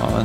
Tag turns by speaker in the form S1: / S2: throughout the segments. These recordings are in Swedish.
S1: Ja,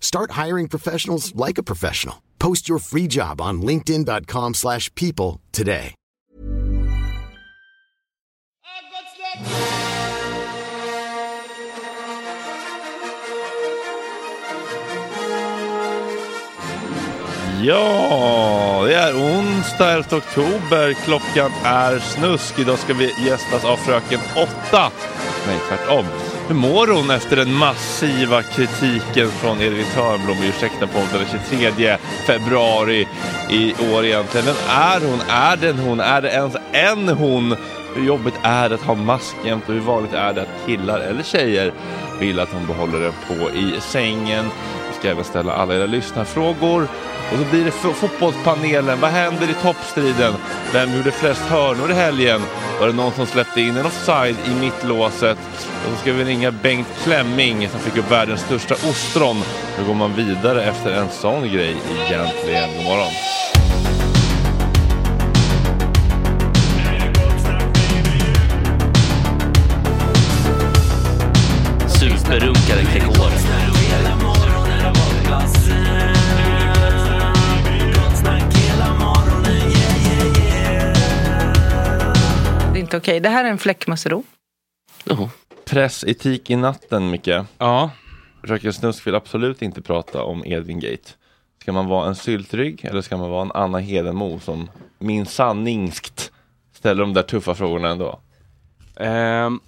S2: Start hiring professionals like a professional. Post your free job on linkedin.com/people slash people today.
S1: Ja, det är onsdag 11 oktober. Klockan är snusk. Idag ska vi gästas av Fröken Åtta. Nej, tvärtom. Hur mår hon efter den massiva kritiken från Edvin Törnblom? Ursäkta podden den 23 februari i år egentligen. Vem är hon? Är den hon? Är det ens en hon? Hur jobbigt är det att ha mask jämt och hur vanligt är det att killar eller tjejer vill att hon behåller den på i sängen? Vi ska även ställa alla era lyssnarfrågor. Och så blir det fo- fotbollspanelen. Vad händer i toppstriden? Vem gjorde flest hörnor i helgen? var det någon som släppte in en offside i mittlåset. Och så ska vi ringa Bengt Klemming som fick upp världens största ostron. Hur går man vidare efter en sån grej egentligen? God morgon.
S3: Superrunkare Gregor.
S4: Det är inte okej. Det här är en fläckmussero.
S3: Jaha.
S1: Pressetik i natten, Micke.
S5: Ja.
S1: Röken Snusk vill absolut inte prata om Edvin Gate. Ska man vara en syltrygg eller ska man vara en Anna Hedenmo som min sanningskt ställer de där tuffa frågorna ändå?
S5: Ehm,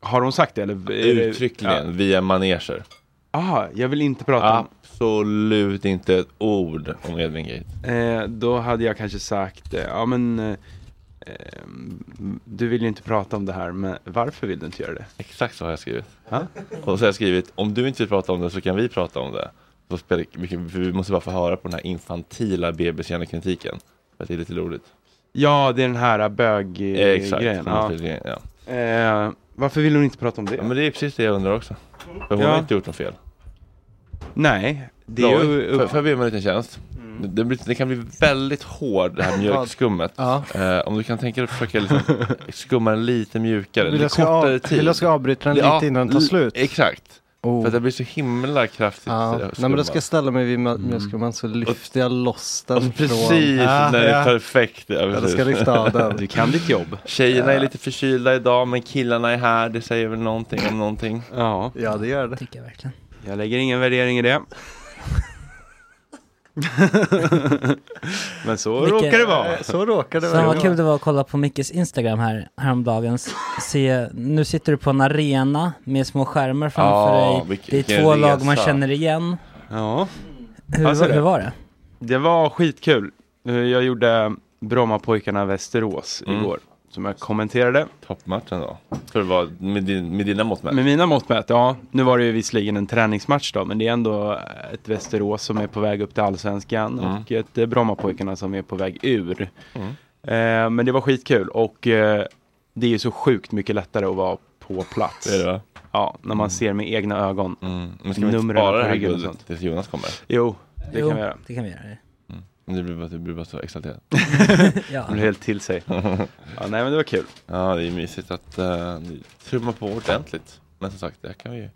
S5: har hon sagt det eller? är det-
S1: Uttryckligen
S5: Ja.
S1: via maneger.
S5: Aha, jag vill inte prata om.
S1: Absolut inte ett ord om Edvin Gate.
S5: Eh, då hade jag kanske sagt, eh, ja men eh, eh, du vill ju inte prata om det här, men varför vill du inte göra det?
S1: Exakt så har jag skrivit.
S5: Ja.
S1: Och så har jag skrivit, om du inte vill prata om det så kan vi prata om det. Så spelar, vi- vi måste bara få höra på den här infantila BB-kritiken. För att det är lite roligt.
S5: Ja, det är den här
S1: Eh, Exakt.
S5: bög-grejen. Ja.
S1: Ja.
S5: Eh, varför vill hon inte prata om det?
S1: Ja, men det är precis det jag undrar också. För hon
S5: Ja.
S1: har inte gjort något fel.
S5: Nej, det är ju...
S1: David, får- får jag be om en liten tjänst?
S6: Mm.
S1: Det, blir, det kan bli väldigt hård det här mjölkskummet.
S6: Ja.
S1: Eh, om du kan tänka dig att försöka liksom skumma den lite mjukare,
S6: Vill
S1: lite
S6: jag ska, av,
S1: kortare tid.
S6: vill jag ska avbryta den
S1: Ja,
S6: lite innan den tar
S1: l-
S6: slut?
S1: Exakt,
S6: Oh.
S1: för att det blir så himla kraftigt eh,
S6: Ja. Nej men då
S1: skumma. Mm.
S6: ska jag ställa mig vid mjö- mjölkskumman så lyfter jag loss den
S1: Och
S6: från...
S1: Precis,
S6: Ja,
S1: när det är
S6: ja.
S1: perfekt. Ja,
S6: Jag
S1: precis.
S6: ska lyfta av den.
S5: Du kan ditt jobb.
S1: Tjejerna är lite förkylda idag, men killarna är här. Det säger väl någonting om någonting.
S5: Ja,
S6: Ja det gör det.
S7: Tycker jag verkligen.
S5: jag lägger ingen värdering i det. men så
S7: Vilken-
S5: råkar det vara.
S6: eh, Så råkar det
S7: Sen
S6: vara.
S7: vad kul det var att kolla på Mickes Instagram här häromdagens. Se, nu sitter du på en arena med små skärmar framför
S1: Ja,
S7: dig.
S1: vilken-
S7: det är
S1: vilken
S7: två lag man
S1: resa.
S7: känner igen.
S5: Ja.
S7: Hur,
S5: Alltså det.
S7: hur var det?
S5: Det var skitkul. Eh, Jag gjorde Brommapojkarna Västerås
S1: Mm.
S5: igår. Som jag kommenterade.
S1: Toppmatchen då? För det var med, din, med dina mått mätt.
S5: Med mina mått mätt, ja. Nu var det ju visserligen en träningsmatch då. Men det är ändå ett Västerås som är på väg upp till Allsvenskan.
S1: Mm.
S5: Och ett eh, Brommapojkarna som är på väg ur. Eh, men det var skitkul. Och eh, det är ju så sjukt mycket lättare att vara på plats.
S1: Det är det va?
S5: Ja, när man ser med egna ögon.
S1: Mm. Men ska vi inte
S5: Numren
S1: spara
S5: på
S1: det här
S5: ryggen och
S1: guldet
S5: sånt.
S1: tills Jonas kommer?
S5: Jo, det
S7: Jo,
S5: kan vi göra.
S7: Det kan vi göra.
S1: Men Du blir bara, du blir bara så exalterad.
S5: Man
S7: Ja.
S5: blir helt till sig. Ja, nej men det var kul.
S1: Ja, det är mysigt att uh, trumma på ordentligt. Men som sagt, det här kan vi ju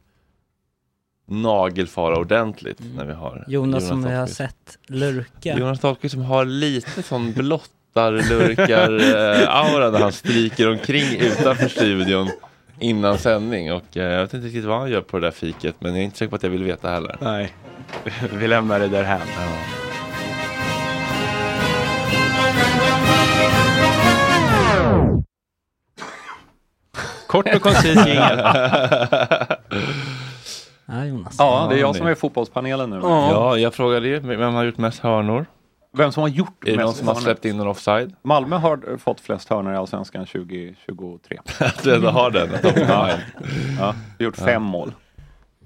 S1: nagelfara ordentligt när vi har
S7: Mm. Jonas som vi har
S1: Dahlqvist.
S7: sett lurka.
S1: Jonas Dahlqvist som har lite sån blottar-lurkar-aura eh, när han stryker omkring utanför studion innan sändning. Och eh, jag vet inte riktigt vad han gör på det där fiket, men jag är inte säker på att jag vill veta heller.
S5: Nej, vi lämnar det därhän. Kort och koncis jingel.
S7: Ja, Jonas.
S3: Ja, det är jag som är fotbollspanelen nu.
S1: Ja, jag frågade ju vem har gjort mest hörnor?
S3: Vem som har gjort
S1: Är det någon
S3: mest
S1: som har
S3: hörnor?
S1: släppt in någon offside?
S3: Malmö har eh, fått flest hörnor i Allsvenskan 2023.
S1: Att du ändå har den.
S3: Ja. Ja, gjort fem mål.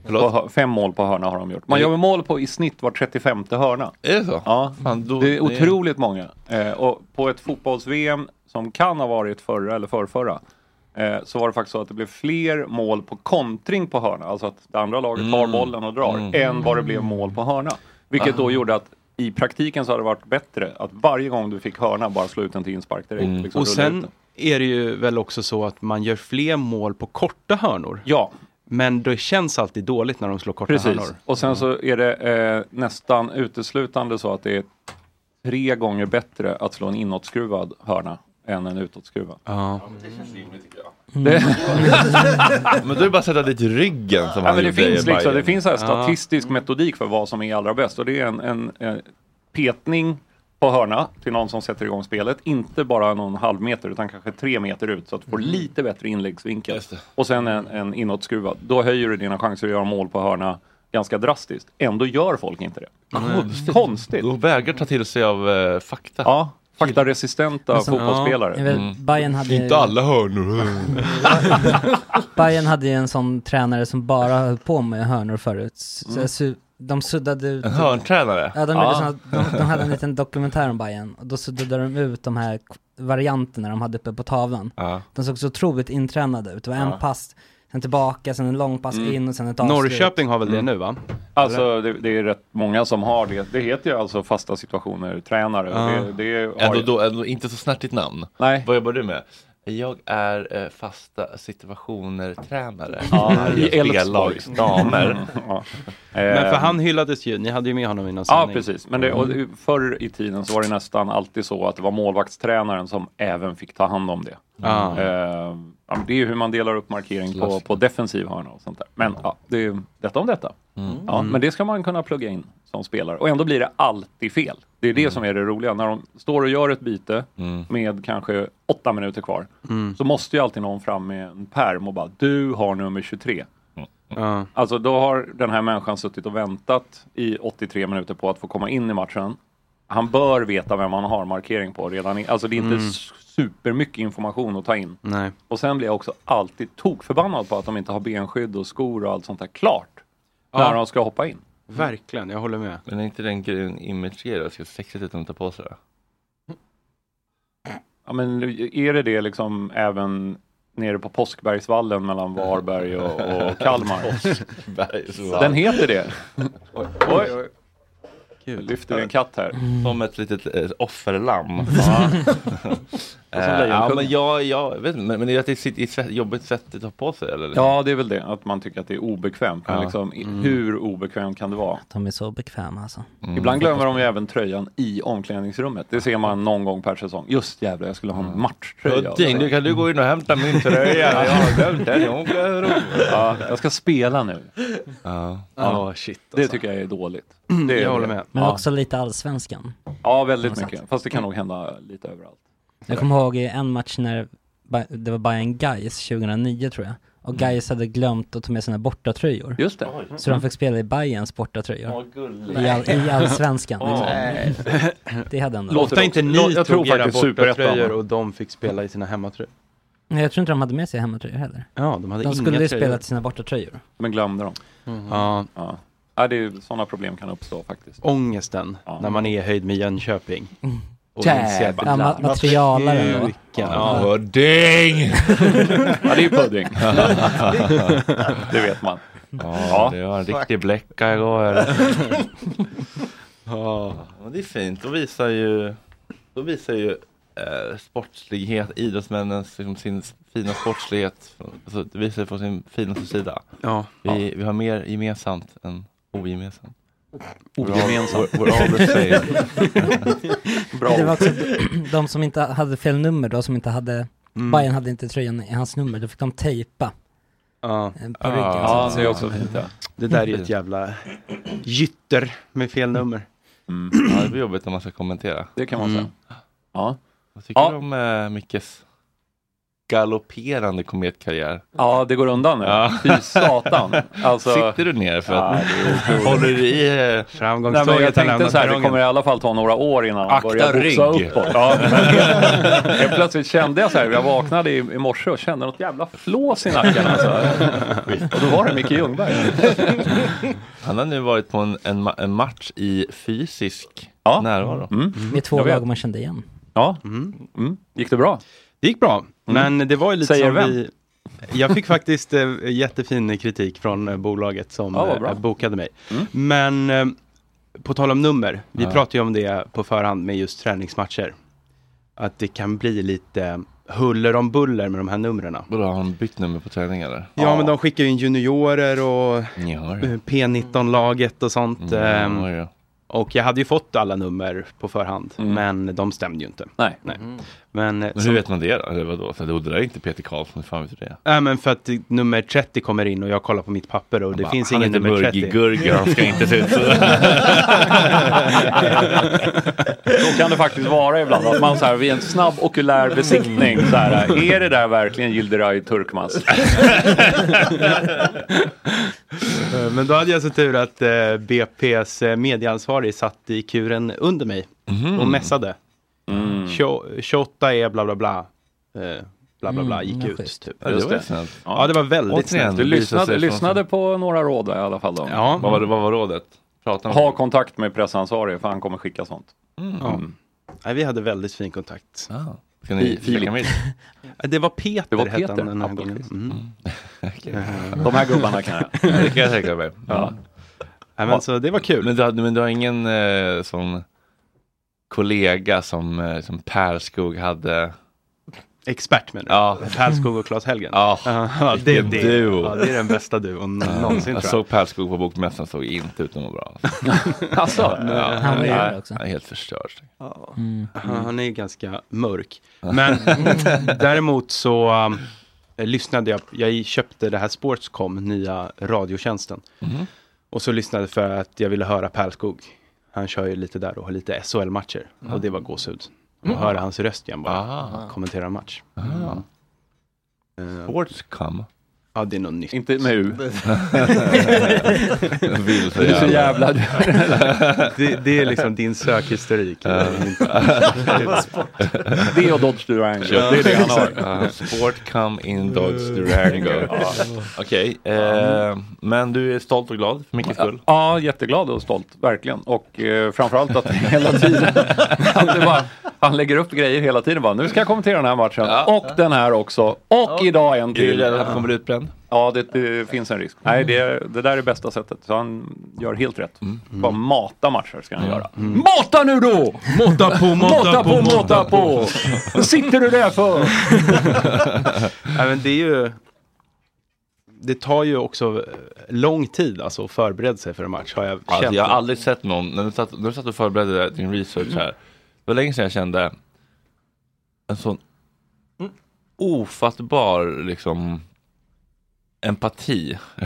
S3: På, hö- fem mål på hörna har de gjort. Man gör väl mål på i snitt var 35 hörna.
S1: Är det så?
S3: Ja,
S1: Fan, då-
S3: det är otroligt många. Eh, och på ett fotbolls-VM som kan ha varit förra eller förrförra eh, så var det faktiskt så att det blev fler mål på kontring på hörna, alltså att det andra laget tar
S5: Mm.
S3: bollen och drar, än vad det blev mål på hörna. Vilket
S5: Ah.
S3: då gjorde att i praktiken så hade det varit bättre att varje gång du fick hörna bara slå ut den till inspark direkt. liksom
S5: Mm. Och
S3: rulla ut
S5: sen
S3: den.
S5: är det ju väl också så att man gör fler mål på korta hörnor.
S3: Ja,
S5: Men det känns alltid dåligt när de slår korta
S3: Precis,
S5: hörnor.
S3: och sen så är det eh, nästan uteslutande så att det är tre gånger bättre att slå en inåtskruvad hörna än en utåtskruvad.
S5: Ja.
S1: Men då är det bara att sätta dit ryggen som
S3: Mm. Ja,
S1: han
S3: men det,
S1: gjorde
S3: finns
S1: i
S3: liksom, det
S1: Bayern.
S3: finns så här statistisk metodik för vad som är allra bäst och det är en, en, en petning på hörna till någon som sätter igång spelet. Inte bara någon halv meter utan kanske tre meter ut så att du får lite bättre inläggsvinkel.
S1: Mm. Just det.
S3: Och sen en, en inåtskruvad. Då höjer du dina chanser att göra mål på hörna ganska drastiskt. Ändå gör folk inte det. Konstigt. Konstigt.
S1: Då vägrar ta till sig av eh, fakta. Mm.
S3: Ja, faktaresistenta fotbollsspelare.
S7: Det är väl- Bayern hade, ju-
S1: hörnor.
S7: Bayern hade ju en sån tränare som bara höll på med hörnor förut. Så su- de suddade ut...
S1: En hörntränare.
S7: Ja, de, gjorde
S3: Ja.
S7: Såna, de, de hade en liten dokumentär om Bayern och då suddade de ut de här k- varianterna de hade uppe på tavlan.
S5: Ja.
S7: De såg så otroligt intränade ut. Det var en
S5: Ja.
S7: pass, sen tillbaka, sen en lång pass
S3: Mm.
S7: in och sen ett avslut. Mm.
S5: Norrköping har väl det nu va?
S3: Alltså det, det är rätt många som har det. Det heter ju alltså fasta situationer, tränare.
S1: Ja.
S3: Det, det har
S1: Ändå,
S3: ju-
S1: då, ändå inte så snärtigt namn.
S3: Nej.
S1: Vad jobbar du med? Jag är eh, fasta situationer-tränare
S3: Ja, i
S1: i
S3: Elfsborg.
S1: B-lags damer.
S3: Ja.
S5: Men för
S3: Eh,
S5: han hyllades ju, ni hade ju med honom i någon
S3: Ja,
S5: sändning. Mm.
S3: precis. Men det, och det- förr i tiden så var det nästan alltid så att det var målvaktstränaren som även fick ta hand om det.
S5: Ah.
S3: Eh, ja, men det är ju hur man delar upp markering på,
S1: Slask.
S3: på defensiv hörna och sånt där. Men ja, det är, detta om detta. Ja,
S5: Mm.
S3: men det ska man kunna plugga in som spelare. Och ändå blir det alltid fel. Det är
S5: Mm.
S3: det som är det roliga. När de står och gör ett byte med kanske åtta minuter kvar
S5: Mm.
S3: så måste ju alltid någon fram med en pärm och bara du har nummer 23.
S1: Mm.
S5: Ja.
S3: Alltså då har den här människan suttit och väntat i 83 minuter på att få komma in i matchen. Han bör veta vem han har markering på redan. I, alltså det är inte s- supermycket information att ta in.
S5: Nej.
S3: Och sen blir jag också alltid tokförbannad på att de inte har benskydd och skor och allt sånt där klart. När de ska hoppa in.
S5: Verkligen, jag håller med.
S1: Men är inte den grejen imagerad? Det ser sexigt ut om de tar på sig det.
S3: Ja, men är det det liksom även nere på Påskbergsvallen mellan Varberg och, och Kalmar? Den heter det. Oj, oj,
S5: Kul.
S3: lyfter vi en katt här.
S1: Som ett litet eh, offerlamm. Eh, ja,
S3: lejonkung.
S1: men jag, jag vet inte, men, men det är att det är sitt- ett svett- jobbigt sätt att ta på sig eller?
S3: Ja, det är väl det. Att man tycker att det är obekvämt. Men
S1: Ja. Mm.
S3: liksom, i- hur obekvämt kan det vara?
S7: De är så bekväma alltså.
S3: Mm. Ibland glömmer de ju även tröjan i omklädningsrummet. Det ser man någon gång per säsong. Just jävlar, jag skulle ha
S1: Mm.
S3: en matchtröja.
S1: Pudding, du kan du gå in och hämta min tröja? jag har glömt den, jag åker och-
S3: Ja, jag ska spela nu.
S1: Ja.
S5: Ja, shit. Alltså.
S3: Det tycker jag är dåligt.
S7: Mm.
S3: Det är
S5: jag håller med.
S7: Men
S3: Ja.
S7: också lite allsvenskan.
S3: Ja, väldigt mycket. Fast det kan nog hända lite överallt.
S7: Jag kommer ihåg i en match när Ba- det var Bayern Gais 2009 tror jag. Och Gais hade glömt att ta med sina bortatröjor.
S3: Mm. Just det.
S7: Så de fick spela i Bayerns bortatröjor.
S1: gulligt.
S7: I, all, I allsvenskan.
S3: Åh.
S7: liksom. Det hade ändå.
S3: Låter
S5: Ofta inte
S3: också-
S5: ni
S3: jag tror
S5: tog era
S3: faktiskt superettan,
S5: bortatröjor
S3: va?
S5: och de fick spela i sina hemmatröjor.
S7: Nej, jag tror inte de hade med sig hemmatröjor heller.
S5: Ja, de hade
S7: De
S5: inga
S7: skulle ju
S5: tröjor.
S7: spela till sina bortatröjor.
S3: Men glömde dem.
S5: Ja,
S3: Ja. Ja, det är, sådana problem kan uppstå faktiskt.
S5: ångesten
S3: Ja.
S5: när man är i höjd med Jönköping. Och
S7: Jävlar.
S5: inser att det
S7: Ja,
S5: blir-
S7: ma- materialaren då.
S5: Vilken- Ja.
S1: Pudding!
S3: Ja, det är pudding. det vet man.
S1: Ja, det var en riktig bläcka igår. ja, men det är fint. Då visar ju, då visar ju eh, sportslighet, idrottsmännens liksom, sin fina sportslighet. Alltså, det visar på sin finaste sida.
S5: Ja.
S1: Vi, vi har mer gemensamt än ogemensamt.
S5: Ogemensamt.
S1: We're all the same.
S3: Bra.
S7: Det var typ- också de som inte hade fel nummer då, som inte hade...
S3: Mm.
S7: Bayern hade inte tröjan i hans nummer, då fick de tejpa
S5: Ja.
S7: eh, på
S1: Ah.
S7: ryggen.
S3: Ja,
S7: så-
S3: det är också fint. Ja.
S5: Det där är ju ett jävla gytter med fel nummer.
S1: Ja, det blir jobbigt när man ska kommentera.
S3: Mm. Det kan man
S5: Mm.
S3: säga. Ja.
S1: Vad tycker
S3: Ja.
S1: du om eh, Mickes galopperande kometkarriär?
S3: ja, det går undan nu.
S1: Ja.
S3: Fy satan. Alltså,
S1: Sitter du ner för att
S3: Ja, det är otroligt.
S1: håller du i eh,
S3: Nej,
S5: Framgångståget
S3: men jag
S5: har
S3: tänkte
S5: lämnat
S3: så här, det
S5: perrongen.
S3: kommer i alla fall ta några år innan han
S1: Akta
S3: börjar boxa
S1: rygg.
S3: uppåt. Ja, men helt, helt plötsligt kände jag så här, jag vaknade i, i morse och kände något jävla flås i nacken alltså. Och då var det Micke Ljungberg.
S1: Han har nu varit på en, en, ma- en match i fysisk
S3: Ja.
S1: närvaro.
S5: Mm.
S7: Det är två
S3: Jag vet.
S7: lag man kände igen.
S3: Ja, mm. gick det bra?
S5: Det gick bra, men det var ju lite
S3: Säger
S5: som
S3: vem?
S5: vi... Jag fick faktiskt eh, jättefin kritik från eh, bolaget som
S3: Ja, vad bra.
S5: eh, bokade mig. Men eh, på tal om nummer, vi
S1: Ja.
S5: pratade ju om det på förhand med just träningsmatcher. Att det kan bli lite huller om buller med de här numren. Ja,
S1: Vadå, har han bytt nummer på träning eller?
S5: men de skickar ju in juniorer och
S1: Ja, det.
S5: eh, P19-laget och sånt. ehm,
S1: Ja, ja.
S5: och jag hade ju fått alla nummer på förhand, men de stämde ju inte.
S3: Nej.
S5: Nej. Men, eh,
S1: Mm. Men hur
S5: som-
S1: vet man det då? Eller vadå? Så det där är inte Peter Karlsson, hur fan vet du det?
S5: Nej men för att nummer 30 kommer in och jag kollar på mitt papper och det
S1: Bara,
S5: finns
S1: han
S5: ingen
S1: heter
S5: nummer 30.
S1: Burgi-Gurgi, han ska inte se ut så.
S3: Så kan det faktiskt vara ibland, att man så här, vid en snabb okulär besiktning, så här, är det där verkligen Gilderay Turkmaz?
S5: Eh, Men då hade jag så tur att eh, BP's eh, medieansvarig satt i kuren under mig
S1: Mhm.
S5: och mässade.
S1: Mm.
S5: Tjo- 28 är bla bla bla. Eh, Bla bla bla, gick
S7: ja,
S5: ut
S7: schysst.
S5: typ.
S1: Mm, Ja, det var ju
S3: det.
S1: snällt.
S5: Ja, det var väldigt
S1: Återigen,
S5: snällt.
S3: Du
S1: det visar sig
S3: lyssnade,
S1: från-
S3: lyssnade på några råd där i alla fall då? Mm.
S5: Ja.
S1: Vad var, vad var rådet? Prata om
S3: Ha kontakt
S5: Mm.
S1: Mm.
S3: med pressansvarig för han kommer skicka sånt.
S5: ja. Nej, vi hade väldigt fin kontakt.
S1: Ah. Ska ni
S5: Fi- Filip.
S1: fika middag?
S5: Det var Peter,
S3: Det var
S5: hette
S3: Peter
S5: han den här gången.
S3: Appelqvist.
S5: Mm.
S3: De här gubbarna kan jag.
S1: Det kan jag tänka mig.
S3: Ja.
S5: Nej, men, så det var kul.
S1: Men, du hade, men du har ingen eh, sån kollega som, eh, som Per Skog hade?
S5: Expert menar du?
S1: Ja.
S5: Pärlskog och Claes Helgen.
S1: Ja.
S5: Ja, det,
S1: Vilken
S5: det,
S1: duo.
S5: ja, det är den bästa duon någonsin
S1: jag
S5: tror jag.
S1: såg Per Skog på bokmässan, såg inte ut att må bra.
S3: Alltså,
S1: Ja,
S7: Han var ju
S1: nej,
S7: det också. Mm.
S1: Han är helt förstörd.
S5: Ja, Han är ju ganska mörk. Men däremot så um, lyssnade jag, jag köpte det här Sportscom, nya radiotjänsten.
S7: Mm-hmm.
S5: Och så lyssnade jag för att jag ville höra Pärlskog. Han kör ju lite där och har lite SHL-matcher.
S7: Mm.
S5: Och det var gåshud. Och höra hans röst igen bara,
S7: Ah.
S5: kommentera en match.
S1: Sportscom.
S5: Eh, Ja, det är något nytt.
S3: inte med U.
S1: Vill så
S3: Du är så jävla...
S1: jävla.
S5: Det, det är liksom din sökhistorik.
S3: Det och Dodge Durango.
S1: Ja,
S3: Det är det han har.
S1: Ja, Sportcom in Dodge Durango. Ja. Okej, eh, men du är stolt och glad för Mickes skull?
S3: Ja, jätteglad och stolt, verkligen. Och eh, framförallt att hela tiden, att det bara, han lägger upp grejer hela tiden bara, nu ska jag kommentera den här matchen och den här också och idag en
S1: Är du
S3: till.
S1: rädd att han kommer bli utbränd?
S3: Ja, det, det finns en risk. Nej, det, det där är bästa sättet. Så han gör helt rätt.
S1: Mm.
S3: Bara mata matcher ska han göra. Mata nu då!
S5: Måtta på,
S3: Mm. Mata på, mata på! Vad sitter du där för?
S5: Nej, men det är ju... Det tar ju också eh, lång tid alltså, att förbereda sig för en match. Har jag
S1: Alltså,
S5: känt.
S1: jag har aldrig sett någon, när du satt, när du satt och förberedde din research här, det var länge sedan jag kände en sån ofattbar liksom empati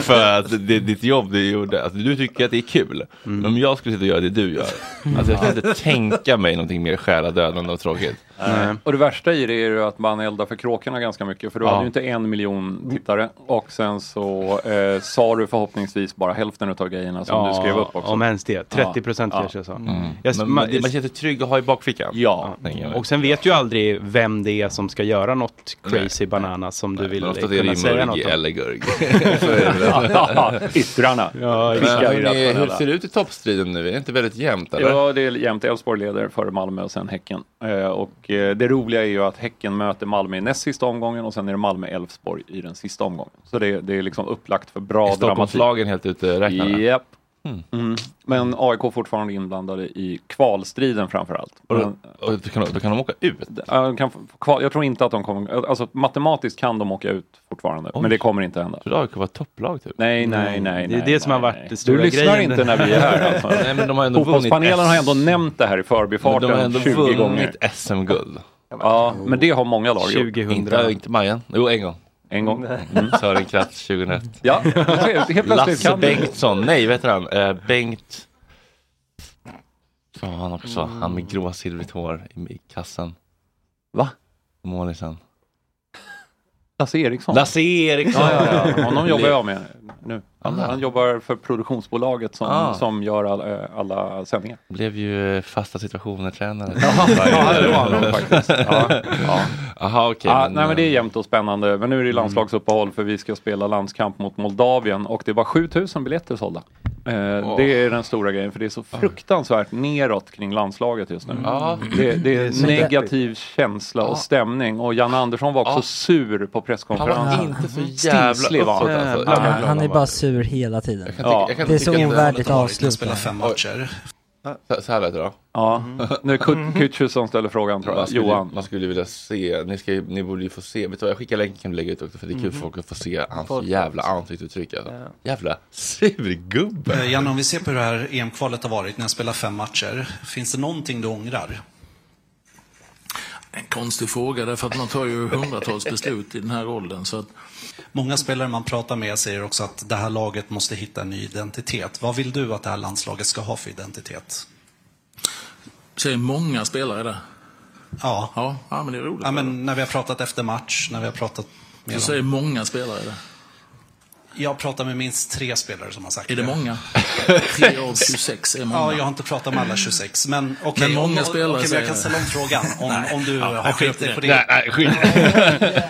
S1: för att det, ditt jobb du gjorde, alltså, du tycker att det är kul, men om jag skulle sitta och göra det du gör, alltså jag kan inte tänka mig någonting mer själadödande och tråkigt.
S3: Eh, Och det värsta i det är ju att man eldar för kråkorna ganska mycket. För du hade ju inte en miljon tittare. Och sen så eh, sa du förhoppningsvis bara hälften utav grejerna som Alltså, du skrev upp också.
S5: Om ens det. 30 procent
S3: Ja. Mm.
S5: kanske jag sa. Jag,
S1: Mm. Men, men, man, man
S5: man,
S1: känner sig trygg att ha i bakfickan.
S3: Ja.
S1: tänker jag mig.
S5: och sen vet ju aldrig vem det är som ska göra något crazy banana som du
S1: Men
S5: vill
S1: Ofta
S5: kunna
S1: är det
S5: säga
S1: ju
S5: något
S1: mörg
S5: om.
S1: eller gurg.
S3: Yttrarna.
S5: Ja,
S3: Vilka
S1: Men,
S3: är
S1: hörni, hur
S3: irrationella?
S1: ser det ut i toppstriden nu? Är det inte väldigt jämnt eller?
S3: Ja, det är jämnt. Elfsborg leder före Malmö och sen Häcken. Eh, och eh, det roliga är ju att Häcken möter Malmö i näst sista omgången och sen är det Malmö-Elfsborg i den sista omgången. Så det, det är liksom upplagt för bra
S1: Är
S3: dramatik.
S1: Stockholmslagen helt ute räknade?
S3: Japp. Mm. Men AIK fortfarande inblandade i kvalstriden framförallt.
S1: Och
S3: Men,
S1: då, och då, kan, de- då kan de åka ut?
S3: Ja, de kan få kval, jag tror inte att de kommer, alltså matematiskt kan de åka ut fortfarande, men det kommer inte hända.
S1: För då AIK var topplag typ?
S3: Nej, nej, nej.
S5: Det är
S3: nej,
S5: det som
S3: nej,
S5: har varit
S3: nej.
S5: det stora
S3: Du lyssnar
S5: grejen.
S3: inte när vi är här alltså.
S1: Nej, men de har ändå vunnit
S3: Fotbollspanelen har
S1: S-
S3: ändå nämnt det här i
S1: men De har
S3: förbifarten
S1: ändå
S3: 20
S1: vunnit
S3: gånger.
S1: SM-guld.
S3: Ja, men det har många lag gjort.
S5: 2000.
S1: Inte, inte Majen. Jo, en gång.
S3: En gång. Mm.
S1: Sören Kratz 2001.
S3: Ja, helt plötsligt
S1: Lasse
S3: kan du.
S1: Bengtsson. Nej, vad heter han? Eh, Bengt... Fan vad han också. Han med gråa silvrigt hår i, i kassen.
S3: Va?
S1: Målisen.
S3: Lasse Eriksson.
S1: Lasse Eriksson!
S3: Ja, ja, ja. Honom jobbar jag med nu. Han, han jobbar för produktionsbolaget som,
S1: Ah.
S3: som gör all, eh, alla sändningar.
S1: Blev ju eh, fasta situationer-tränare.
S3: Ja, det var han nog faktiskt. Ja, ja.
S1: Jaha, okej. eh, Mm.
S3: Ja, nej men det är jämnt och spännande. Men nu är det landslagsuppehåll för vi ska spela landskamp mot Moldavien och det var 7000 biljetter sålda. Eh, Det är den stora grejen för det är så fruktansvärt neråt kring landslaget just nu.
S1: Ja.
S3: Det, det är negativ känsla och stämning och Jan Andersson var också
S1: Ja.
S3: sur på
S1: Han var
S3: presskonferensen.
S1: inte så jävla
S3: Stingslig var han.
S1: uppåt alltså.
S7: Han,
S1: Jag kan-
S7: han är bara sur hela tiden.
S3: Ja.
S1: jag kan
S7: Det är så
S1: tycka att-
S7: invärdigt avslut.
S1: Så- Så här lät det då.
S3: Ja.
S5: Mm.
S3: Nu är Kut- Kutjusson ställer frågan tror
S1: Man
S3: jag.
S1: skulle,
S3: Johan.
S1: man skulle vilja se, ni, ska, ju- ni borde ju få se, vet du vad, jag skickar länken kan du lägga ut också för det
S5: Mm.
S1: är kul för folk att få se hans jävla ansiktsuttryck alltså. Jävla surgubbe!
S8: Eh, Janne, om vi ser på hur det här EM-kvalet har varit, ni har spelat fem matcher. Finns det någonting du ångrar?
S9: En konstig fråga därför att man tar ju hundratals beslut i den här rollen. Så att,
S8: Många spelare man pratar med säger också att det här laget måste hitta en ny identitet. Vad vill du att det här landslaget ska ha för identitet?
S9: så är det många spelare där.
S8: Ja,
S9: Ja, ja men det är roligt.
S8: ja men när vi har pratat efter match, när vi har pratat med
S9: Så är
S8: dem.
S9: det många spelare där.
S8: Jag pratar med minst tre spelare som har sagt
S9: Är det många?
S8: Tre
S9: av 26 är många.
S8: Ja, jag har inte pratat med alla 26. Men okej,
S9: Men många
S8: om-
S9: spelare
S8: okej, men jag
S9: säger
S8: kan
S9: det.
S8: ställa om frågan om,
S9: Nej.
S8: om du
S9: Ja,
S8: har
S9: skit
S8: skit dig
S9: i
S8: på
S9: det.
S8: det.
S1: Nej, nej, skit.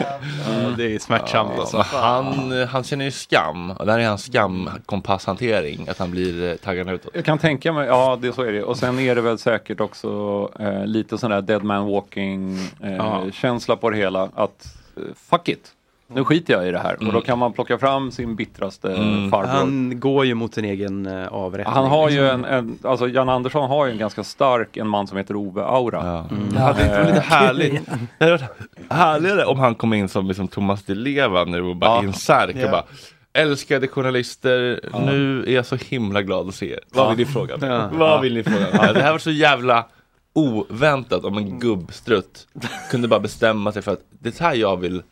S5: Ja, det är smärtsamt alltså.
S1: Han, han känner ju skam. Och det här är hans skamkompasshantering. Att han blir eh, taggad utåt.
S3: Jag kan tänka mig, ja det så är det. Och sen är det väl säkert också eh, lite sån där dead man walking eh,
S1: Ja.
S3: känsla på det hela. Att eh, fuck it, nu skiter jag i det här. Och då kan man plocka fram sin bittraste
S9: Mm.
S3: farbror.
S5: Mm. Han går ju mot en egen eh, avrättning.
S3: Han har ju en,
S5: liksom.
S3: en, alltså Jan Andersson har ju en ganska stark en man som heter Eh, Ove-aura.
S5: Mm.
S1: Det hade inte varit lite härligt. Det hade varit härligare om han kom in som liksom Thomas Di Leva nu och bara i en särk
S3: Ja.
S1: och bara Älskade journalister, nu är jag så himla glad att se er. Vad
S3: Ja.
S1: vill ni fråga mig?
S3: Ja.
S1: Vad
S3: Ja.
S1: vill ni fråga mig? Det här var så jävla oväntat om
S3: Mm.
S1: en gubbstrutt kunde bara bestämma sig för att det här jag vill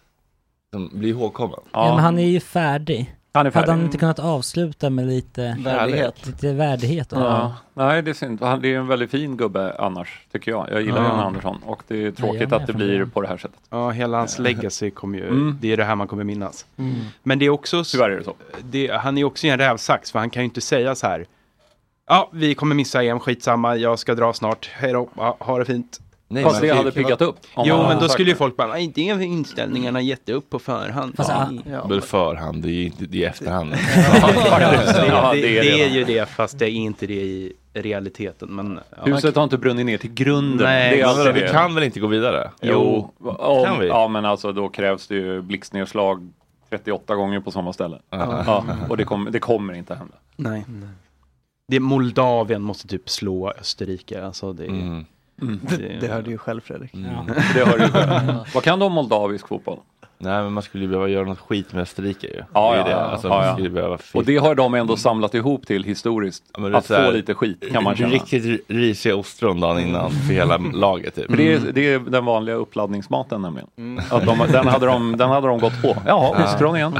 S1: liksom, bli ihågkommen.
S7: Ja, men han är ju färdig.
S3: Han är färdig. Mm.
S7: Hade han inte kunnat avsluta med lite
S3: Värdighet.
S7: Lite värdighet då?
S3: Ja. Nej, det är synd. Han det är en väldigt fin gubbe annars, tycker jag. Jag gillar
S5: Ja.
S3: Jan Andersson och det är tråkigt
S5: med
S3: att det
S5: från
S3: blir
S5: början.
S3: på det här sättet.
S5: Ja, hela hans legacy kommer ju,
S3: Mm.
S5: det är det här man kommer minnas.
S3: Mm.
S5: Men det är också...
S3: Tyvärr är det så.
S5: han är också i en rävsax, för han kan ju inte säga så här. Ja, vi kommer missa EM, skitsamma, jag ska dra snart, hej då, ja, ha det fint.
S3: Nej, Fast men- det hade piggat upp, om
S5: Jo,
S3: han
S5: men
S3: hade
S5: då
S3: sagt
S5: skulle ju
S3: det.
S5: folk bara, nej, det är inställningarna gett upp på förhand.
S7: Fast,
S5: ja.
S7: ah.
S5: Ja.
S1: Väl förhand, det är ju inte det är i efterhand.
S5: det, det, det är ju det, fast det är inte det i realiteten. Men, ja.
S3: Huset har inte brunnit ner till grunden.
S5: Nej,
S3: det är
S5: men
S3: alltid
S5: vadå, vi
S3: det.
S5: kan
S1: väl inte gå vidare?
S3: Jo,
S5: Jo.
S3: om,
S5: Kan vi?
S3: ja men alltså då krävs det ju blixtnedslag 38 gånger på samma ställe.
S5: Aha.
S3: Ja, och det, kommer- det kommer inte hända.
S5: Nej. Det är Moldavien måste typ slå Österrike. Alltså det, är-
S6: Mm. Det, det hörde ju själv Fredrik.
S3: Mm. Det hör du själv. Vad kan du om moldavisk fotboll?
S1: Nej men man skulle ju behöva göra något skit med Österrike ju.
S3: Ja,
S1: Det är
S3: ja,
S1: ju det.
S3: ja.
S1: Alltså,
S3: ja,
S1: man
S3: ja.
S1: skulle ju behöva
S3: Och det har de ändå samlat ihop till historiskt.
S1: men det är
S3: att
S1: så här-
S3: få lite skit kan man känna.
S1: Riktigt risiga ostron dagen innan för hela laget typ.
S3: För det, är, det är den vanliga uppladdningsmaten nämligen. Att de, den, hade de, den hade de gått på. Ja,
S1: Ja.
S3: ostron igen.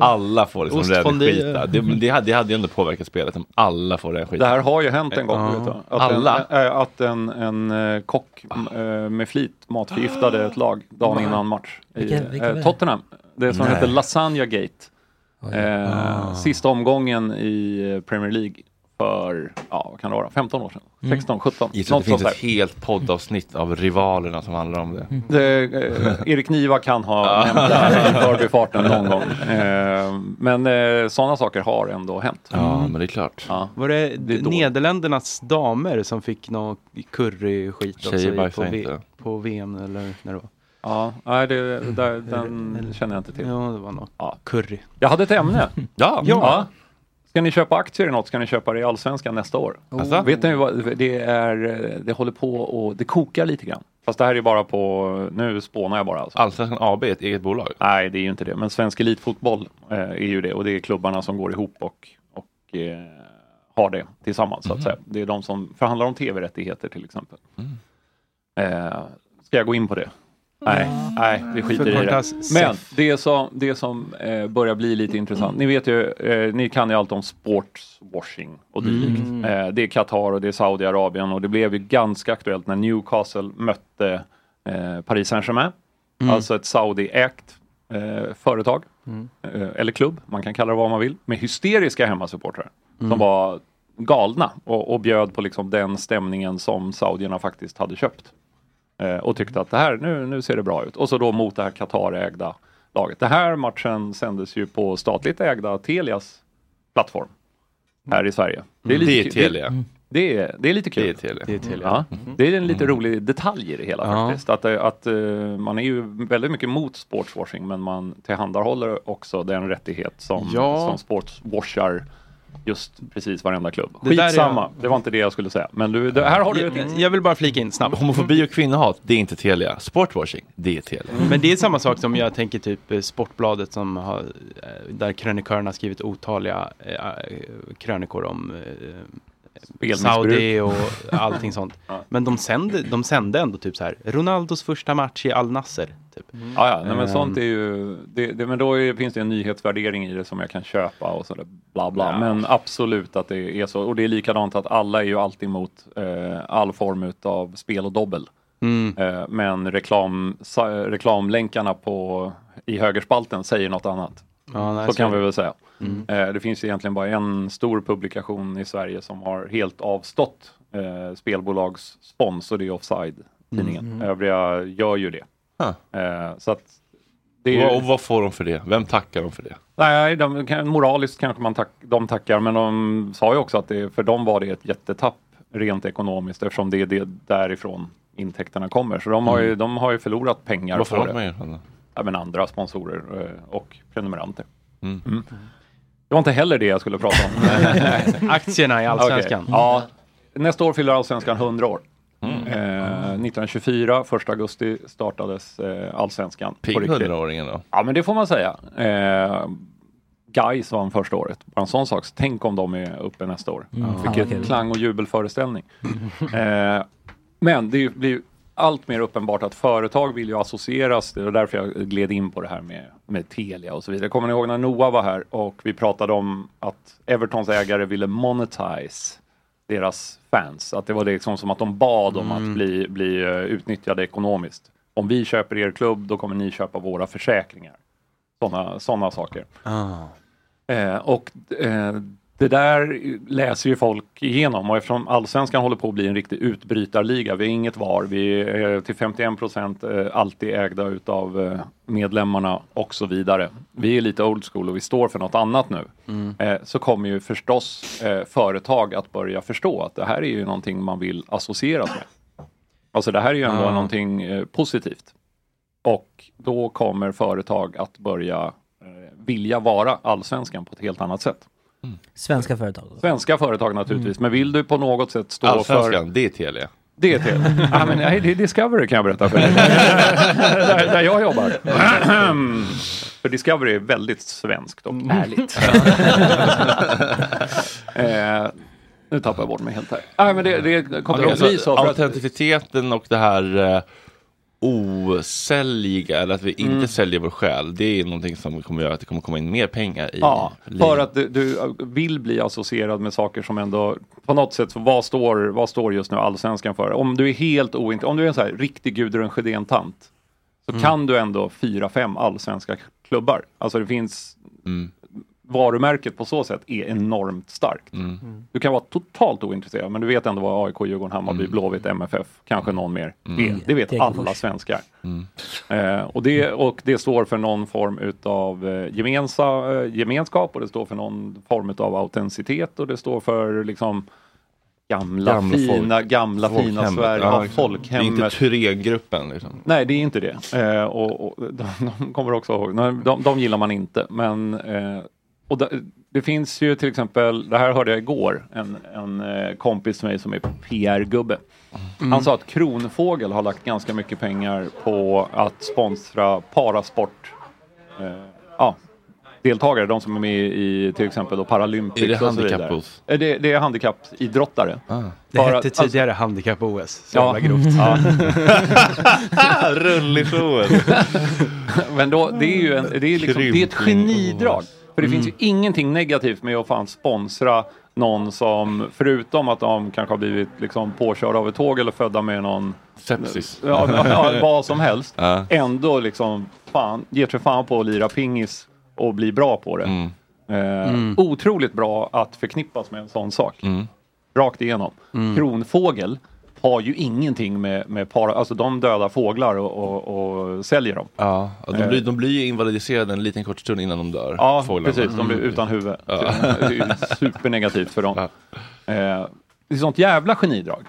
S1: Alla får liksom
S3: Ostfondue.
S1: räddskita. Det, det, hade- det hade ju ändå påverkat spelet om alla får räddskita.
S3: Det här har ju hänt en gång.
S1: Ja.
S3: Vet du?
S1: Alla?
S3: En, äh, att en, en eh, kock m- eh, med flit matförgiftade ett lag dagen
S1: Nej.
S3: innan match. I,
S1: Vilka- vilka var
S3: eh,
S1: det?
S3: Tottenham. Det som
S1: Nej.
S3: heter Lasagna Gate. Eh,
S1: Ah.
S3: Sista omgången i eh, Premier League för, ja vad kan det vara, 15 år sedan?
S1: Mm.
S3: 16, 17?
S1: Gissa att
S3: Något
S1: det finns
S3: sånt
S1: ett
S3: där.
S1: helt poddavsnitt av rivalerna som handlar om det.
S3: Det, eh, Erik Niva kan ha nämnt det här i derbyfarten någon gång. Eh, men eh, sådana saker har ändå hänt.
S1: Ja, men det är klart.
S5: Var det,
S3: Det är dåligt.
S5: Nederländernas damer som fick någon curry-skit också
S1: Tjejer
S5: i- på,
S1: bajsar inte.
S5: på VM eller när det var?
S3: Ja, nej, det, där, den känner jag inte till.
S5: Ja, det var något
S3: ja.
S5: curry.
S3: Jag hade ett ämne.
S1: ja.
S3: ja. Ska ni köpa aktier i något ska ni köpa det i Allsvenskan nästa år.
S1: Alltså?
S3: Vet ni vad, det är, eh, det håller på och det kokar lite grann. Fast det här är bara på, nu spånar jag bara alltså.
S1: Allsvenskan AB är ett eget bolag?
S3: Nej, det är ju inte det. Men Svensk Elitfotboll eh, är ju det och det är klubbarna som går ihop och, och eh, har det tillsammans så att
S1: Mhm. Mm.
S3: säga. Det är de som förhandlar om tv-rättigheter till exempel. Eh, ska jag gå in på det? Nej, nej, vi skiter i det.
S5: Förkortas
S3: Men
S5: SEF.
S3: det som, det som eh, börjar bli lite intressant. Ni vet ju, eh, ni kan ju allt om sportswashing och dylikt.
S1: Mm.
S3: Eh, det är Qatar och det är Saudiarabien och det blev ju ganska aktuellt när Newcastle mötte eh, Paris Saint-Germain.
S1: Mm.
S3: Alltså ett Saudi-ägt eh, företag eh, eller klubb, man kan kalla det vad man vill, med hysteriska hemmasupportrar
S1: Mm.
S3: som var galna och, och bjöd på liksom den stämningen som saudierna faktiskt hade köpt. Eh, och tyckte att det här, nu, nu ser det bra ut. Och så då mot det här Qatar-ägda laget. Den här matchen sändes ju på statligt ägda Telias plattform här i Sverige.
S1: Mm. Det är
S3: kul.
S1: Telia.
S3: Det, det, är, det är Mm. lite kul. Det är Telia.
S5: Det är,
S3: Ja. det är en lite rolig detalj i det hela faktiskt. Att, eh, att eh, man är ju väldigt mycket mot sportswashing men man tillhandahåller också den rättighet som,
S5: Ja.
S3: som sportswashar just precis varenda klubb.
S5: Det där är-
S3: Skitsamma, det var inte det jag skulle säga. Men du, det, här har du ett
S5: Jag vill bara flika in snabbt.
S1: Homofobi och kvinnohat, det är inte Telia. Sportwashing, det är Telia.
S3: Mm.
S5: Men det är samma sak som jag tänker typ eh, Sportbladet som har, eh, där krönikörerna har skrivit otaliga eh, eh, krönikor om eh,
S3: Spelmissbruk.
S5: Saudi och allting sånt. Men de sände, de sände ändå typ så här, Ronaldos första match i Al Nasser. Typ.
S3: Ja, ja, nej, men
S5: Ehm.
S3: sånt är ju, det, det, men då är, finns det en nyhetsvärdering i det som jag kan köpa och sådär bla bla.
S5: Ja.
S3: Men absolut att det är så. Och det är likadant att alla är ju alltid emot eh, all form av spel och dobbel.
S5: Mm.
S3: Eh, men reklam, sa, reklamlänkarna på, i högerspalten säger något annat.
S5: Ja, nej,
S3: så
S5: så
S3: kan
S5: är
S3: vi
S5: det.
S3: väl säga.
S5: Mm.
S3: Eh, det finns ju egentligen bara en stor publikation i Sverige som har helt avstått eh, spelbolags spons och det är Offside-tidningen.
S1: Mm.
S3: Övriga gör ju det. Eh, så att det är ju...
S1: Och, och vad får de för det? Vem tackar de för det?
S3: Nej, de, kan- moraliskt kanske man tack, de tackar, men de sa ju också att det, för dem var det ett jättetapp rent ekonomiskt eftersom det är det därifrån intäkterna kommer. Så de har ju,
S1: Mm.
S3: de har ju förlorat pengar
S1: Varför
S3: på
S1: har de
S3: det.
S1: erfarenhet?
S3: Ja, men andra sponsorer eh, och prenumeranter.
S1: Mm.
S3: Mm. Det var inte heller det jag skulle prata om.
S5: Aktierna i Allsvenskan.
S3: Okej, Ja, nästa år fyller Allsvenskan 100 år.
S1: Mm.
S3: Eh, 1924, 1 augusti, startades eh, Allsvenskan.
S1: Pigg
S3: på riktigt.
S1: 100-åringen då.
S3: Ja, men det får man säga. Eh, Gais vann första året. Bara en sån sak. Tänk om de är uppe nästa år.
S1: Mm. Ja,
S3: Vilket
S1: okej.
S3: klang och jubelföreställning. eh, men det är ju- blir ju allt mer uppenbart att företag vill ju associeras. Det var därför jag gled in på det här med, med Telia och så vidare. Kommer ni ihåg när Noah var här och vi pratade om att Evertons ägare ville monetize deras fans. Att det var liksom som att de bad om
S1: Mm.
S3: att bli, bli eh, utnyttjade ekonomiskt. Om vi köper er klubb, då kommer ni köpa våra försäkringar. Sådana såna saker. Eh, och eh, det där läser ju folk igenom och eftersom allsvenskan håller på att bli en riktig utbrytarliga, vi är inget VAR, vi är eh, till 51 procent eh, alltid ägda utav eh, medlemmarna och så vidare. Vi är lite old school och vi står för något annat nu. Eh, så kommer ju förstås eh, företag att börja förstå att det här är ju någonting man vill associeras med. Alltså det här är ju ändå
S1: Ja.
S3: någonting eh, positivt. Och då kommer företag att börja eh, vilja vara allsvenskan på ett helt annat sätt.
S7: Svenska företag.
S3: Svenska företag naturligtvis, men vill du på något sätt stå
S1: Mm. Allsvenskan,
S3: för...
S1: det är Telia.
S3: Det är Telia. ja, men, nej, det är Discovery kan jag berätta för dig. Äh, där, där jag jobbar. för Discovery är väldigt svenskt och ärligt. eh, nu tappar jag bort mig helt här. Nej, men det, det kommer att bli så. För att,
S1: autenticiteten och det här eh, osäljiga, eller att vi inte
S3: Mm.
S1: säljer vår själ, det är någonting som kommer göra att det kommer komma in mer pengar i
S3: Ja,
S1: ligan.
S3: för att du, du vill bli associerad med saker som ändå, på något sätt, så vad står, vad står just nu allsvenskan för? Om du är helt oint, om du är en så här riktig Gudrun Sjödén-tant, så
S1: Mm.
S3: kan du ändå fyra, fem allsvenska klubbar. Alltså det finns,
S1: Mm,
S3: varumärket på så sätt är enormt starkt.
S1: mm.
S3: Du kan vara totalt ointresserad, men du vet ändå vad AIK, Djurgården, Hammarby, Blåvitt, MFF, kanske någon mer
S1: Mm.
S3: är. Det vet
S1: Degerfors.
S3: alla svenskar. Eh, och, det, och det står för någon form utav eh, gemensa, eh, gemenskap och det står för någon form utav autenticitet och det står för liksom gamla,
S1: Gamla folk.
S3: fina, gamla fina
S1: Folkhemmet.
S3: Sverige,
S1: Ja,
S3: ja,
S1: exakt.
S3: folkhemmet.
S1: Det är inte Thyrengruppen liksom.
S3: Nej, det är inte det. Eh, och, och, de, de kommer också ihåg, nej, de, de gillar man inte. Men, eh, och det, det finns ju till exempel, det här hörde jag igår, en, en eh, kompis till mig som är PR-gubbe.
S1: Mm.
S3: Han sa att Kronfågel har lagt ganska mycket pengar på att sponsra parasport. Eh, ja, deltagare, de som är med i till exempel då Paralympics
S1: Är det Ah.
S3: och så vidare.
S1: handikapp-OS?
S3: Eh, Det, det är handikappidrottare.
S5: Det
S3: För
S5: hette
S3: att- alltså-
S5: tidigare handikapp-OS. Så
S3: Ja. Mm.
S5: jävla grovt.
S3: Ja.
S1: Rullig-showen.
S3: Men då, det är ju en, det är liksom, det är ett
S1: Krympning.
S3: genidrag. För det finns ju
S1: Mm.
S3: ingenting negativt med att fan sponsra någon som, förutom att de kanske har blivit liksom påkörda av ett tåg eller födda med någon
S1: Sepsis.
S3: Ja, ja, vad som helst.
S1: Ja.
S3: Ändå liksom fan, ger sig fan på att lira pingis och bli bra på det. Eh,
S1: Mm.
S3: Otroligt bra att förknippas med en sån sak.
S1: Mm.
S3: Rakt igenom.
S1: Mm.
S3: Kronfågel har ju ingenting med, med para, alltså de dödar fåglar och, och, och säljer dem.
S1: Ja, ja, de,
S3: Eh.
S1: blir, de blir ju invalidiserade en liten kort stund innan de dör.
S3: Ja,
S1: fåglarna.
S3: precis. De blir
S1: Mm.
S3: utan huvud.
S1: Ja.
S3: Det är ju supernegativt för dem. Eh, det är sånt jävla genidrag.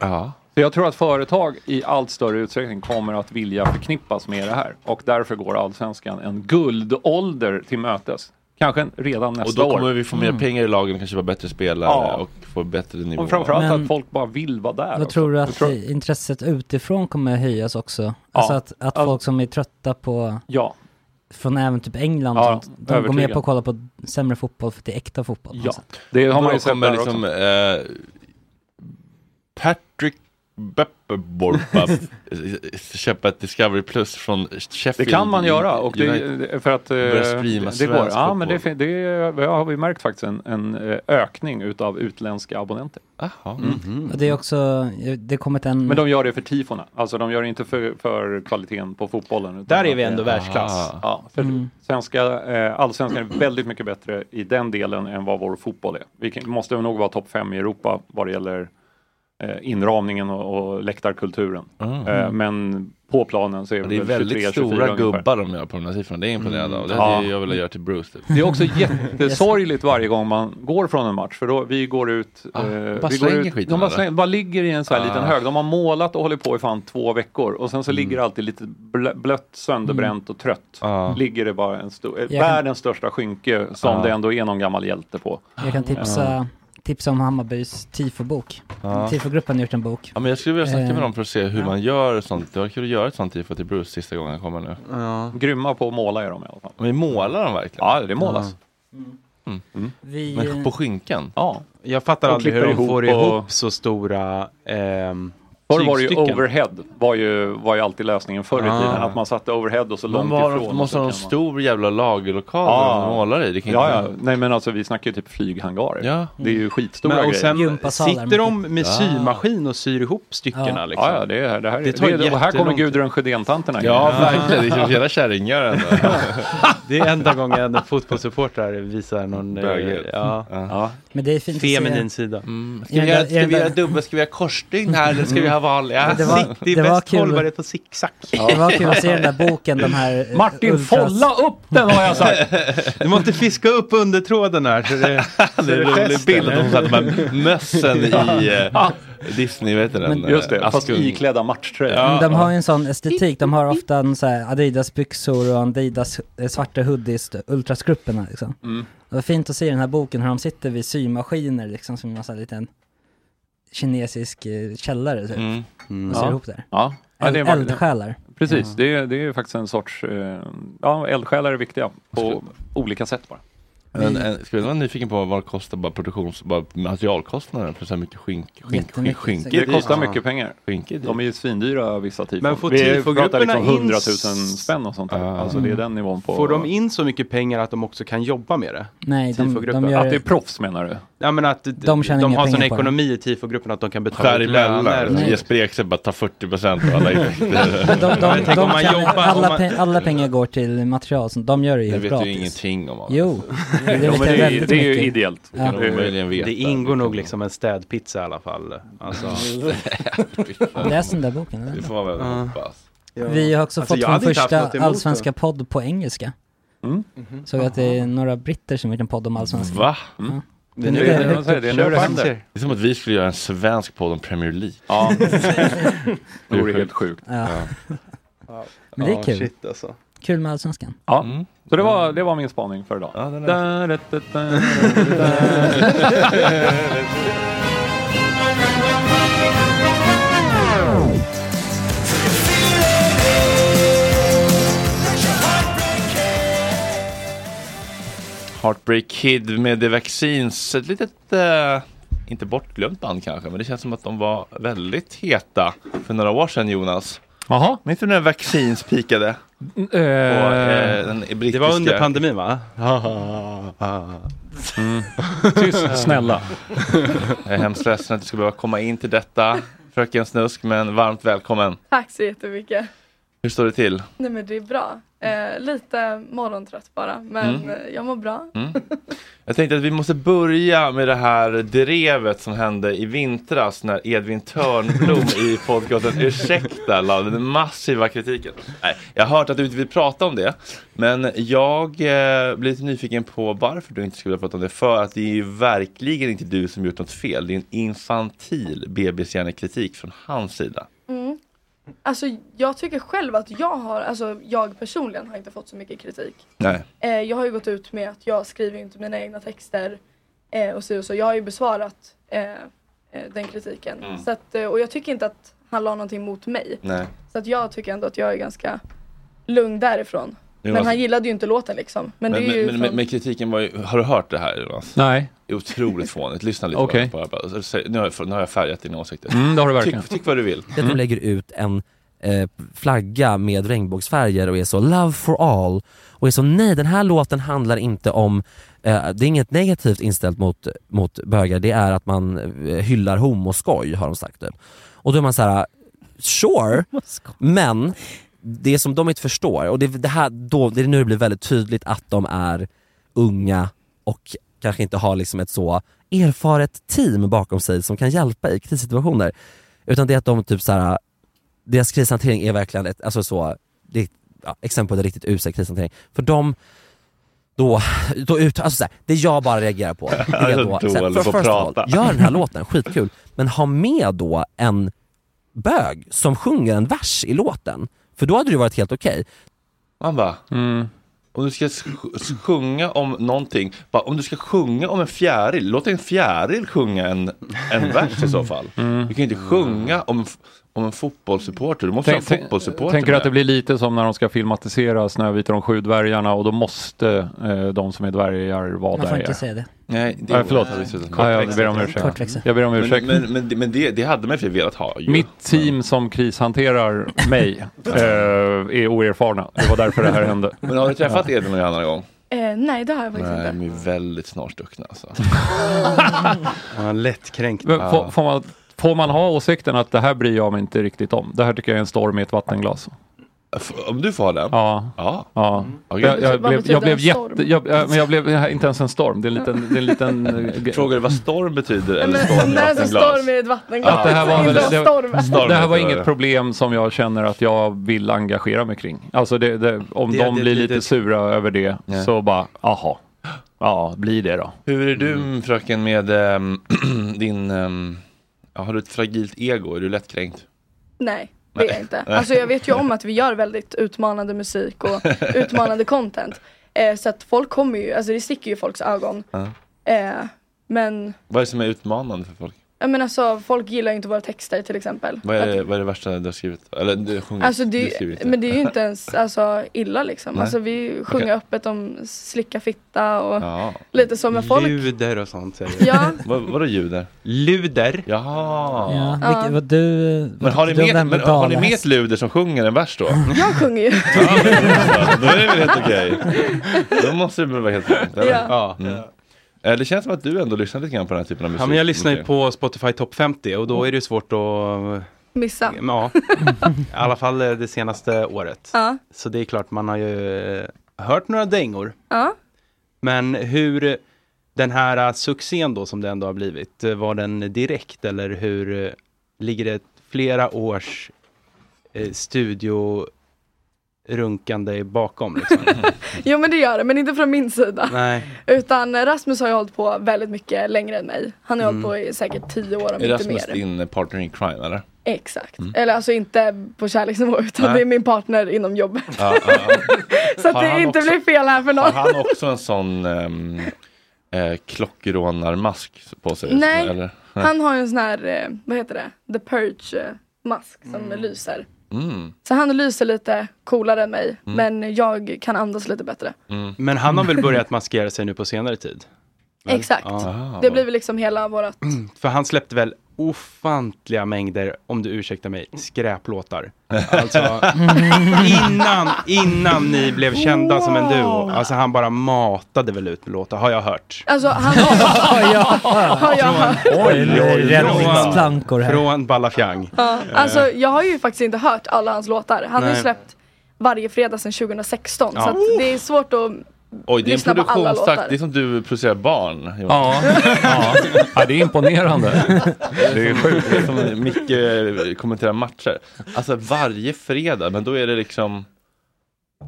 S3: Så jag tror att företag i allt större utsträckning kommer att vilja förknippas med det här. Och därför går allsvenskan en guldålder till mötes. Kanske en- redan nästa
S1: Och då kommer
S3: år.
S1: vi få mer
S7: Mm.
S1: pengar i lagen, kanske vara bättre spelare
S3: Ja.
S1: och få bättre nivå.
S3: Och framförallt
S7: Men-
S3: att folk bara vill vara där.
S7: Vad
S3: också.
S7: tror du
S3: Jag
S7: att intresset utifrån kommer höjas också? Alltså att, att folk som är trötta på,
S3: Ja.
S7: från även typ England,
S3: Ja,
S7: och sånt, de går med
S3: övertygad.
S7: på att kolla på sämre fotboll för att det är äkta fotboll. på något sätt.
S3: det har
S1: Då
S3: man ju sett
S1: kommer
S3: där
S1: liksom, eh, liksom, Patrick Beppeborpa köpa ett Discovery Plus från Sheffield.
S3: Det kan man göra. Och det,
S1: United.
S3: för att, eh,
S1: Börja streama
S3: det går.
S1: svensk
S3: Ja, men det,
S1: fotboll.
S3: fin- det ja, har vi märkt faktiskt en, en eh, ökning utav utländska abonnenter.
S1: Mm-hmm.
S3: Mm.
S7: Och Det är också, det har kommit en...
S3: Men de gör det för tifona. Alltså de gör det inte för, för kvaliteten på fotbollen. utan
S5: Där är
S3: att
S5: vi
S3: det-
S5: ändå världsklass.
S3: Ja, för
S7: Mm.
S3: svenska, eh, allsvenskan är väldigt mycket bättre i den delen än vad vår fotboll är. Vi kan, måste nog vara topp fem i Europa vad det gäller eh, inramningen och, och läktarkulturen.
S1: Mm.
S3: Eh, men på planen så är
S1: Ja,
S3: vi
S1: Det är
S3: väl
S1: väldigt
S3: 23, 24
S1: stora
S3: ungefär. Mm.
S1: gubbar de gör på de där siffrorna. Det är jag imponerad av. Det hade
S3: Ja.
S1: ju jag velat göra till Bruce. Typ.
S3: Det är också jättesorgligt varje gång man går från en match för då vi går ut...
S1: Ah,
S3: eh,
S1: bara
S3: vi går
S1: slänger
S3: ut
S1: skiten,
S3: de bara,
S1: eller?
S3: slänger, bara ligger i en så här
S1: Ah.
S3: liten hög. De har målat och håller på i fan två veckor och sen så
S5: Mm.
S3: ligger det alltid lite blö- blött, sönderbränt och trött.
S5: Ah.
S3: Ligger det bara en stor, eh,
S7: kan-
S3: världens största skynke som
S1: Ah.
S3: det ändå är någon gammal hjälte på.
S7: Jag kan tipsa, tipsa om Hammarbys tifobok.
S1: Ja.
S7: Tifogruppen har gjort en bok.
S1: Ja, men jag skulle vilja snacka
S7: Eh,
S1: med dem för att se hur
S7: ja.
S1: man gör sånt. Det var kul att göra ett sånt tifo till Bruce sista gången han kommer nu.
S5: Ah.
S3: Grymma på att måla är de i alla fall.
S1: Men målar de verkligen?
S3: Ja, det målas.
S5: Ah.
S1: Mm.
S7: Vi-
S1: Men på skinkan?
S3: Ja.
S5: Jag fattar
S3: De
S5: aldrig hur
S3: klipper
S5: de
S3: ihop
S5: får
S3: och-
S5: ihop så stora ehm,
S3: Förr var det ju
S5: tygstycken.
S3: overhead, var ju, var ju alltid lösningen förr i
S1: Ah.
S3: tiden. Att man satte overhead och så
S1: Men
S3: långt
S1: var de,
S3: ifrån.
S1: måste ha en stor jävla lagerlokal där de målar i? Det kan
S3: ja, ja.
S1: inte...
S3: Nej men alltså vi snackar ju typ flyghangarer.
S1: Ja.
S3: Det är ju skitstora
S5: Men, och
S3: grejer.
S5: sen sitter de
S7: typ-
S5: med symaskin och syr ihop styckena.
S3: Ja.
S5: Liksom.
S3: Ja, ja, det, är, det här är...
S5: Det tar
S3: det är- och här kommer
S5: jättelång tid.
S3: Gudrun Sjödén-tanterna.
S5: Ja, verkligen. Det är ju hela
S1: kärringar ändå.
S5: det är enda gången en fotbollssupporter visar någon... eh,
S1: Böghet.
S5: Ja.
S3: Mm.
S1: Ja. Mm.
S7: Men det är fint att se- Mm.
S5: Feminin sida.
S7: Ska vi Ja, göra- det- ska vi det- göra
S1: dubbel, ska vi göra korsstygn här eller
S5: ska vi ha vanliga?
S7: Men Mm. det var-
S5: Det är
S7: det var
S5: bäst
S7: kul.
S5: hållbarhet på zigzag.
S7: Det var kul att se den där boken, de här... eh, ultras-
S3: upp den har jag sagt!
S5: Du måste fiska upp undertråden här. Så det, så
S1: Det är en rolig
S5: fäster.
S1: bild om de med mössen i eh, Disney, vad heter den?
S3: Men just det,
S1: Eh,
S3: fast
S1: Askung.
S3: iklädda matchtröjor.
S7: Men Mm, de har ju en sån estetik, de har ofta en så här Adidas-byxor och Adidas eh, svarta hoodies, ultrasgrupperna liksom.
S3: Mm.
S7: Det var fint att se i den här boken hur de sitter vid symaskiner liksom, som en sån här liten kinesisk eh, källare typ.
S3: Mm. Mm.
S7: Och syr
S3: Ja.
S7: ihop där.
S3: Ja. Ja, det är verkligen-
S7: Eldsjälar.
S3: Precis, det, är, det är ju faktiskt en sorts... Eh, ja, eldsjälar är viktiga på olika sätt bara.
S7: Mm.
S1: Men, eh, ska vi vara nyfiken på vad det kostar bara produktions, bara materialkostnaden för så här mycket skink, skink, skink,
S3: Jättemycket.
S1: skink
S3: Det kostar mycket pengar.
S1: Skinke
S3: De är ju svindyra vissa tifon.
S5: Men får
S3: Vi pratar
S5: tifogrupperna
S3: liksom
S5: in
S3: 100 000 spänn och sånt där. Alltså det är den nivån på...
S5: Får de in så mycket pengar att de också kan jobba med det?
S7: Nej, de-
S5: Tifogruppen.
S7: de gör- Att det är
S3: proffs menar du?
S5: Ja, men att d-
S7: De tjänar
S5: de
S7: inga
S5: har sån
S7: pengar på
S5: ekonomi i tifogruppen att de kan betala
S1: Skär
S5: ut löner.
S1: emellan, Jesper Ekstedt bara tar 40 procent av
S7: Men
S1: alla
S7: de,
S1: intäkter.
S7: de, de,
S5: tänk om man
S7: tjänar-
S5: jobbar- om
S7: alla,
S5: man-
S7: pe- alla pengar går till material, som de gör det ju
S1: Det
S7: helt
S1: vet
S7: gratis.
S1: du ju ingenting om. Adam.
S7: Jo, det
S1: Ja,
S7: vet
S1: men
S7: jag
S1: det är-
S7: väldigt
S1: det är ju
S7: mycket.
S1: ideellt. Det kan de omöjligen veta.
S5: Det ingår nog liksom en städpizza i alla fall. Alltså.
S7: Läs den där boken, eller? Det får
S1: man väl hoppas.
S7: Vi har också fått vår första allsvenska
S5: podden.
S7: podd på engelska.
S3: Mm.
S5: Mhm.
S7: Såg att det är några britter som gjort en podd om allsvenskan.
S1: Va?
S7: Ja.
S1: Det är
S7: Nu
S1: nu
S7: är Mm. det-
S1: det-
S7: vad säger du? Det är nu det händer.
S1: Det är som att vi skulle göra en svensk podd om Premier League.
S3: Ja.
S1: Det
S3: Det
S1: är
S3: vore helt sjukt.
S7: Ja. Men det är
S5: Ja,
S7: kul.
S5: shit, alltså.
S7: Kul med allsvenskan.
S3: Ja, Mm. så det var, det var min spaning för idag. Da, da, da, da, da.
S1: Heartbreak Kid med The Vaccines. Ett litet, eh, inte bortglömt band kanske, men det känns som att de var väldigt heta för några år sedan Jonas.
S3: Jaha.
S1: Minns du när Vaccines pikade?
S3: eh,
S1: eh,
S5: Det var under pandemin va?
S3: Tyst, snälla.
S1: Jag är hemskt ledsen att du ska behöva komma in till detta, fröken Snusk, men varmt välkommen.
S10: Tack så jättemycket.
S1: Hur står det till?
S10: Nej men det är bra. Eh, lite morgontrött bara men
S1: Mm.
S10: eh, jag mår bra.
S1: Jag tänkte att vi måste börja med det här drevet som hände i vintras när Edvin Törnblom i podcasten Ursäkta lade den massiva kritiken. Nej, jag har hört att du inte vill prata om det, men jag eh, blir lite nyfiken på varför du inte skulle vilja prata om det. För att det är ju verkligen inte du som gjort något fel. Det är en infantil BB-hjärnekritik från hans sida.
S10: Mm. Alltså jag tycker själv att jag har, alltså jag personligen har inte fått så mycket kritik.
S1: Nej.
S10: Eh, jag har ju gått ut med att jag skriver ju inte mina egna texter eh, och så och så. Jag har ju besvarat eh, eh, den kritiken.
S1: Mm.
S10: Så att, eh, och jag tycker inte att han la någonting mot mig.
S1: Nej.
S10: Så att jag tycker ändå att jag är ganska lugn därifrån.
S1: Det var-
S10: Men han gillade ju inte låten liksom. Men, det är ju
S1: alltså- men,
S10: från-
S1: men, men kritiken var ju, har du hört det här Jonas?
S3: Nej.
S1: Det är otroligt fånigt, lyssna lite
S3: Okej.
S1: på det bara. bara. Säg- Nu har, jag, nu har jag färgat dina åsikter.
S11: Mm, det har du verkligen.
S1: Tyck, tyck vad du vill.
S11: Det
S3: Mm.
S11: att de lägger ut en eh, flagga med regnbågsfärger och är så “love for all” och är så “nej, den här låten handlar inte om” eh, Det är inget negativt inställt mot, mot bögar, det är att man eh, hyllar homoskoj, har de sagt typ. Och då är man så här: sure, men det som de inte förstår, och det, det, här, då, det är nu det blir väldigt tydligt att de är unga och kanske inte har liksom ett så erfaret team bakom sig som kan hjälpa i krissituationer. Utan det är att de typ så här, deras krishantering är verkligen ett, alltså så, det är ja, exempel på en riktigt usel krishantering. För de då, då ut, alltså så här, det jag bara reagerar på, det är då,
S1: Dålig
S11: så här,
S1: på
S11: för
S1: att
S11: first of
S1: prata.
S11: all, gör den här låten, skitkul, men ha med då en bög som sjunger en vers i låten. För då hade det ju varit helt okej.
S1: Man bara,
S3: Mm.
S1: om du ska sj- sjunga om någonting, bara, om du ska sjunga om en fjäril, låt en fjäril sjunga en, en vers i så fall.
S3: Mm.
S1: Du kan ju inte sjunga om, f- om en fotbollssupporter, du måste
S3: Tänk-
S1: ha en
S3: tänk-
S1: fotbollssupporter
S3: Tänker du
S1: med.
S3: att det blir lite som när de ska filmatisera Snövit och de sju dvärgarna och då måste eh, de som är dvärgar vara
S7: Man får
S3: dvärgar?
S7: inte säga det.
S1: Nej, det
S3: Nej, förlåt.
S1: Nej, det är
S3: Ja, jag ber om
S7: Kortväxter.
S3: ursäkt. Jag ber om ursäkt.
S1: Men, men, men, men det, det hade man i och för sig velat ha ju.
S3: Mitt team som krishanterar mig eh, är oerfarna. Det var därför det här hände.
S1: Men har du träffat Edvin och Johanna någon gång?
S10: eh, nej, det har jag faktiskt
S1: Nej,
S10: inte.
S1: de är väldigt snarstuckna alltså.
S5: Ja, lättkränkt.
S3: Men Får, får, man, får man ha åsikten att det här bryr jag mig inte riktigt om? Det här tycker jag är en storm i ett vattenglas.
S1: Om du får den?
S3: Ja.
S1: ja.
S3: ja.
S1: Okej.
S3: Jag, jag
S1: Vad
S3: blev,
S1: betyder
S3: jag blev
S1: en
S3: jätte...
S1: storm?
S3: Jag, jag, men jag blev jag- inte ens en storm. Det är en liten... Det är en liten eh,
S1: Frågar du vad storm betyder? Eller
S10: Men
S1: storm i
S10: det är som
S1: vattenglas?
S10: storm i ett vattenglas. Liksom.
S3: Att det här var, väl,
S10: Inte en
S3: det,
S10: storm.
S3: det här var
S1: Storm,
S3: inget
S1: ja.
S3: problem som jag känner att jag vill engagera mig kring. Alltså det, det, om
S1: Det-
S3: de
S1: det-
S3: blir
S1: det-
S3: lite
S1: det-
S3: sura över det
S1: Ja.
S3: så bara, aha. Ja, blir det då.
S1: Hur är du
S10: Mm.
S1: fröken med ehm, din, ehm, ja, har du ett fragilt ego? Är du lättkränkt?
S10: Nej, det är
S1: Nej.
S10: jag inte.
S1: Nej.
S10: Alltså jag vet ju om att vi gör väldigt utmanande musik och utmanande content. Eh, så att folk kommer ju, alltså det sticker ju i folks ögon.
S1: Ja.
S10: Eh, men,
S1: Vad är det som är utmanande för folk?
S10: jag menar alltså folk gillar ju inte våra texter till exempel.
S1: Vad är,
S10: Att-
S1: det, vad är det värsta du har skrivit? Eller du sjunger,
S10: Alltså
S1: du
S10: det,
S1: skriver inte.
S10: men det är ju inte ens alltså, illa liksom.
S1: Nej.
S10: Alltså vi sjunger
S1: Okej.
S10: öppet om slicka fitta och
S1: Ja.
S10: lite så med folk.
S5: Luder och sånt säger
S10: Ja.
S1: Vad, vadå ljuder?
S5: Luder?
S1: Jaha.
S7: Ja,
S10: Ja.
S7: vilket- vad du, eh,
S1: Men har ni,
S7: du
S1: med,
S7: nämnde
S1: men, har ni
S7: Dala
S1: med
S7: häst.
S1: ett luder som sjunger en vers då?
S10: Jag sjunger ju.
S1: Ja, då är det väl helt okej. Då måste det väl vara helt okej? eller?
S5: Ja.
S1: Mm. Eh, Det känns som att du ändå lyssnar lite grann på den här typen av musik.
S5: Ja, men jag lyssnar ju
S1: Okej.
S5: på Spotify Top 50 och då
S1: Mm.
S5: är det ju svårt att...
S10: Missa.
S5: Ja, i alla fall eh, det senaste året.
S10: Ja.
S5: Så det är klart, man har ju eh, hört några dängor.
S10: Ja.
S5: Men hur den här eh, succén då som det ändå har blivit, eh, var den direkt eller hur eh, ligger det flera års eh, studio runkande bakom? Liksom?
S10: Jo men det gör det, men inte från min sida.
S5: Nej.
S10: Utan Rasmus har ju hållit på väldigt mycket längre än mig. Han har ju
S1: Mm.
S10: hållit på i säkert tio år om
S1: Är
S10: inte
S1: Rasmus
S10: mer.
S1: din eh, partner in crime eller?
S10: Exakt.
S1: Mm.
S10: Eller alltså inte på kärleksnivå utan
S1: Nej.
S10: det är min partner inom jobbet.
S1: Ja, ja, ja.
S10: Så att
S1: Har han
S10: det inte
S1: också-
S10: blir fel här för
S1: Har
S10: någon.
S1: han också en sån um, eh, klockrånarmask på sig?
S10: Nej,
S1: Eller?
S10: Han har ju en sån här, eh, vad heter det, the purge eh, mask som lyser.
S1: Mm.
S10: Så han lyser lite coolare än mig
S5: Mm.
S10: men jag kan andas lite bättre.
S5: Men han har väl börjat maskera sig nu på senare tid? Väl?
S10: Exakt.
S5: Ja.
S10: Det blir väl liksom hela vårat,
S5: För han släppte väl ofantliga mängder, om du ursäktar mig, skräplåtar. Alltså, innan, innan ni blev kända som en duo. Alltså han bara matade väl ut med låtar, har jag hört.
S10: alltså han har, har jag hört.
S7: Räddningsplankor här.
S5: Från Ballafjang. Eh,
S10: Ja, alltså jag har ju faktiskt inte hört alla hans låtar. Han har ju
S5: Nej.
S10: släppt varje fredag sedan 2016
S1: Ja.
S10: så att det är svårt att
S1: Oj, det är
S10: lyssna
S1: en
S10: på alla låtar.
S1: produktionstakt. Det är som du producerar barn. Jonas.
S3: Ja. ja. ja, det är imponerande. Det är sjukt.
S1: Det är som Micke eh, kommenterar matcher. Alltså varje fredag, men då är det liksom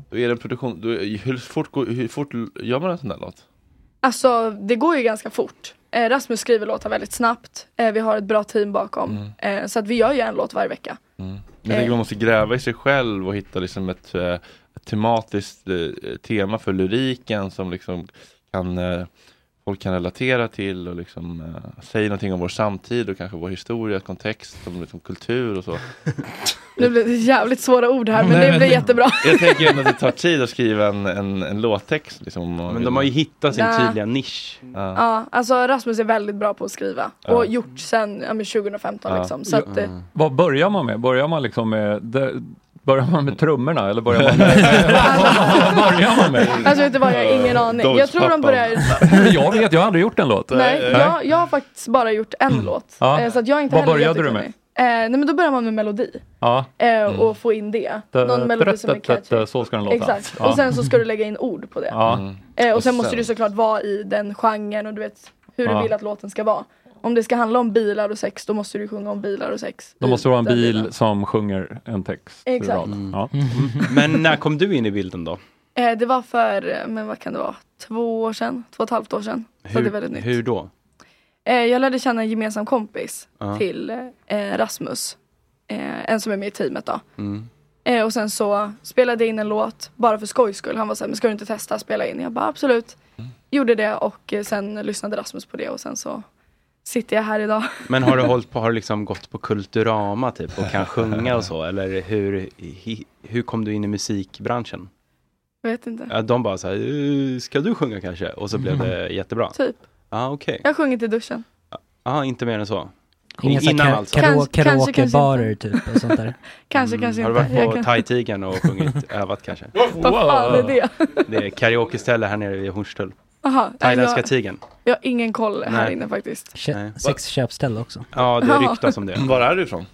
S1: då är det en produktion, då, hur, fort, går- hur fort gör man en sån där låt?
S10: Alltså det går ju ganska fort. Eh, Rasmus skriver låtar väldigt snabbt. Eh, vi har ett bra team bakom. Eh, så att vi gör ju en låt varje vecka.
S1: Mm. Jag tänker man måste gräva i sig själv och hitta liksom ett, eh, ett tematiskt eh, tema för lyriken som liksom kan eh, folk kan relatera till och liksom, eh, säger någonting om vår samtid och kanske vår historia, kontext, om liksom kultur och så.
S10: Nu blev det jävligt svåra ord här men
S1: Nej,
S10: det blev jättebra.
S1: Jag tänker ändå att det tar tid att skriva en, en, en låttext. Liksom,
S5: Men de har ju hittat
S10: sin Nä. tydliga
S5: nisch.
S10: Ja, alltså Rasmus är väldigt bra på att skriva
S3: Ja.
S10: och gjort sen ja, men 2015 liksom. Så att, eh,
S3: Mm. Vad börjar man med? Börjar man liksom med, de, börjar man med trummorna eller börjar man med... vad börjar man med?
S10: alltså vet du vad, jag har ingen aning. Jag tror de börjar...
S3: jag vet, jag har aldrig gjort en låt. eh,
S10: Nej,
S3: Mm.
S10: jag, jag har faktiskt bara gjort en låt.
S3: Ja.
S10: Eh, Så att jag är inte
S3: Vad
S10: heller
S3: började du med? Mm.
S10: jättekunnig. Eh, nej men då börjar man med melodi.
S3: Ja.
S10: Eh, Och få in det. Någon melodi som är catchy.
S3: eh, Så ska den låta.
S10: Exakt.
S3: Ja.
S10: Och sen så ska du lägga in ord på det.
S3: Ja.
S10: Eh, och sen
S3: Och
S10: måste
S3: sen-
S10: du såklart vara i den genren och du vet hur
S3: Ja.
S10: du vill att låten ska vara. Om det ska handla om bilar och sex då måste du sjunga om bilar och sex.
S3: Då måste det vara en bil som sjunger en text. i
S10: Exakt.
S3: rad.
S10: Mm.
S3: Ja.
S5: Men när kom du in i bilden då?
S10: Eh, det var för, eh, men vad kan det vara, två år sedan? Två och ett halvt år sedan. Så det är väldigt nytt.
S5: hur då?
S10: Eh, jag lärde känna en gemensam kompis
S5: Ja.
S10: till eh, Rasmus. Eh, en som är med i teamet då.
S5: Mm.
S10: Eh, och sen så spelade jag in en låt bara för skojs skull. Han var såhär, men ska du inte testa att spela in? Jag bara absolut.
S5: Mm.
S10: Gjorde det och eh, sen lyssnade Rasmus på det och sen så sitter jag här idag.
S5: Men har du hållit på, har du liksom gått på Kulturama typ och kan sjunga och så? Eller hur, hi- hur kom du in i musikbranschen?
S10: Jag vet inte.
S5: Ja, De bara så här, "Eh, ska du sjunga kanske? Och så blev
S7: Mm.
S5: det jättebra.
S10: Typ.
S5: Ja, okej.
S10: Jag har sjungit i duschen.
S5: Ja, inte mer än så. alltså.
S7: Inga så här ka-
S10: Kanske-
S7: karaoke-
S10: kanske, kanske
S7: Karaokebarer typ och sånt där.
S10: Kanske, kanske
S5: Mm. Har du
S10: inte.
S5: varit på
S10: Jag kan-
S5: Thai-tigern och sjungit, övat kanske?
S10: Vad fan är det?
S5: Det är karaokeställe här nere vid Hornstull.
S10: Aha, nej,
S5: Thailändska
S10: jag-
S5: tigern.
S10: Jag har ingen koll här
S5: Nej.
S10: inne faktiskt.
S5: Nej.
S7: Sexköpställe också.
S5: Ja, det
S10: Ja.
S5: ryktas om det.
S1: Var är du ifrån?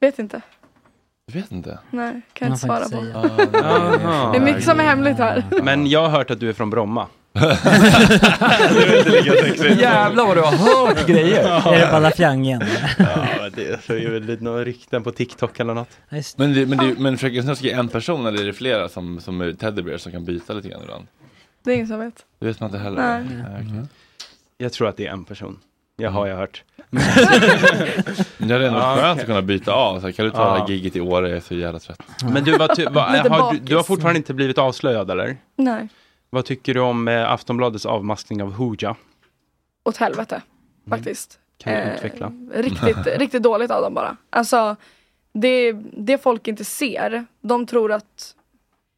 S10: Vet inte.
S1: Jag vet inte.
S10: Nej, kan jag inte svara på.
S5: Aha.
S10: Det är mycket som är hemligt här.
S5: Men jag har hört att du är från Bromma.
S3: Jävlar vad du har hört
S5: Ja.
S7: Är det Balafjang igen?
S5: Ja, det så är det väl några rykten på TikTok eller något.
S1: Men, det, men, det, men Fröken Snuskig är en person eller är det flera som, som är teddybear som kan byta lite grann ibland?
S10: Det är ingen som vet.
S1: Det vet man inte heller.
S10: Nej.
S1: okej.
S5: Jag tror att det är en person. Jag har jag hört.
S1: Men Det hade ändå
S5: Ja,
S1: varit skönt
S5: okej.
S1: att kunna byta av. Så här, kan du ta det
S5: Ja.
S1: här giget i år? Jag är så jävla trött.
S5: Men du, vad ty- vad-
S10: Lite
S5: har, du,
S10: bakis.
S5: du har fortfarande inte blivit avslöjad eller?
S10: Nej,
S5: Vad tycker du om eh, Aftonbladets avmaskning av Hooja?
S10: åt helvete. Faktiskt.
S5: Mm. Kan du
S10: Eh,
S5: utveckla?
S10: Riktigt, riktigt dåligt av dem bara. Alltså, det, det folk inte ser, de tror att...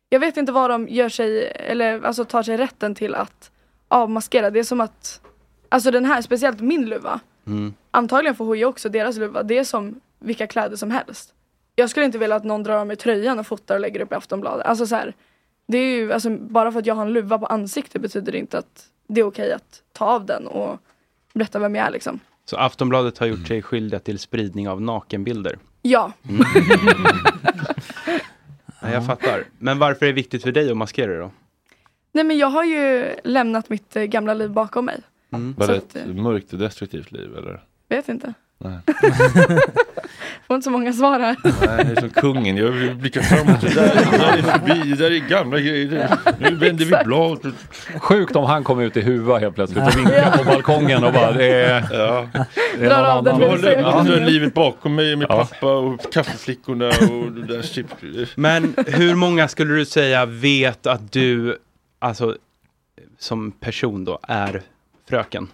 S10: Jag vet inte vad de gör sig, eller alltså tar sig rätten till att avmaskera. Det är som att, alltså den här, speciellt min luva.
S5: Mm.
S10: Antagligen får Hooja också deras luva. Det är som vilka kläder som helst. Jag skulle inte vilja att någon drar av mig tröjan och fotar och lägger upp i Aftonbladet. Alltså så här, det är ju, alltså, bara för att jag har en luva på ansiktet betyder det inte att det är okej att ta av den och berätta vem jag är liksom.
S5: Så Aftonbladet har
S10: Mm.
S5: gjort sig skyldiga till spridning av nakenbilder.
S10: Ja,
S5: Mm. Ja, jag fattar. Men varför är det viktigt för dig att maskera dig då?
S10: nej men jag har ju lämnat mitt eh, gamla liv bakom mig.
S5: Mm.
S1: Var
S10: Så
S1: det
S10: att, eh,
S1: ett mörkt och destruktivt liv eller?
S10: Vet inte.
S1: Nej.
S10: Får inte så många svar här.
S1: Nej, det är som kungen. Jag vill blicka framåt. Det där, det där är förbi. Det där är gamla grejer. Nu vänder vi blad.
S3: Sjukt om han kom ut i huva helt plötsligt och vinkade på balkongen och bara det är, det
S10: Drar av den
S3: annan.
S1: Jag har
S10: ser
S1: lämnat
S10: jag.
S1: det där livet bakom mig med pappa och kaffeflickorna och det där chip.
S5: Men hur många skulle du säga vet att du, alltså som person då, är fröken?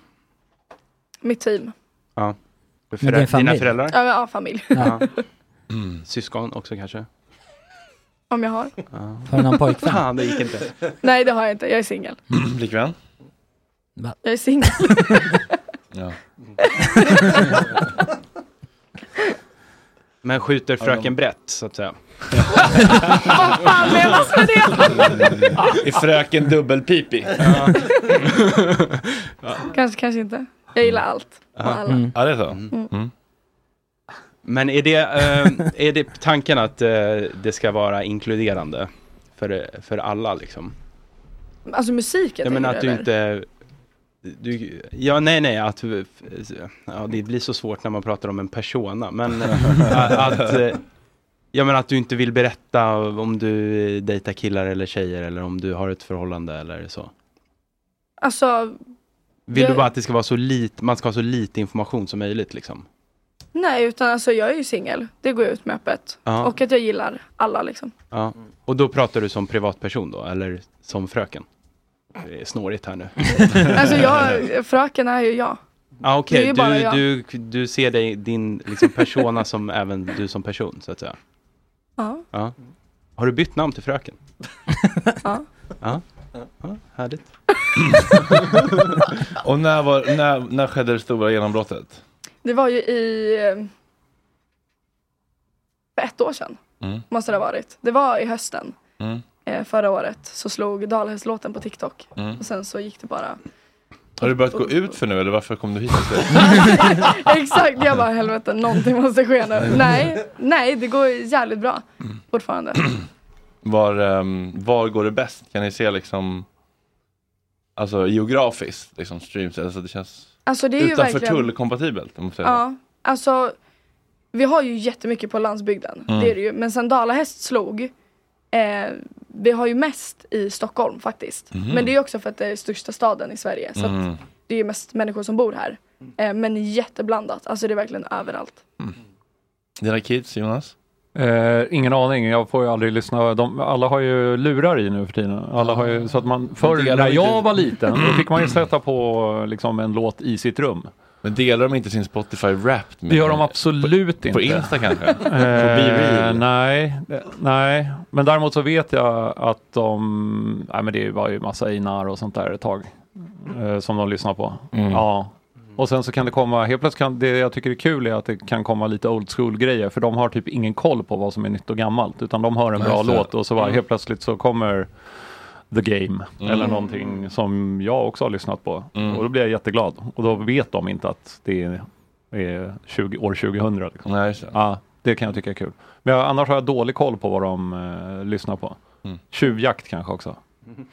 S10: Mitt team.
S5: Ja.
S7: Men det är en familj.
S5: Dina föräldrar?
S10: Ja, men, ja familj.
S5: Ja. Syskon också kanske?
S10: Om jag har.
S5: Ja.
S7: Har du någon pojkvän?
S5: Fan, det gick inte.
S10: Nej det har jag inte, jag är singel.
S1: Flickvän?
S10: Jag är singel.
S1: Ja.
S5: Men skjuter fröken brett, så att säga.
S10: Vad fan menas med det?
S1: Är fröken dubbelpipig?
S10: kanske, kanske inte. Jag gillar
S5: Mm.
S10: allt. Och alla.
S1: Ja, det är så.
S10: Mm.
S5: Men är det, eh, är det tanken att eh, det ska vara inkluderande för, för alla liksom?
S10: Alltså musiken
S5: Ja, men
S10: tänker
S5: att du
S10: eller?
S5: inte... Du, ja, nej, nej, att... Ja, det blir så svårt när man pratar om en persona, men att... eh, Ja, men att du inte vill berätta om du dejtar killar eller tjejer eller om du har ett förhållande eller så.
S10: Alltså,
S5: Vill
S10: Jag-
S5: du bara att det ska vara så lite, man ska ha så lite information som möjligt liksom?
S10: nej utan alltså jag är ju singel. Det går jag ut med öppet.
S5: Ja.
S10: Och att jag gillar alla liksom.
S5: Ja. Och då pratar du som privatperson då, eller som fröken? Det är snårigt här nu.
S10: Alltså jag, fröken är ju jag.
S5: Ah,
S10: Det är
S5: Okej,
S10: ju bara jag.
S5: du, du, du ser dig, din liksom persona som även du som person, så att säga.
S10: Ja.
S5: Ja. Har du bytt namn till fröken?
S10: Ja.
S5: Ja, ja härligt.
S1: Och när, var, när, när skedde det stora genombrottet?
S10: Det var ju i... eh, För ett år sedan
S1: Mm.
S10: måste det ha varit. Det var i hösten
S1: Mm.
S10: eh, förra året så slog Dalhästlåten på TikTok.
S1: Mm.
S10: Och sen så gick det bara...
S1: Har du börjat gå ut för nu eller varför kom du hit?
S10: Exakt, jag bara helvete någonting måste ske nu. Nej, nej det går jävligt bra
S1: Mm.
S10: fortfarande.
S1: Var, ehm, var går det bäst? Kan ni se liksom Alltså geografiskt, liksom streams, alltså det känns
S10: Alltså det är ju
S1: utanför
S10: verkligen...
S1: tullkompatibelt. om man säger.
S10: Ja, alltså vi har ju jättemycket på landsbygden.
S1: Mm.
S10: Det är det ju. Men sen Dalahäst slog, eh, vi har ju mest i Stockholm faktiskt.
S12: Mhm.
S10: Men det är ju också för att det är största staden i Sverige. Så att
S12: Mm.
S10: det är ju mest människor som bor här. Eh, men jätteblandat, alltså det är verkligen överallt.
S1: Dina kids, Jonas?
S3: Eh, ingen aning, jag får ju aldrig lyssna. De, alla har ju lurar i nu för tiden. Alla har ju, så att man, förr
S1: delar
S3: när
S1: inte-
S3: jag var liten, då fick man ju sätta på liksom, en låt i sitt rum.
S1: Men delar de inte sin Spotify Wrapped? med-
S3: Det gör de absolut inte.
S1: på Insta kanske? På
S3: eh,
S1: BeReal?
S3: nej, det- nej, men däremot så vet jag att de, nej men det var ju massa Einar och sånt där ett tag eh, som de lyssnar på.
S1: Mm.
S3: Ja. Och sen så kan det komma, helt plötsligt kan, det jag tycker är kul är att det kan komma lite old school grejer för de har typ ingen koll på vad som är nytt och gammalt utan de hör en
S1: Nej,
S3: bra
S1: så.
S3: låt och så bara
S1: Mm.
S3: helt plötsligt så kommer The Game
S1: Mm.
S3: eller någonting som jag också har lyssnat på
S1: Mm.
S3: och då blir jag jätteglad och då vet de inte att det är är 20, år 2000. Liksom.
S1: Nej, så.
S3: Ja, det kan jag tycka är kul. Men jag, annars har jag dålig koll på vad de eh, lyssnar på.
S5: Mm.
S3: Tjuvjakt kanske också. Mm.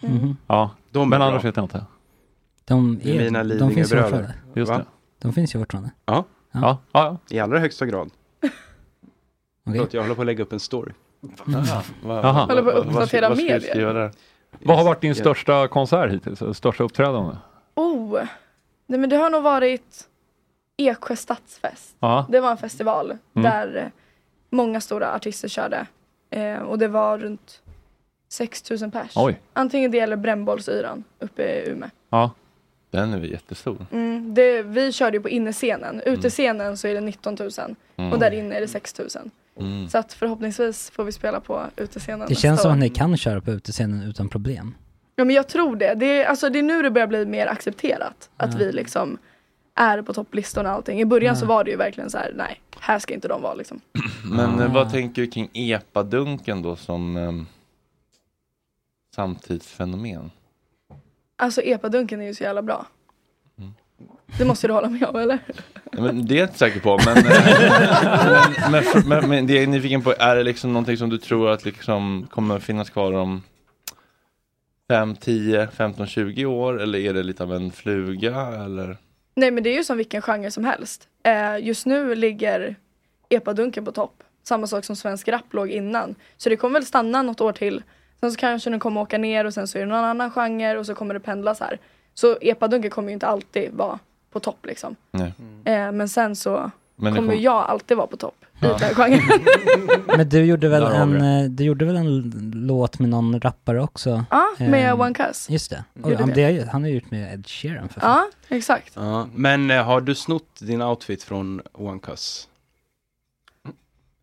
S7: Mhm.
S3: Ja,
S5: De är
S3: men
S5: bra.
S3: annars vet jag inte.
S7: De,
S5: Det är mina
S7: är, de finns ju
S5: Lidingöbröder.
S7: fortfarande.
S3: Just
S5: Va?
S3: det.
S7: De finns ju fortfarande.
S5: Ja.
S7: Ja.
S3: ja,
S5: i allra högsta grad. Förlåt, Jag håller på att lägga upp en story.
S3: Jaha. Håller på att
S10: uppdatera
S5: vad ska jag
S10: medier.
S5: skriva där?
S3: Vad har varit din största konsert hittills? Största uppträdande?
S10: Oh, nej men det har nog varit Eksjö stadsfest.
S3: Ja.
S10: Det var en festival
S3: Mm.
S10: där eh, många stora artister körde. Eh, och det var runt 6000 pers.
S1: Oj.
S10: Antingen det eller brännbollsyran uppe i Umeå.
S3: Ja.
S1: Den är väl jättestor.
S10: Mm, det, vi körde ju på innescenen. Utescenen så är det 19 000
S1: Mm.
S10: och där inne är det 6 000.
S1: Mm.
S10: Så att förhoppningsvis får vi spela på utescenen
S7: Det
S10: nästa
S7: känns som
S10: år.
S7: att ni kan köra på utescenen utan problem.
S10: Ja men jag tror det. Det är, alltså, det är nu det börjar bli mer accepterat. Att
S7: Ja.
S10: vi liksom är på topplistorna och allting. I början
S1: Ja.
S10: så var det ju verkligen så här, nej, här ska inte de vara liksom.
S1: Men eh, vad tänker du kring epadunken då som ehm, samtidsfenomen?
S10: Alltså epadunken är ju så jävla bra. Det måste du hålla med om eller?
S1: Ja, Men det är jag inte säker på, men, eh, men, men, för- men, men det jag är nyfiken på, är det liksom någonting som du tror att liksom kommer finnas kvar om 5, 10, 15, 20 år eller är det lite av en fluga eller?
S10: Nej men det är ju som vilken genre som helst. Eh, just nu ligger epadunken på topp. Samma sak som svensk rap låg innan. Så det kommer väl stanna något år till. Sen så kanske den kommer åka ner och sen så är det någon annan genre och så kommer det pendla så här. Så epadunken kommer ju inte alltid vara på topp liksom.
S1: Nej.
S5: Mm.
S10: Eh, men sen så
S1: Men det
S10: kommer
S1: kom-
S10: jag alltid vara på topp i
S1: Ja.
S10: den här genren.
S7: Men du gjorde väl,
S1: Där har
S7: en,
S1: vi
S7: eh, du gjorde väl en l- låt med någon rappare också?
S10: Ja, med
S7: Eh,
S10: One Cuz.
S7: Just det.
S5: Mm.
S7: Och,
S10: Gjorde
S7: han,
S10: det.
S7: det. har ju- han har ju gjort med Ed Sheeran för fan.
S10: ja, exakt.
S5: Ja, men eh, har du snott din outfit från One Cuss?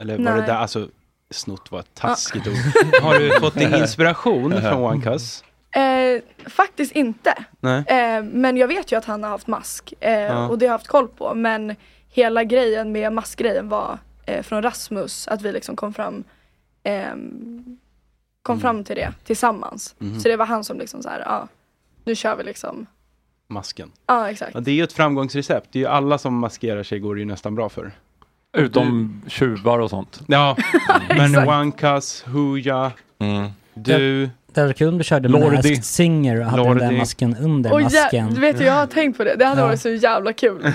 S5: Eller var det
S10: Nej.
S5: där, alltså snott var ett taskigt ord. Har du fått din inspiration från One Cuss?
S10: Eh, faktiskt inte.
S5: Nej.
S10: Eh, men jag vet ju att han har haft mask eh,
S5: Ja.
S10: och det har jag haft koll på. Men hela grejen med maskgrejen var eh, från Rasmus, att vi liksom kom fram ehm, kom fram till det tillsammans.
S5: Mm. Mhm.
S10: Så det var han som liksom så här, ja, nu kör vi liksom.
S5: Masken.
S10: Ja, exakt.
S5: Ja, det är ju ett framgångsrecept. Det är ju alla som maskerar sig går det ju nästan bra för.
S3: Utom tjuvar och sånt.
S5: Ja, men
S3: Exakt.
S5: One Cuss, Hooja, du.
S7: Det hade kul om du körde
S5: Lordi.
S7: med Asked Singer och hade den
S5: Lordi.
S7: där masken under
S10: Och ja,
S7: masken.
S10: du vet ju, jag har tänkt på det. Det hade
S7: Ja.
S10: varit så jävla kul.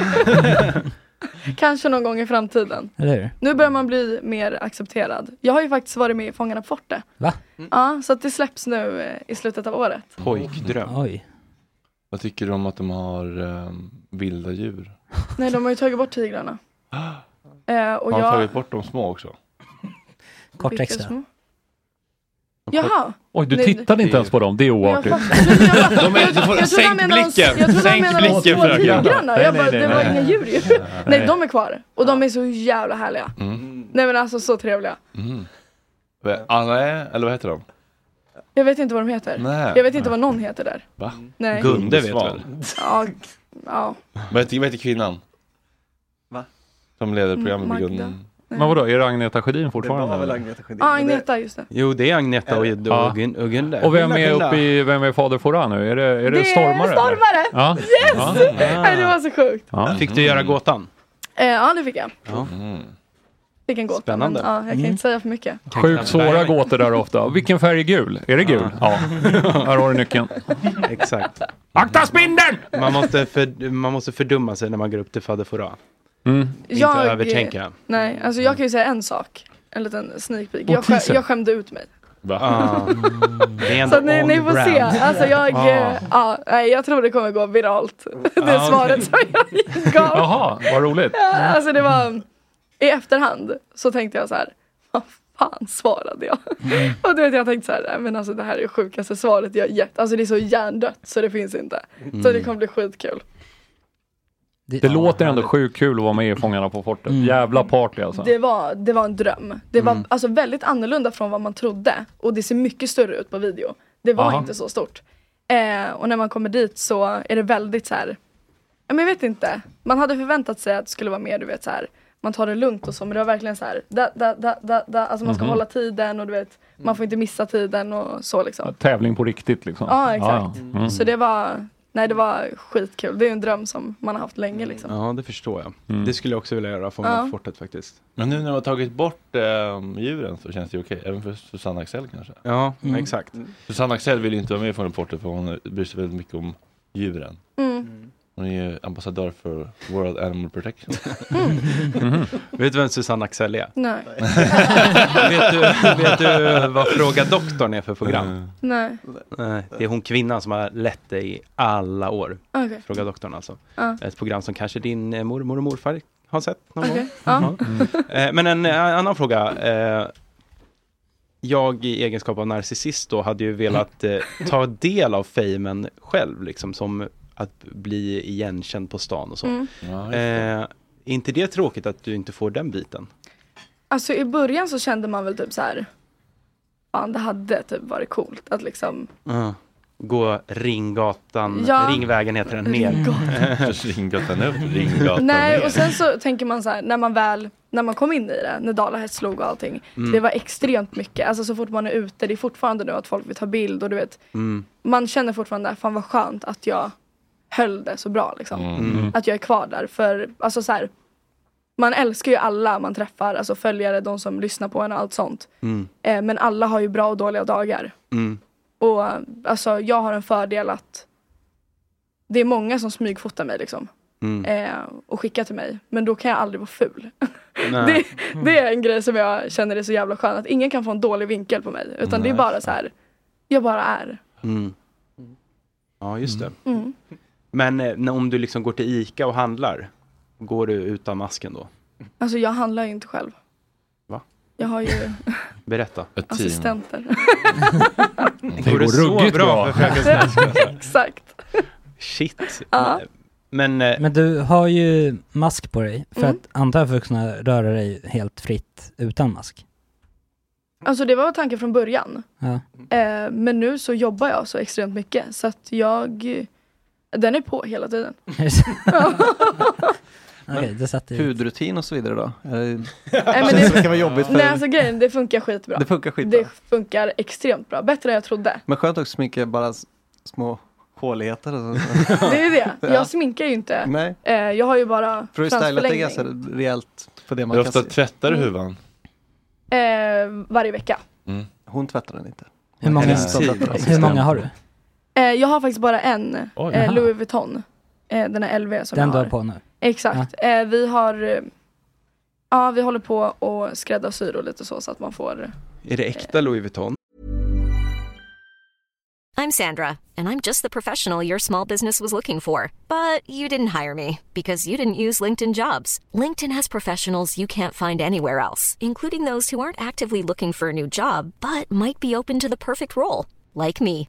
S10: Kanske någon gång i framtiden.
S7: Eller hur?
S10: Nu börjar man bli mer accepterad. Jag har ju faktiskt varit med i Fångarna på fortet.
S7: Va?
S12: Mm.
S10: Ja, så att det släpps nu eh, i slutet av året.
S5: Pojkdröm.
S7: Oj.
S1: Vad tycker du om att de har ehm, vilda djur?
S10: Nej, de har ju tagit bort tigrarna. Eh, och
S1: har de
S10: jag...
S1: tagit bort de små också?
S7: Kort
S10: Vilka
S7: extra.
S10: små? Jaha.
S12: Oj, du
S10: Nej,
S12: tittade inte ens på dem. Det är
S10: Jag
S12: oartigt.
S10: fattar- jag fattar-
S12: De är-
S10: jag-
S12: du får-
S10: jag trodde han
S12: sänk
S10: menade de-
S12: blicken.
S10: Jag trodde han
S12: Sänk
S10: menade de
S12: blicken,
S10: små
S12: fröken.
S10: tigrarna. Jag
S12: Nej,
S10: bara,
S12: nej,
S10: det
S12: nej,
S10: var
S12: nej.
S10: inga djur ju. Nej, de är kvar. Och de är så jävla härliga.
S1: Mm.
S10: Nej men alltså så trevliga.
S1: Mm. Anna, eller vad heter de?
S10: Jag vet inte vad de heter.
S1: Nej.
S10: Jag vet inte vad någon heter där.
S1: Va?
S10: Nej.
S1: Gunde vet väl?
S10: Ja, ja.
S1: Vad heter, vad heter kvinnan?
S6: Va?
S1: Som leder
S10: Mm,
S1: programmet
S10: Magda.
S1: Gunde.
S10: Nej.
S12: Men vadå, är det Agneta Sjödin fortfarande?
S6: Det var väl
S12: eller?
S6: Agneta Sjödin.
S10: Ja, Agneta just det.
S5: Jo, det är Agneta och, och,
S12: Eh, Ja.
S5: och Gun- och Gunde.
S12: Och vem
S5: Gunilla,
S12: är
S5: Gunilla.
S12: uppe i, vem är fader Fouran nu? Är det, är det,
S10: Det är
S12: stormare? eller?
S10: Stormare!
S12: Ja.
S10: Yes! Nej, det var så sjukt.
S12: Ja. Mm.
S5: Fick du göra gåtan?
S10: Eh, ja det fick jag.
S5: Ja.
S13: Mm.
S10: Fick en gåta.
S12: Spännande.
S10: Men, ja, jag kan
S12: Mm.
S10: inte säga för mycket.
S12: Sjukt svåra gåtor där ofta. Vilken färg är gul? Är det gul? Ja. Här har du nyckeln.
S5: Exakt.
S12: Akta spindeln!
S5: Man måste, för, man måste fördumma sig när man går upp till fader Fouras.
S3: Mm.
S5: Inte
S10: Jag-
S5: övertänka.
S10: Nej, alltså jag kan ju säga en sak. En liten sneak peek.
S5: Och
S10: Jag, skä,
S5: teaser.
S10: jag skämde ut mig.
S5: Va? Ah. Det är ändå
S10: Så att ni,
S5: on
S10: ni får se.
S5: brand.
S10: Alltså jag,
S5: Ah.
S10: eh, ja, nej, jag tror det kommer gå viralt. Det
S12: Ah, okej.
S10: svaret som jag gav.
S12: Jaha, vad roligt.
S10: Ja, Alltså det var, i efterhand så tänkte jag så här, vad fan svarade jag? Och du vet jag tänkte så här, nej, men alltså det här är det sjukaste svaret jag gett. Alltså det är så hjärndött så det finns inte. Så
S12: Mm.
S10: det kommer bli skitkul.
S12: Det, låter ändå sjukt kul att vara med i Fångarna på fortet.
S10: Mm.
S12: Jävla party alltså.
S10: Det var, det var en dröm. Det var
S12: Mm.
S10: alltså väldigt annorlunda från vad man trodde och det ser mycket större ut på video. Det var
S12: Aha.
S10: inte så stort. Eh, och när man kommer dit så är det väldigt så här, ja, men jag vet inte. Man hade förväntat sig att det skulle vara mer du vet så här, man tar det lugnt och så men det var verkligen så här, da, da, da, da, da. alltså man ska
S12: Mhm.
S10: hålla tiden och du vet, man får inte missa tiden och så liksom.
S12: Tävling på riktigt liksom.
S10: Ja exakt.
S12: ja. Mm.
S10: Så det var, nej det var skitkul. Det är en dröm som man har haft
S12: Mm.
S10: länge liksom.
S5: Ja, det förstår jag.
S3: Mm.
S5: Det skulle jag också vilja göra, Fångarna på
S10: Ja.
S5: fortet faktiskt.
S1: Men nu när man har tagit bort eh, djuren så känns det ju okej. Även för Susanne Axel kanske?
S5: Ja, Mm. exakt.
S1: Susanne Axel vill ju inte vara med i Fångarna på fortet för hon bryr sig väldigt mycket om djuren.
S10: Mm.
S1: Hon är ju ambassadör för World Animal Protection.
S5: Vet du vem Susanne Axel är?
S10: Mm. Nej.
S5: vet, du, vet du vad Fråga doktorn är för program?
S10: Nej.
S5: Nej, det är hon kvinnan som har lett det i alla år.
S10: Okej.
S5: Fråga doktorn alltså.
S10: Ja.
S5: Ett program som kanske din eh, mormor och morfar har sett någon
S10: Okej.
S5: gång.
S10: Ja.
S5: Eh, Men en eh, annan fråga. Eh, Jag i egenskap av narcissist då hade ju velat eh, ta del av famen själv, liksom som att bli igenkänd på stan och så.
S10: Mm.
S5: Eh, är inte det tråkigt att du inte får den biten?
S10: Alltså i början så kände man väl typ så här. Fan det hade typ varit coolt att liksom
S5: Gå Ringgatan,
S10: Ja.
S5: Ringvägen heter den, ner.
S1: Ringgatan upp, Ringgatan
S10: Nej och sen så tänker man så här när man väl När man kom in i det, när Dalahäst slog och allting
S14: Mm.
S10: Det var extremt mycket, alltså så fort man är ute Det är fortfarande nu att folk vill ta bild och du vet
S14: Mm.
S10: Man känner fortfarande, fan vad skönt att jag Höll det så bra liksom
S14: Mm.
S10: Att jag är kvar där för, alltså så här Man älskar ju alla man träffar, alltså följare, de som lyssnar på en och allt sånt
S14: Mm.
S10: eh, Men alla har ju bra och dåliga dagar
S14: Mm.
S10: Och alltså jag har en fördel att det är många som smygfotar mig liksom.
S14: Mm.
S10: Eh, och skickar till mig. Men då kan jag aldrig vara ful. det,
S14: Nej.
S5: Mm.
S10: det är en grej som jag känner är så jävla skön. Att ingen kan få en dålig vinkel på mig. Utan det är
S5: Nej,
S10: bara så här. Jag bara är.
S5: Mm. Ja, just det.
S10: Mm.
S5: Men eh, när- om du liksom går till ICA och handlar, går du utan masken då?
S10: Alltså jag handlar ju inte själv.
S5: Va?
S10: Jag har ju
S5: Berätta.
S10: assistenter.
S5: Det går så bra för Fröken Snask. alltså.
S10: Exakt.
S5: Shit.
S10: Ja.
S5: Men, eh,
S7: Men du har ju mask på dig, för
S10: Mm.
S7: att antar jag för att kunna röra dig helt fritt utan mask.
S10: Alltså det var tanken från början.
S7: Ja.
S10: Eh, men nu så jobbar jag så extremt mycket så att jag Den är på hela tiden.
S6: Men
S7: Okej, det satt i-
S6: Hudrutin och så vidare då? Nej,
S10: Nej, men
S6: det ska vara jobbigt för...
S10: Nej alltså grejen, det funkar skitbra.
S6: Det funkar skitbra.
S10: Det funkar extremt bra, bättre än jag trodde.
S6: Men skönt också sminka bara s- små håligheter och så.
S10: Det är ju det,
S6: Ja.
S10: jag sminkar ju inte.
S6: Nej.
S10: Eh, jag har ju bara
S6: För du har stylat
S10: fransförlängning
S6: dig ganska rejält på det man
S1: Hur
S6: kan
S1: ofta
S6: se.
S1: tvättar du huvan? Mm.
S10: eh, varje vecka.
S6: Hon tvättar den inte.
S7: Hur många,
S6: Hennes tid.
S7: hur många har du?
S10: Eh, jag har faktiskt bara en,
S7: Oj.
S10: eh,
S7: Jaha.
S10: Louis Vuitton. Eh, den här LV som
S7: Den
S10: jag
S7: du
S10: har.
S7: har på nu?
S10: Exakt. Eh, vi har eh, Ja, vi håller på och Eh. skräddarsyr och lite så så att man får
S5: är det äkta Louis Vuitton?
S15: I'm Sandra, and I'm just the professional your small business was looking for. But you didn't hire me because you didn't use LinkedIn jobs. LinkedIn has professionals you can't find anywhere else, including those who aren't actively looking for a new job but might be open to the perfect role, like me.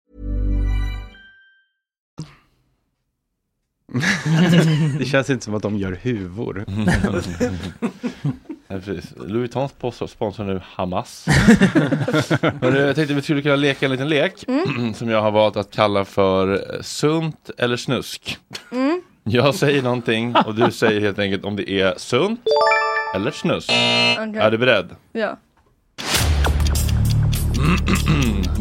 S5: Det känns inte som att de gör huvor.
S1: Mm. Ja, precis. Louis Vuitton sponsor- sponsrar nu Hamas. Men eh, jag tänkte vi skulle kunna leka en liten lek
S10: Mm.
S1: som jag har valt att kalla för eh, sunt eller snusk.
S10: Mm.
S1: Jag säger någonting och du säger helt enkelt om det är sunt eller snusk.
S10: Okej.
S1: Är du beredd?
S10: Ja.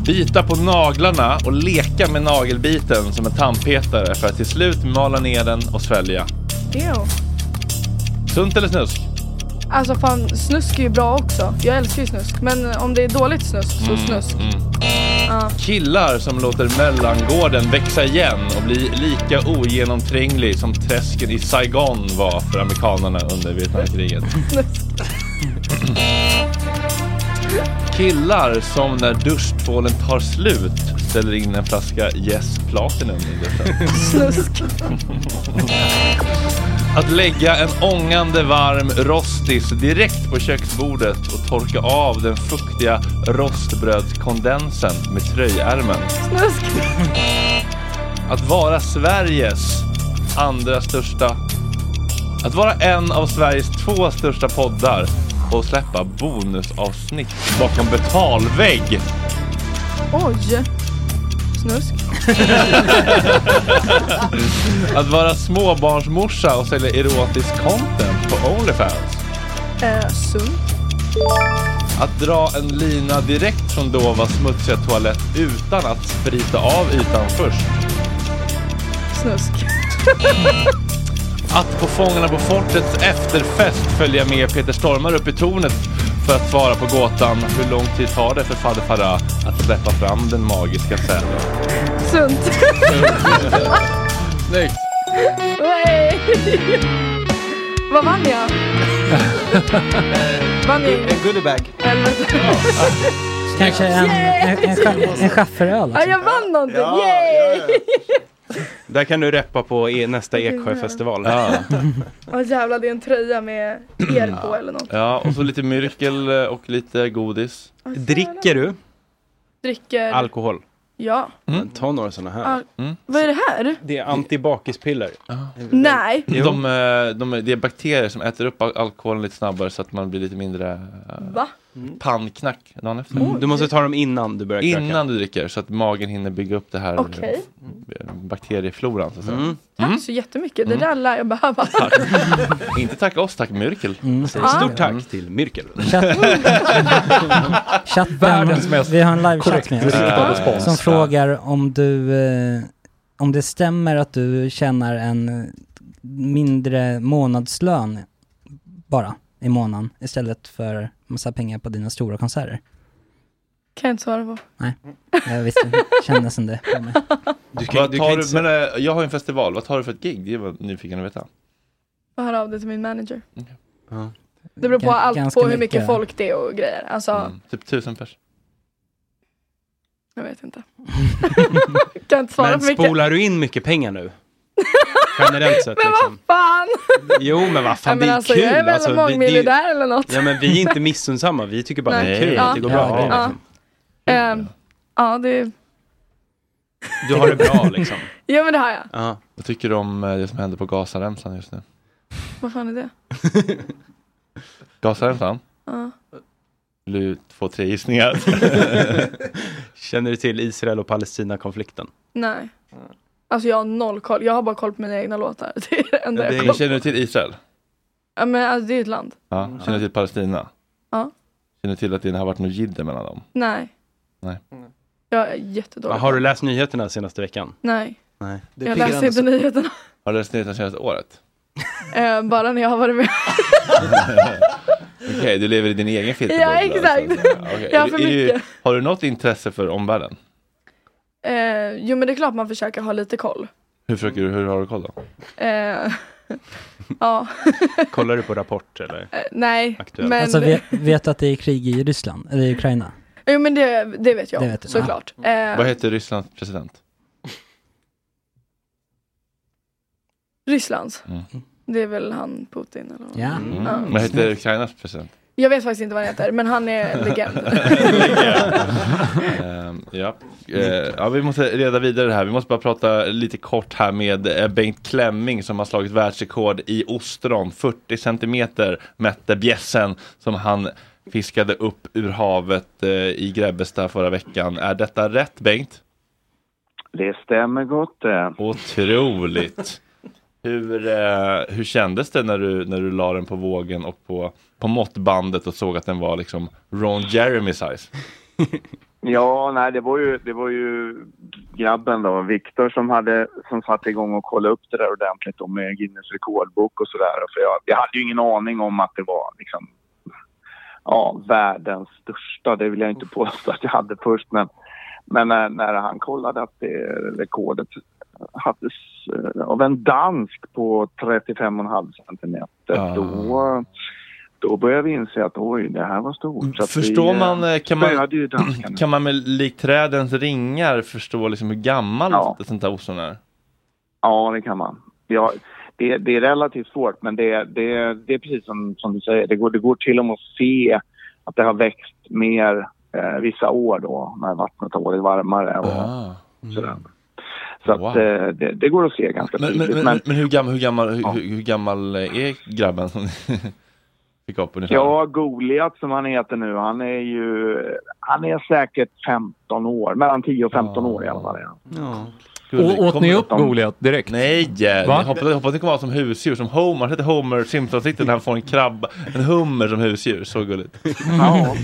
S1: Bita på naglarna och leka med nagelbiten som en tandpetare för att till slut mala ner den och svälja.
S10: Ew.
S1: Sunt eller snusk?
S10: Alltså fan, snusk är ju bra också. Jag älskar ju snusk. Men om det är dåligt snusk så
S1: Mm,
S10: snusk.
S1: mm.
S10: Ja.
S1: Killar som låter mellangården växa igen och bli lika ogenomtränglig som träsken i Saigon var för amerikanerna under Vietnamkriget. Killar som när duschtvålen tar slut ställer in en flaska Yes Platinum i duschen.
S10: Snusk.
S1: Att lägga en ångande varm rostis direkt på köksbordet och torka av den fuktiga rostbrödskondensen med tröjärmen.
S10: Snusk.
S1: Att vara Sveriges andra största... Att vara en av Sveriges två största poddar och släppa bonusavsnitt bakom betalvägg.
S10: Oj. Snusk.
S1: Att vara småbarnsmorsa och sälja erotisk content på Onlyfans.
S10: Eh, sunt.
S1: Att dra en lina direkt från Dovas smutsiga toalett utan att sprita av ytan först.
S10: Snusk.
S1: Mm. Att på Fångarna på fortets efterfest följa med Peter Stormare upp i tornet för att svara på gåtan hur lång tid tar det för fader Farah att släppa fram den magiska säden?
S10: Sunt.
S1: Snyggt!
S10: Nej. Vad vann jag? Vann jag?
S6: En goodiebag.
S10: Helvete.
S7: Kanske en, en, en, scha- en schafferöl.
S10: Ja, jag vann någonting.
S5: Ja,
S10: Yay!
S5: Där kan du reppa på e- nästa Eksjöfestival.
S1: Ja.
S10: Åh jävlar, det är en tröja med er
S5: Mm.
S10: på eller något.
S1: Ja, och så lite myrkel
S5: eh,
S1: och lite godis.
S5: Dricker du
S10: Dricker.
S5: alkohol?
S10: Ja.
S5: Mm. Ta några sådana här. Mm.
S10: Al- Vad är det här?
S5: Det är antibakispiller.
S10: Nej.
S1: De, de, eh, de, det är bakterier som äter upp al- alkoholen lite snabbare så att man blir lite mindre eh,
S10: Va?
S1: pannknack dagen efter.
S5: Du måste ta dem innan du börjar knacka.
S1: Innan du dricker så att magen hinner bygga upp det här eh,
S10: Okej.
S5: Mm.
S1: bakteriefloran så att säga. Mm.
S10: Tack så jättemycket.
S5: Mm.
S10: Det där lär jag behöva.
S1: Inte tack oss, tack Myrkel.
S10: Ah. Stort
S5: tack
S1: Mm.
S5: till Myrkel.
S7: Chatten, vi har en live-chatt med oss.
S5: riktad respons.
S7: Som frågar om du, eh, om det stämmer att du tjänar en mindre månadslön bara i månaden istället för massa pengar på dina stora konserter.
S10: Kan jag inte svara på.
S7: Nej, jag visste, kändes som det på mig.
S1: vad
S7: du
S1: tar
S7: kan
S1: du,
S7: inte
S1: men, eh, jag har ju en festival, vad tar du för ett gig? Det var jag nyfiken att veta.
S10: Jag hör av det till min manager. Det beror på
S1: Gan-
S10: allt
S1: ganska
S10: på hur mycket
S1: mycket.
S5: Mm.
S10: folk det är och grejer. Alltså,
S1: Typ tusen pers.
S10: Jag vet inte. kan inte svara
S5: Men
S10: på mycket.
S5: spolar du in mycket pengar nu? Generellt sett
S10: Men
S5: liksom.
S10: vad fan!
S5: Jo men vad
S10: Ja,
S5: fan,
S10: men
S5: det är
S10: alltså,
S5: kul.
S10: jag är väl
S5: alltså, det- det är ju-
S10: mångmiljardär eller något.
S5: Ja men vi är inte missunnsamma, vi tycker bara det är kul, det går bra.
S10: Ja, ja. Ehm, ja det...
S5: Du har det bra liksom.
S10: ja men det har jag.
S1: Vad tycker du om eh, det som händer på Gazaremsan just nu?
S10: Vad fan är det?
S1: Gazaremsan?
S10: Ja.
S1: Vill du få tre gissningar?
S5: Känner du till Israel och Palestina-konflikten?
S10: Nej. Alltså jag har noll koll. Jag har bara koll på mina egna låtar. Det är det enda jag
S1: Men
S10: kollar
S1: känner du till Israel?
S10: Ja men alltså det är ett land.
S1: Ja.
S5: Mm.
S1: Känner du till Palestina?
S10: Ja.
S1: Känner du till att det har varit något jidder mellan dem?
S10: Nej.
S1: Nej.
S10: Jag är jättedålig.
S5: Har du läst nyheterna senaste veckan?
S10: Nej.
S5: Nej.
S10: jag läser inte nyheterna.
S1: Har du läst nyheterna senaste året?
S10: Ehm, bara när jag har varit med.
S1: Okej, du lever i din egen filterbubbla.
S10: ja exakt.
S1: Okej,
S10: Jag har
S1: är
S10: för
S1: du- är du-
S10: mycket.
S1: Har du något intresse för omvärlden?
S10: Ehm, jo men det är klart man försöker ha lite koll.
S1: Hur, försöker du, hur har du koll då?
S10: Ehm, ja.
S5: Kollar du på Rapport eller?
S10: Ehm, Nej. Men...
S7: Alltså vet, vet att det är krig i Ryssland, eller i Ukraina.
S10: Jo men det, det vet jag
S7: Det vet du.
S10: såklart. Ehm,
S1: Mm. Vad heter Rysslands president?
S10: Rysslands.
S1: Mm.
S10: Det är väl han Putin eller vad?
S7: Ja.
S1: Mm.
S10: Ja.
S1: Vad heter Ukrainas president?
S10: Jag vet faktiskt inte vad han heter men han är Eh, legend.
S1: Ehm, Eh, ja. Eh, ja, vi måste reda vidare här. Vi måste bara prata lite kort här med eh, Bengt Klemming som har slagit världsrekord i ostron. 40 centimeter mätte bjässen som han fiskade upp ur havet eh, i Grebbestad förra veckan. Är detta rätt Bengt?
S13: Det stämmer gott det.
S1: Otroligt! Hur, eh, hur kändes det när du, när du la den på vågen och på, på måttbandet och såg att den var liksom Ron Jeremy size?
S13: Ja, nej, det var ju, det var ju grabben då, Viktor, som, hade, som satte igång och kollade upp det där ordentligt då med Guinness rekordbok och sådär. För jag, jag hade ju ingen aning om att det var liksom, ja, världens största. Det vill jag inte påstå att jag hade först, men, men när, när han kollade att det rekordet hades eh, av en dansk på 35,5 centimeter,
S1: Ah.
S13: då, då började vi inse att oj, det här var stort. Så att
S1: Förstår
S13: vi, eh,
S1: man, eh, kan man,
S13: spöade ju danskarna.
S1: kan man med likt trädens ringar förstå liksom hur gammal ett sånt där ostron är?
S13: Ja, det kan man. Ja, det, det är relativt svårt, men det, det, det är precis som, som du säger. Det går, det går till och med att se att det har växt mer eh, vissa år då när vattnet har varit varmare. Och,
S1: Ah.
S13: sådär. Så att, eh, det, det går att se ganska
S1: Mm. Men,
S13: tydligt.
S1: men, men, men hur, gammal, hur, gammal, hur,
S13: Ja.
S1: hur, hur gammal är grabben som ni fick upp ungefär?
S13: Ja, Goliat som han heter nu, han är ju... Han är säkert 15 år, mellan 10 och 15 år i alla fall. är han.
S1: Skulle-
S12: Å- åt
S1: kommer
S12: ni
S1: de-
S12: upp Goliat direkt?
S1: Nej, eh,
S12: Va?
S1: jag hoppas, jag hoppas att det kommer vara som husdjur, som Homer. Har du sett Homer Simpson sitter när han får en krabba, en hummer som husdjur? Så gulligt.
S13: Ja.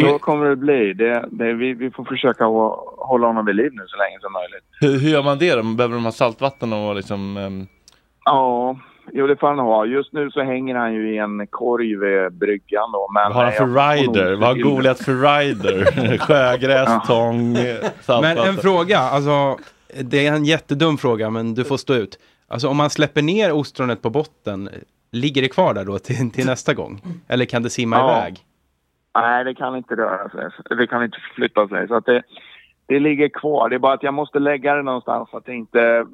S13: Så kommer det bli. Det, det, vi, vi får försöka hå- hålla honom vid liv nu så länge som möjligt.
S1: Hur, hur gör man det då? Behöver de ha saltvatten och liksom... ehm,
S13: Ja, jo det får han ha. Just nu så hänger han ju i en korg vid bryggan då. Men
S1: vad har han
S13: jag får
S1: för
S13: nog
S1: rider?
S13: se
S1: Vad har
S13: till-
S1: Goliat för rider?
S5: Ja.
S1: Sjögräs, tång, eh,
S5: Men
S1: saltvatten.
S5: en fråga, alltså, det är en jättedum fråga men du får stå ut. Alltså om man släpper ner ostronet på botten, ligger det kvar där då till, till nästa gång? Eller kan det simma
S13: Ja.
S5: iväg?
S13: Nej, det kan inte röra sig. Det kan inte förflytta sig. Så att det, det ligger kvar. Det är bara att jag måste lägga det någonstans så att det inte eh,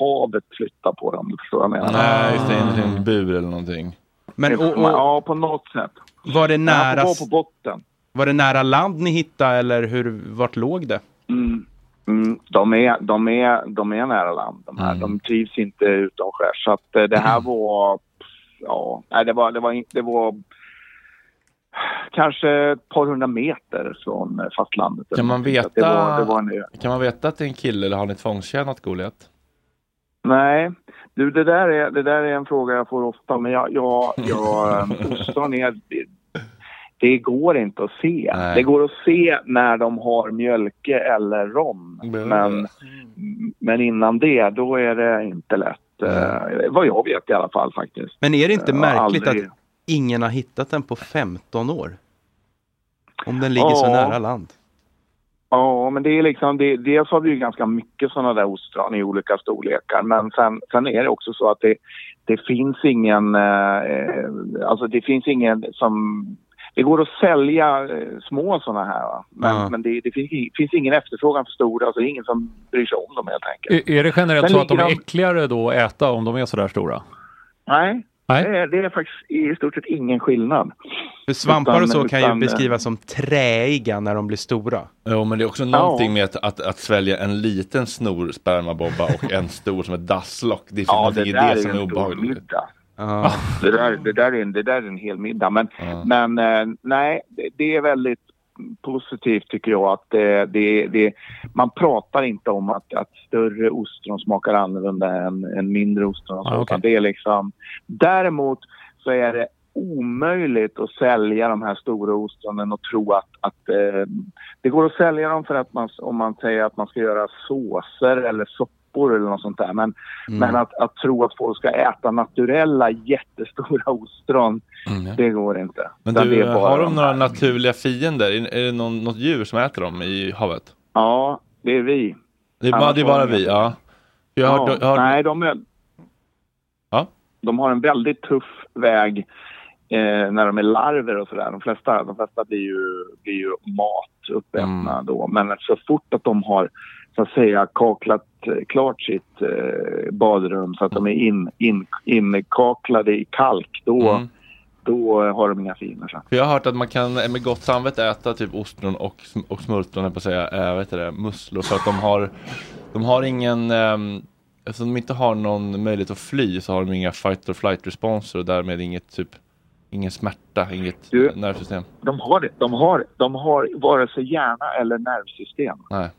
S13: havet flyttar på dem. Förstår du vad jag menar?
S1: Nej, just det. En, en bur eller någonting.
S5: Men, och, och,
S13: Ja, på något sätt.
S5: var, det
S13: Han
S5: nära,
S13: får gå på botten.
S5: var det nära land ni hittade eller hur, vart låg det?
S13: Mm. Mm, de, är, de, är, de är nära land, de här.
S1: Mm.
S13: De trivs inte utomskärs. Så att eh, det här var... Ja, nej, det var, det var, in- det var kanske ett par hundra meter från eh, fastlandet.
S1: Kan man
S13: Så att Det var, det var
S1: veta,
S13: en ö.
S1: kan man veta att det är en kille eller har ni tvångstjänat Goliat?
S13: Nej, du, det, där är, det där är en fråga jag får ofta. Men jag... jag, jag eh, ostron är, det, det går inte att se.
S1: Nej.
S13: Det går att se när de har mjölke eller rom. Men, men innan det, då är det inte lätt. eh, vad jag vet i alla fall faktiskt.
S5: Men är det inte
S13: Jag har
S5: märkligt
S13: aldrig-
S5: att ingen har hittat den på 15 år? Om den ligger så
S13: Ja.
S5: nära land.
S13: Ja, men det är liksom, det, dels har vi ju ganska mycket sådana där ostron i olika storlekar. Men sen, sen är det också så att det, det finns ingen, eh, eh, alltså det finns ingen som det går att sälja eh, små sådana här. Va? Men,
S3: Ja.
S13: men det, det finns, i- finns ingen efterfrågan för stora, alltså det är ingen som bryr sig om dem helt enkelt.
S3: Är, är det generellt
S13: Sen
S3: så att de
S13: ligger
S3: är
S13: de-
S3: äckligare då att äta om de är sådär stora?
S13: Nej,
S3: Nej.
S13: Det, är, det är faktiskt i stort sett ingen skillnad.
S5: För svampar och så kan ju
S13: utan, eh,
S5: beskrivas som träiga när de blir stora.
S1: Jo, men det är också någonting med att, att, att svälja en liten snor spermabobba och en stor som ett dasslock. Det är
S13: Ja,
S1: ja,
S13: det
S1: det,
S13: där är
S1: som
S13: ju
S1: är
S13: en stor
S1: obehagligt.
S13: Det, där, det, där är en, det där är en hel middag. Men, men eh, nej, det, det är väldigt positivt tycker jag att eh, det, det, man pratar inte om att, att större ostron smakar annorlunda än, än mindre ostron. och så,
S3: Ah, okej.
S13: utan det är liksom, däremot så är det omöjligt att sälja de här stora ostronen och tro att, att eh, det går att sälja dem för att man, om man säger att man ska göra såser eller soppor eller något sånt där. Men,
S16: Mm.
S13: men att, att tro att folk ska äta naturella jättestora ostron, det går inte.
S1: Mm, Men
S13: Utan
S1: du, eh,
S13: det är bara
S1: har de
S13: de
S1: några naturliga fiender? Är, är det någon, något djur som äter dem i havet?
S13: Ja, det är vi.
S1: Det är, bara-
S13: Annars
S1: det är
S13: har
S1: bara
S13: de
S1: vi,
S13: inte.
S1: ja. Jag har,
S13: Ja,
S1: jag har,
S13: Nej, de, är,
S1: Ja.
S13: de har en väldigt tuff väg eh, när de är larver och sådär. De flesta, de flesta blir, ju, blir ju mat uppätna
S1: Mm.
S13: då. Men så fort att de har så att säga kaklat eh, klart sitt eh, badrum så att de är in, in, inkaklade i kalk då,
S1: Mm.
S13: då har de inga fiender sen.
S1: för jag har hört att man kan eh, med gott samvete äta typ ostron och, sm- och smultron, höll jag på att säga, äh, vet det, musslor. För att de har, de har ingen, ehm, eftersom de inte har någon möjlighet att fly så har de inga fight or flight responser och därmed inget typ, ingen smärta, inget
S13: Du-
S1: nervsystem.
S13: De har det. De har, de har vare sig hjärna eller nervsystem.
S1: Nej.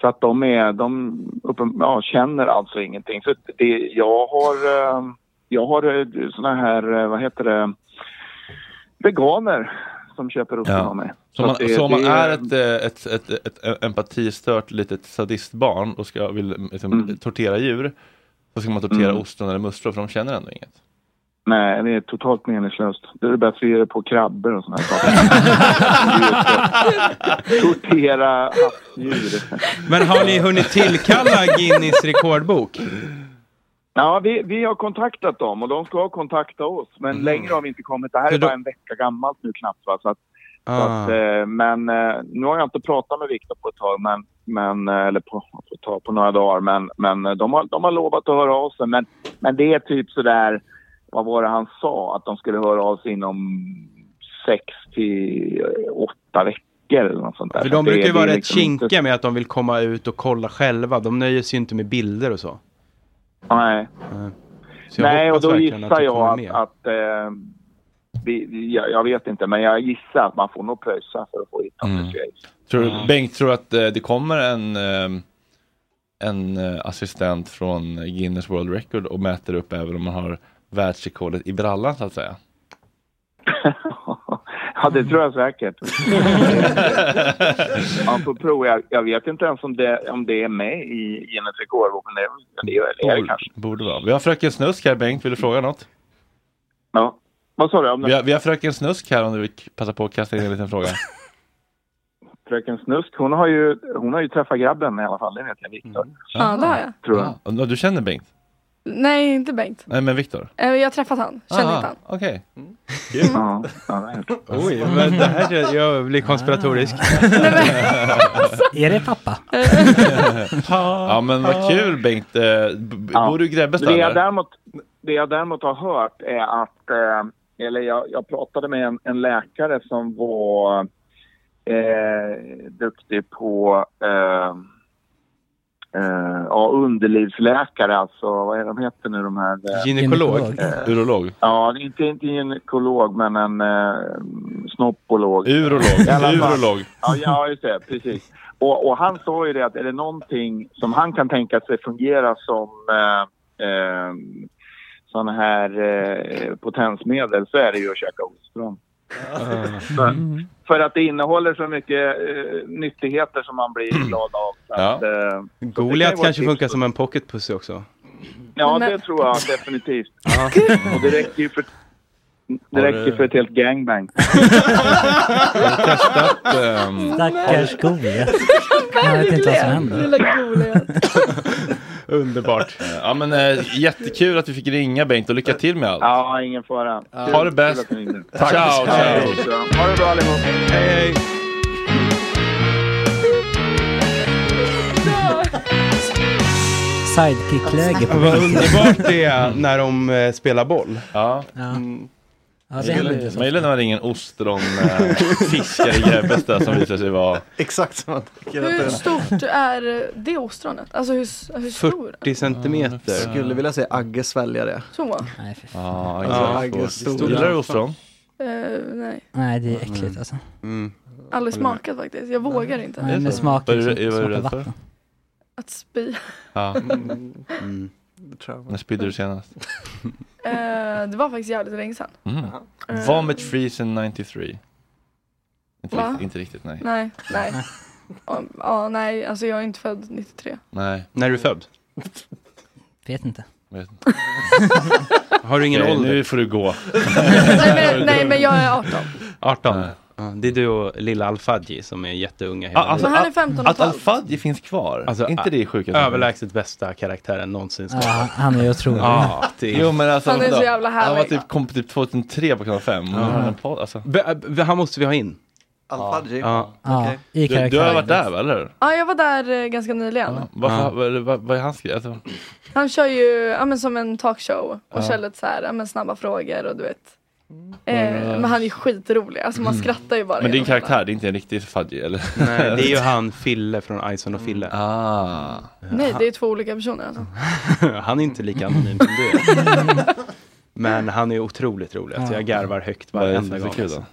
S13: Så att de, är, de uppen, ja, känner alltså ingenting. Så det, jag har, eh, jag har eh, såna här, eh, vad heter det, veganer som köper upp
S1: Ja.
S13: av mig.
S1: Så om man,
S13: att det-
S1: så om man
S13: det
S1: är ett, eh, ett, ett, ett, ett empatistört litet sadistbarn och ska, vill liksom, tortera djur så ska man tortera
S13: Mm.
S1: ostron eller musslor för de känner ändå inget.
S13: Nej, det är totalt meningslöst. Det är bättre att ge det på krabbor och såna här saker. Tortera havsdjur.
S5: Men har ni hunnit tillkalla Guinness rekordbok?
S13: Ja, vi, vi har kontaktat dem och de ska kontakta oss. Men
S5: Mm.
S13: längre har vi inte kommit. Det här är bara en vecka gammalt nu knappt. Va? Så att, så
S5: Ah.
S13: att, eh, men eh, nu har jag inte pratat med Viktor på ett tag, men, men, eh, eller på, på, ett tag, på några dagar. Men, men eh, de, har, de har lovat att höra av sig. Men, men det är typ sådär, vad var det han sa? Att de skulle höra av sig inom sex till eh, åtta veckor eller något sånt där.
S5: För
S13: Så
S5: de
S13: det-
S5: brukar ju
S13: det är
S5: vara rätt
S13: liksom inte-
S5: kinkiga med att de vill komma ut och kolla själva. De nöjer sig ju inte med bilder och så.
S13: Nej.
S5: Så jag
S13: Nej, och
S5: hoppas
S13: då
S5: verkligen att
S13: gissar
S5: det kommer
S13: jag
S5: med.
S13: att... att eh, vi, jag, jag vet inte, men jag gissar att man får nog pröjsa för att få hit dem. till Schweiz.
S1: Tror du, Bengt, tror du att eh, det kommer en, eh, en eh, assistent från Guinness World Record och mäter upp även om man har världsrekordet i brallan så att säga?
S13: Ja, det tror jag säkert. man får prova. Jag, jag vet inte ens om det, om det är med i Guinness rekordbok, men det, det är det är det
S1: Borde,
S13: kanske.
S1: borde vara. Vi har Fröken Snusk här, Bengt. Vill du fråga något?
S13: Ja. Vad sa du? Om
S1: Vi har, vi har Fröken Snusk här om du vill k- passa på att kasta in en liten fråga.
S13: Fröken Snusk, hon har, ju, hon har ju träffat grabben i alla fall. Det vet jag, Viktor.
S1: Mm.
S10: Ja, det har jag.
S13: Tror jag. Mm.
S1: Ja, Du känner Bengt?
S10: Nej, inte Bengt.
S1: Nej, men Viktor?
S10: Eh, Jag har träffat han, känner
S1: Ah,
S10: inte han.
S1: Okej.
S7: Mm.
S13: Ja, ja,
S5: Oj, men det här känns- jag blir konspiratorisk.
S7: Är det pappa?
S1: ja men vad kul Bengt. Eh, b- b- Bor du i Grebbestad?
S13: Det jag,
S1: eller?
S13: däremot, det jag däremot har hört är att, eh, eller jag, jag pratade med en, en läkare som var eh, duktig på eh, eh, ja, underlivsläkare, alltså vad är de heter nu de här? eh, Eh,
S1: Urolog?
S13: Ja, inte, inte gynekolog men en eh, snoppolog.
S1: Urolog.
S13: I alla fall.
S1: Urolog.
S13: Ja, ja, just det. Precis. Och, och han sa ju det att är det någonting som han kan tänka sig fungera som eh, eh, sån här eh, potensmedel så är det ju att käka ostron.
S5: Mm.
S13: För, för att det innehåller så mycket eh, nyttigheter som man blir glad av. Så att, eh,
S5: Goliat
S13: vara
S5: kanske
S13: tips
S5: funkar som en pocket pussy också.
S13: ja, det tror jag definitivt.
S5: Ja.
S13: Och det räcker ju för, det
S5: Har du-
S13: räcker för ett helt gangbang.
S1: ehm,
S7: Stackars Goliat. Jag vet inte vad som händer.
S10: Lilla Goliat.
S1: Underbart. Ja, men, eh, jättekul att vi fick ringa Bengt och lycka till med allt.
S13: Ja, ingen fara.
S1: Ha det bäst.
S13: Kul att ni ringde.
S1: Tack. Ciao, ciao.
S13: Ha det bra allihop.
S1: Hej, hej.
S7: Sidekick-läge på
S5: Vad
S7: riktigt.
S5: underbart det är när de eh, spelar boll.
S1: Ja.
S5: Mm.
S7: Ja, det händer ju
S1: Man
S7: så.
S1: gillar när man ringer eh, en ostronfiskare i Järfästa som visar sig vara
S6: Exakt som man tänker att det
S10: Hur
S6: är.
S10: stort är det ostronet? Alltså hur, s- hur stor?
S5: 40 centimeter.
S6: Skulle vilja säga Agge svälja det.
S10: Så?
S7: Nej, för
S1: Ja,
S6: Ja,
S1: exakt.
S6: Agges stora.
S1: Gillar du Mm. ostron?
S10: Eh, nej,
S7: Nej, det är äckligt alltså.
S5: Mm.
S10: aldrig smakat faktiskt. Jag vågar inte.
S7: Nej, det smakar
S1: Vad är du-
S7: liksom,
S1: vad är du
S7: smakar
S1: rädd för?
S7: vatten.
S10: Att spy.
S1: Ja. Mm. När spydde du senast?
S10: Eh, det var faktiskt jävligt länge sedan.
S1: Mm.
S10: Eh,
S1: Vomit Freezen 93. Inte,
S10: Va?
S1: riktigt, inte riktigt, nej.
S10: Nej, nej. Ja, ja, nej, alltså jag är inte född 93.
S1: Nej.
S5: När är du född?
S7: Vet inte.
S1: Vet
S5: Har du ingen
S1: Okej,
S5: ålder?
S1: nu får du gå.
S10: nej, men, nej, men jag är 18.
S5: 18. Ja, det är du och lilla Alfadji som är jätteunga hela
S1: Ja, alltså,
S10: Men han är 15 och
S1: Att
S10: ett halvt.
S1: Alfadji finns kvar,
S5: Alltså,
S1: inte det är sjukt?
S5: Överlägset bästa karaktären någonsin.
S7: Ja, han- han är ju otrolig.
S5: Ja, det är...
S1: Jo men alltså,
S10: Han är så
S1: vadå?
S10: jävla
S1: Han var
S10: härlig.
S1: typ, kom typ 2003 på kanal 5.
S5: Ja.
S1: Alltså.
S5: Be- be- han måste vi ha in.
S6: Alfadji?
S5: Ja.
S7: Ja, i
S1: Du,
S7: karaktär.
S1: du har varit där va, eller?
S10: Ja, jag var där eh, ganska nyligen.
S1: Varför, vad, vad, vad är hans grej? Alltså,
S10: Han kör ju ja, men som en talkshow och
S1: Ja.
S10: kör lite så här, ja, men snabba frågor och du vet. Eh, men han är ju skitrolig, alltså man skrattar ju bara.
S1: Mm. men din
S10: genom hela.
S1: karaktär, det är inte en riktig Fadji eller?
S5: Nej, Eh, det är ju han Fille från Ison och Fille.
S1: Ah.
S10: Nej, det är två olika personer alltså.
S5: Han är inte lika anonym som du
S1: Mm.
S5: är. Men han är otroligt rolig. Alltså, jag garvar högt
S1: Ah. Vad är det som
S5: varenda
S1: är
S5: gång.
S1: så kul då?
S5: alltså.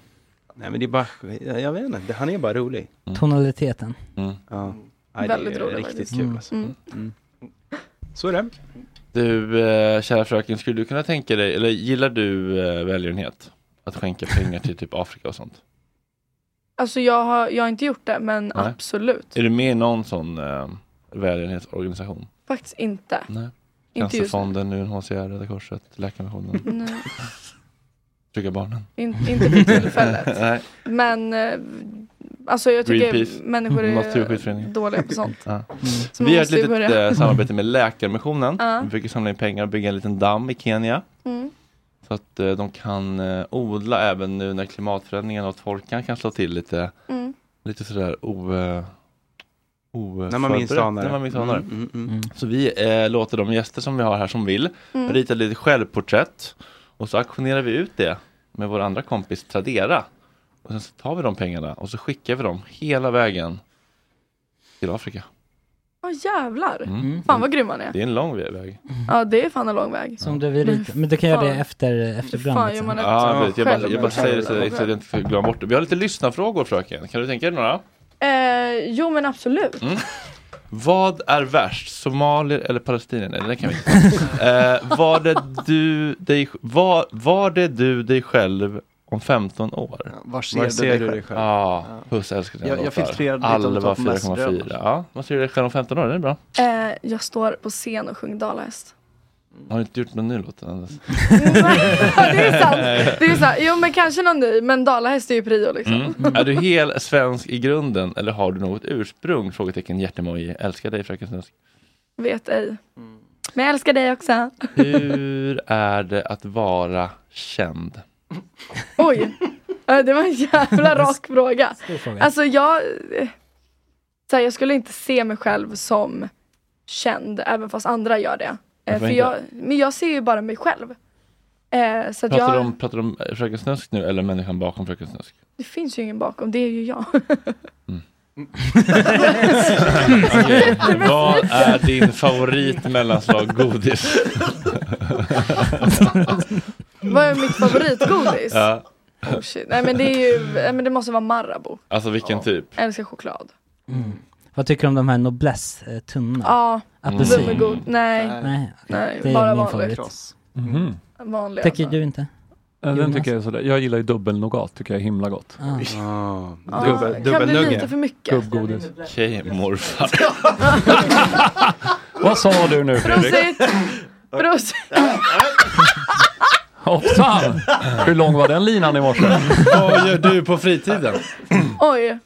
S5: Nej men det är bara, jag jag vet inte, han är bara rolig.
S7: Tonaliteten.
S5: Ja. Nej,
S10: Väldigt
S5: det är
S10: rolig
S5: riktigt
S10: faktiskt.
S5: kul alltså.
S10: Mm.
S5: Mm. Så är det.
S1: Du, eh, kära fröken, skulle du kunna tänka dig, eller gillar du eh, välgörenhet? Att skänka pengar till typ Afrika och sånt?
S10: Alltså jag har, jag har inte gjort det, men
S1: Nej.
S10: absolut.
S1: Är du med i någon sån eh, välgörenhetsorganisation?
S10: Faktiskt inte.
S1: Nej.
S10: Inte just nu.
S1: Cancerfonden, UNHCR, Röda Korset, Läkarmissionen,
S10: Nej,
S1: Trygga Barnen?
S10: in, inte för tillfället.
S1: Nej.
S10: Men eh, alltså jag tycker
S1: Greenpeace.
S10: människor är
S1: Mm, Naturskyddsföreningen.
S10: dåliga på sånt.
S7: Mm.
S1: Ja.
S10: Så man
S1: Vi har ett
S10: måste ju
S1: litet
S10: börja.
S1: eh, samarbete med Läkarmissionen.
S10: Ja.
S1: Vi försöker samla in pengar och bygga en liten damm i Kenya.
S10: Mm.
S1: Så att eh, de kan eh, odla även nu när klimatförändringarna och torkan kan slå till lite,
S10: Mm.
S1: lite sådär o... Eh, o
S5: När man minst
S1: förberett,
S5: anar det.
S1: När man minst anar det.
S5: Mm, mm, mm.
S1: Så vi eh, låter de gäster som vi har här som vill
S10: Mm.
S1: rita lite självporträtt och så auktionerar vi ut det med vår andra kompis Tradera. Och sen så tar vi de pengarna och så skickar vi dem hela vägen till Afrika.
S10: Ja jävlar.
S1: Mm.
S10: Fan vad grym han är.
S1: Det är en lång väg.
S10: Ja det är fan en lång väg.
S7: Mm. Som du vill rita. Men du kan göra det efter, efter
S10: Hur
S7: programmet.
S10: fan gör
S7: sen.
S10: man ett
S1: Ja, jag, vet, jag, bara, jag bara säger det så
S10: självporträtt?
S1: att jag inte får glömma bort det. Vi har lite lyssnarfrågor fröken. Kan du tänka dig några?
S10: Eh, jo men absolut.
S1: Mm. Vad är värst? Somalier eller palestinier? Nej, det kan vi inte. eh, var, det du, dig, var, var det du dig själv om 15 år?
S6: var ser du dig själv?
S1: Ja, Puss älskar dina
S6: Jag- jag
S1: låtar.
S6: filtrerade lite om du
S1: Alva
S6: tar på Messenger
S1: 4,4. Ja, vad ser du dig själv om 15 år? Det är bra.
S10: Eh, jag står på scen och sjunger dalahäst.
S1: Har du inte gjort någon ny låt än dess?
S10: Ja, det är sant. Det är sant. Jo men kanske någon ny. Men dalahäst är ju prio liksom.
S1: Mm. Är du hel svensk i grunden eller har du något ursprung? Frågetecken hjärtemoji. Älskar dig fröken Svensk.
S10: Vet ej.
S7: Mm.
S10: Men jag älskar dig också.
S1: Hur är det att vara känd?
S10: Oj. Eh, Det var en jävla rak fråga. Alltså jag... eh, Så här, jag skulle inte se mig själv som känd, även fast andra gör det. Eh,
S1: Varför
S10: För
S1: inte?
S10: jag, men jag ser ju bara mig själv. Eh, så att
S1: Pratar
S10: jag,
S1: du om, pratar du om eh, Fröken Snusk nu eller människan bakom Fröken Snusk?
S10: Det finns ju ingen bakom, det är ju jag.
S1: Mm. Okej, Vad är din favorit mellanslag godis?
S10: Vad är mitt favoritgodis?
S1: Ja,
S10: Oh, shit. Nej men det är ju, nej, men det måste vara Marabou.
S1: alltså vilken typ?
S10: Jag älskar choklad.
S7: Mm. Vad tycker du om de här Noblesse eh, tunnorna?
S10: Ja,
S7: Apelsin.
S10: Bubbelgod. Nej.
S7: Nej,
S10: Nej,
S7: det är
S10: bara
S7: min
S10: vanligt.
S7: favorit.
S12: Mhm.
S13: eh,
S10: Vanliga.
S7: Tycker
S10: alltså.
S7: du inte?
S12: Ja, Den
S7: Jonas?
S12: tycker jag är sådär. Jag gillar ju dubbelnougat, tycker jag är himla gott.
S7: Ah.
S10: Ja, kan bli lite för mycket.
S12: Gubbgodis.
S1: Okej morfar.
S12: Vad sa du nu Fredrik?
S10: Prosit! Prosit!
S12: Hoppsan! Hur lång var den linan i morse?
S1: Vad gör du på fritiden?
S10: Oj.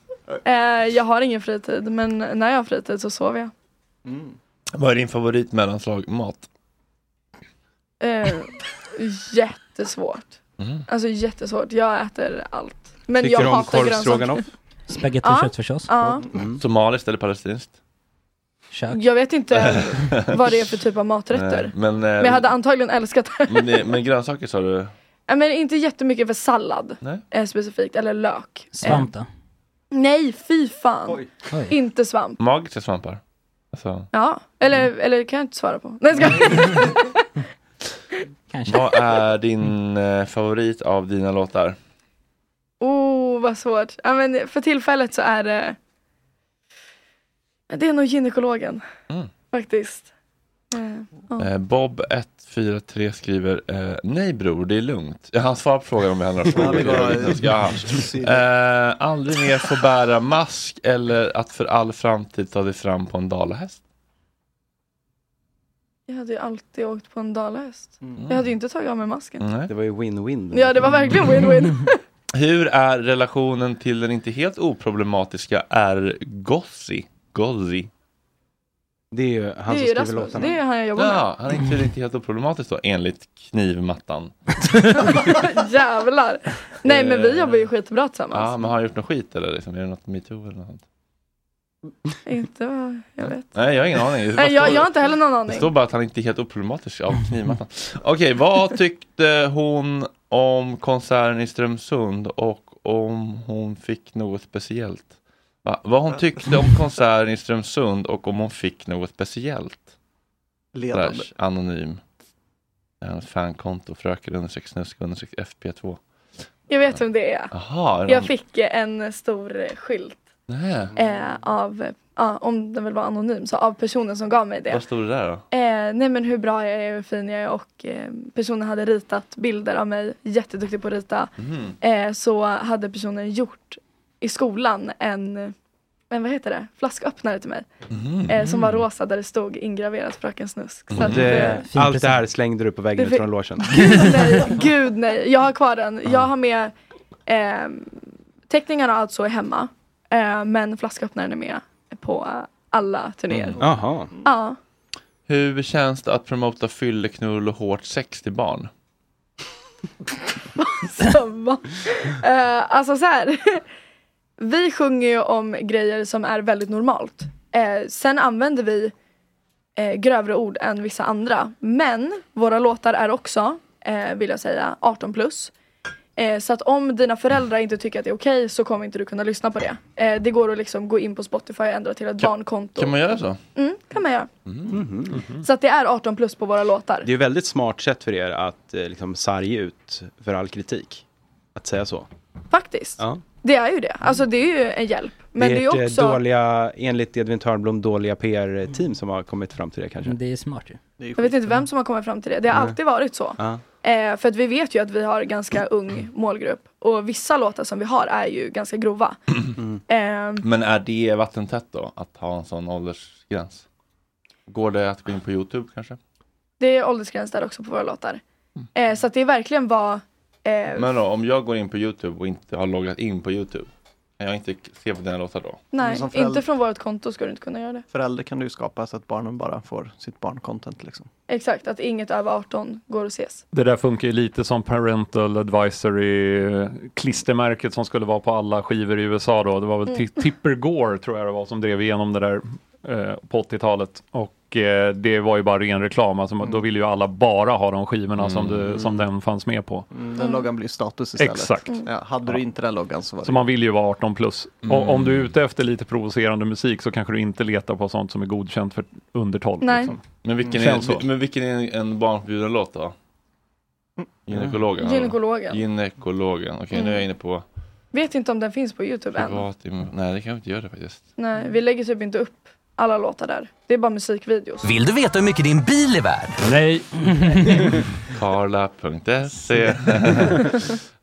S10: Eh, jag har ingen fritid, men när jag har fritid så sover jag.
S1: Vad är din favorit mellanslag mat?
S10: Eh, jättesvårt.
S1: Mm.
S10: Alltså jättesvårt. Jag äter allt. Men
S1: Tycker
S10: jag
S1: du om
S10: hatar
S1: korvstroganoff? Mm.
S10: grönsaker.
S7: Spagetti
S10: Ja,
S7: och köttfärssås?
S10: Ja.
S1: Somaliskt eller palestinskt?
S10: Jag vet inte vad det är för typ av maträtter.
S1: Nej, men, eh,
S10: Men jag hade antagligen älskat det.
S1: men, det- men grönsaker sa du?
S10: Nej, Men inte jättemycket för sallad
S1: Nej.
S10: eh, specifikt, eller lök. Eh,
S1: Svamp
S7: då?
S10: Nej, fy fan.
S1: Oj.
S10: Inte svamp.
S1: Magiska svampar? Alltså,
S10: Ja, eller, eller det kan jag inte svara på. Nej, ska
S1: vad är din eh, favorit av dina låtar?
S10: Oh, vad svårt. Ja, men för tillfället så är det... Det är nog gynekologen,
S1: Mm.
S10: faktiskt. Eh, ja.
S1: Eh, Bob143 skriver eh, Nej bror, det är lugnt. Ja, han svarar på frågan om vi har några frågor.
S5: det var-
S1: Det var lite snuskigt. Ja. Eh, aldrig mer få bära mask eller att för all framtid ta dig fram på en dalahäst.
S10: Jag hade ju alltid åkt på en dalahäst. Jag hade ju inte tagit av mig masken.
S1: Det var ju win-win.
S10: Ja, det var verkligen win-win.
S1: Hur är relationen till den inte helt oproblematiska R. Gozzi? Gozzi? Det är ju
S10: Det är ju Rasmus. Det är han jag jobbar
S1: Ja, han är tydligen inte helt oproblematisk då, enligt knivmattan.
S10: med. Jävlar. Nej, men
S1: Eh,
S10: vi jobbar ju skitbra tillsammans.
S1: Ja, men har han gjort något skit eller liksom? Är det något metoo eller något? sånt?
S10: Inte vad jag vet.
S1: Nej, jag har ingen aning. Det bara
S10: Nej, jag,
S1: står-
S10: jag har inte heller någon
S1: Det
S10: aning.
S1: står bara att han inte är helt oproblematisk av knivmattan. Okej, vad tyckte hon om konserten i Strömsund och om hon fick något speciellt? Va? Vad hon tyckte om konserten i Strömsund och om hon fick något speciellt?
S6: Ledande.
S1: Slash, anonym. Hennes fankonto, fröken understreck snusk understreck FP2.
S10: Jag vet vem det är.
S1: Jaha, är det
S10: Jag
S1: någon-
S10: fick eh, en stor eh, skylt
S1: Nej.
S10: eh, av, eh, ja, om den vill vara anonym, så av personen som gav mig det.
S1: Vad stod det där då?
S10: Eh, nej men hur bra jag är, hur fin jag är och eh, personen hade ritat bilder av mig, jätteduktig på att rita.
S1: Mhm.
S10: Eh, så hade personen gjort i skolan en, en vad heter det, flasköppnare till mig. Eh, som var rosa där det stod ingraverat Fröken Snusk. Så att, eh,
S5: Mm. Det, allt det här slängde du på väggen
S10: Det-
S5: från logen.
S10: Gud nej, gud nej. Jag har kvar den. Jag har med eh, teckningarna och allt så är hemma. Eh, men flasköppnaren är med på alla turnéer.
S1: Mm. Jaha.
S10: Ja.
S1: Hur känns det att promota fylleknull och hårt sex till barn?
S10: Samma. Eh, alltså så här. Vi sjunger ju om grejer som är väldigt normalt. Eh, sen använder vi eh, grövre ord än vissa andra. Men våra låtar är också, eh, vill jag säga, 18 plus. Eh, så att om dina föräldrar inte tycker att det är okej så kommer inte du kunna lyssna på det. Eh, det går att liksom gå in på Spotify och ändra till ett barnkonto.
S1: Kan man göra så?
S10: Mm, kan man göra. Så att det är 18 plus på våra låtar.
S5: Mm-hmm. Det är ju ett väldigt smart sätt för er att eh, liksom sarga ut för all kritik. Att säga så.
S10: Faktiskt.
S5: Ja.
S10: Det är ju det. Alltså det är ju en hjälp. Men det är ju
S5: ert, eh,
S10: också...
S5: dåliga, enligt Edvin Törnblom, dåliga PR-team som har kommit fram till det kanske.
S7: Det är smart ju.
S10: Jag vet inte vem som har kommit fram till det. Det har
S5: Nej.
S10: alltid varit så.
S5: Ja.
S10: Eh, för att vi vet ju att vi har ganska ung målgrupp. Och vissa låtar som vi har är ju ganska grova. Eh,
S1: Men är det vattentätt då, att ha en sån åldersgräns? Går det att gå in på Youtube kanske?
S10: det är åldersgräns där också på våra låtar. Eh, så att det är verkligen vad... Eh,
S1: Men då, om jag går in på Youtube och inte har loggat in på Youtube, kan jag inte se på dina låtar då?
S10: nej,
S6: som förälder-
S10: inte från vårt konto ska du inte kunna göra det.
S6: Förälder kan du ju skapa så att barnen bara får sitt barncontent liksom.
S10: Exakt, att inget över 18 går att ses.
S12: Det där funkar ju lite som parental advisory eh, klistermärket som skulle vara på alla skivor i USA då. Det var väl
S10: Mm.
S12: Ti- Tipper Gore tror jag det var som drev igenom det där eh, på 80-talet. Och eh, det var ju bara ren reklam. Alltså, Då ville ju alla bara ha de skivorna som, det, som den fanns med på.
S6: Mm, Den loggan blir status istället.
S12: Exakt.
S6: Ja, hade du inte den loggan så var
S12: Så
S6: det
S12: man vill ju vara 18 plus.
S6: Mm.
S12: Och om du är ute efter lite provocerande musik så kanske du inte letar på sånt som är godkänt för under 12.
S10: Nej.
S12: Liksom.
S1: Men vilken
S12: Känns
S1: är,
S12: så.
S1: men vilken är en barnförbjuden låt då? Gynekologen? eller?
S10: Gynekologen.
S1: Gynekologen, okej nu är jag inne på
S10: Vet inte om den finns på Youtube än.
S1: privat, nej det kan vi inte göra faktiskt.
S10: Nej, vi lägger typ inte upp alla låtar där. Det är bara musikvideos.
S1: Vill du veta hur mycket din bil är värd? Nej. Karla.se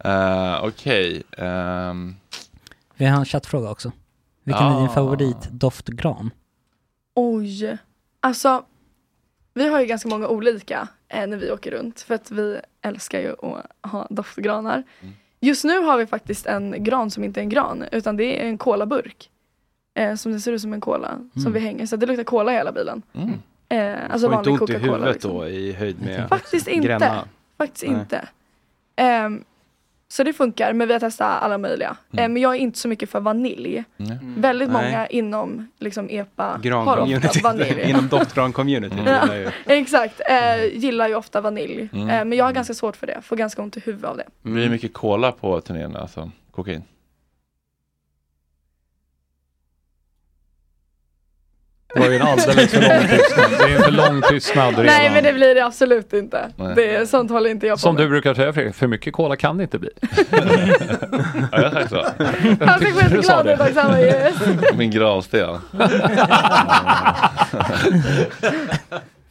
S1: Eh, Okej. ehm,
S7: Vi har en chattfråga också. Vilken är din
S1: Ah.
S7: favorit doftgran?
S10: Oj. Alltså, vi har ju ganska många olika eh, när vi åker runt. För att vi älskar ju att ha doftgranar.
S5: Mm.
S10: Just nu har vi faktiskt en gran som inte är en gran, utan det är en colaburk. Eh, som det ser ut som en cola, som
S1: Mm.
S10: vi hänger. Så det luktar cola i hela bilen. Eh,
S5: Får
S10: alltså
S5: inte
S10: vanlig
S5: ont i
S10: Coca-Cola.
S5: huvudet
S10: liksom.
S5: då i höjd med
S10: Faktiskt inte.
S5: Gränna?
S10: Faktiskt
S5: Nej.
S10: inte. Ehm, så det funkar, men vi har testat alla möjliga.
S5: Mm.
S10: Ehm, men jag är inte så mycket för vanilj. Väldigt
S5: Nej.
S10: många inom liksom, EPA har ofta
S5: Gran-community.
S10: vanilj.
S5: Inom doftgran-community.
S10: Ja,
S5: Mm. gillar ju.
S10: exakt, eh, gillar ju ofta vanilj.
S1: Mm.
S10: Eh, men jag har ganska svårt för det, får ganska ont i huvudet av det.
S1: Det blir mycket cola på turnéerna, alltså kokain.
S12: Det var ju en alldeles för lång tystnad. Det är en för lång tystnad redan.
S10: Nej men det blir det absolut inte.
S12: Nej.
S10: Det, sånt håller inte jag på
S12: Som
S10: med.
S12: du brukar säga Fredrik, för mycket cola kan det inte bli.
S1: Ja, jag sa så.
S10: Han fick mig
S1: Du sa
S10: glad
S1: det.
S10: ut också, han bara, yes.
S1: Min gravsten.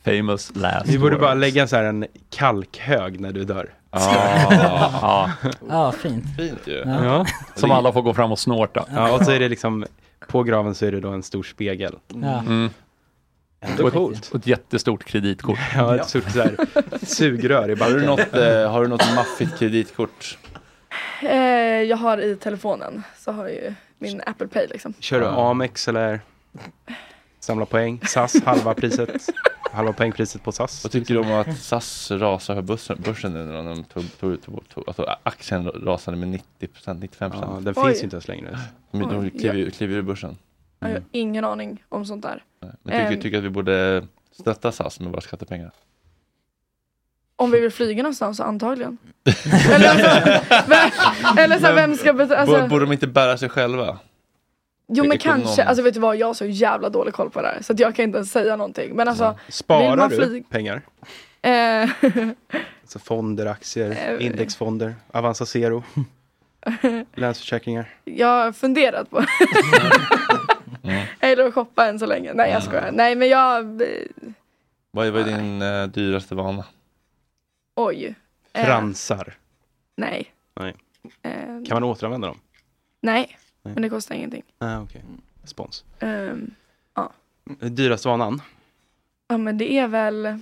S1: Famous last
S5: Vi borde bara
S1: words.
S5: lägga så här en kalkhög när du dör.
S12: Ja.
S7: Ja, fint.
S1: Fint ju.
S7: Ja.
S12: Som alla får gå fram och snorta.
S5: Ja, och så är det liksom, på graven så är det då en stor spegel.
S7: Ja.
S12: Mm.
S5: Ändå
S12: Och ett-
S5: coolt.
S12: Och ett jättestort kreditkort.
S5: Ja, ett stort så här sugrör i
S1: Har
S5: backen.
S1: du något, eh, har du något maffigt kreditkort?
S10: Eh, jag har i telefonen, så har jag ju min Apple Pay liksom.
S5: Kör du Amex eller samla poäng? SAS, halva priset. Halva poängpriset på SAS.
S1: Vad tycker du om att SAS rasar för börsen, börsen nu när de tog, tog, tog, tog, alltså aktien rasade med 90 95
S5: Ja, den
S10: Oj.
S5: finns ju inte ens längre.
S1: De, de
S10: Oj.
S1: kliver ju- kliver ur börsen.
S10: Jag har ingen aning om sånt där.
S1: Men tycker,
S10: Ehm.
S1: tycker att vi borde stötta SAS med våra skattepengar?
S10: Om vi vill flyga någonstans så antagligen. eller alltså, vem, eller så här, vem ska betala?
S1: Borde,
S10: Alltså,
S1: borde de inte bära sig själva?
S10: jo men
S1: ekonom-
S10: kanske, alltså vet du vad, jag har så jävla dålig koll på det här så att jag kan inte ens säga någonting. Men alltså, vill
S5: Sparar
S10: man
S5: du
S10: flyga-
S5: pengar?
S10: Eh,
S5: Alltså fonder, aktier,
S10: Eh,
S5: indexfonder, Avanza Zero, Länsförsäkringar.
S10: jag har funderat på
S5: Mm.
S10: Eller att shoppa än så länge. Nej jag skojar. Nej men jag, eh,
S1: Vad är, vad är din eh, dyraste vana?
S10: oj. Eh,
S5: Fransar.
S10: Nej.
S5: Nej.
S10: Eh,
S5: Kan man återanvända dem?
S10: nej,
S5: Nej.
S10: men det kostar ingenting.
S5: Ah, okej. Spons.
S10: Ehm,
S5: Dyraste vanan?
S10: Ja men det är väl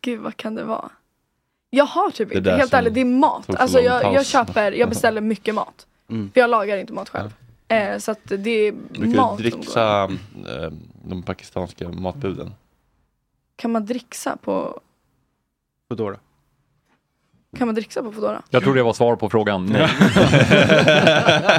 S10: Gud vad kan det vara? Jag har typ
S5: Det
S10: inte,
S5: där
S10: helt
S5: som
S10: ärligt det är mat.
S5: tog för
S10: Alltså
S5: lång
S10: jag, jag
S5: paus.
S10: köper, jag beställer mycket mat.
S5: Mm.
S10: För jag lagar inte mat själv. Eh, så att det är
S1: Brukar
S10: mat som
S1: du
S10: går.
S1: dricksa eh, de pakistanska matbuden?
S10: Kan man dricksa på,
S5: Foodora.
S10: kan man dricksa på Foodora?
S12: Jag tror det var svar på frågan. Nej.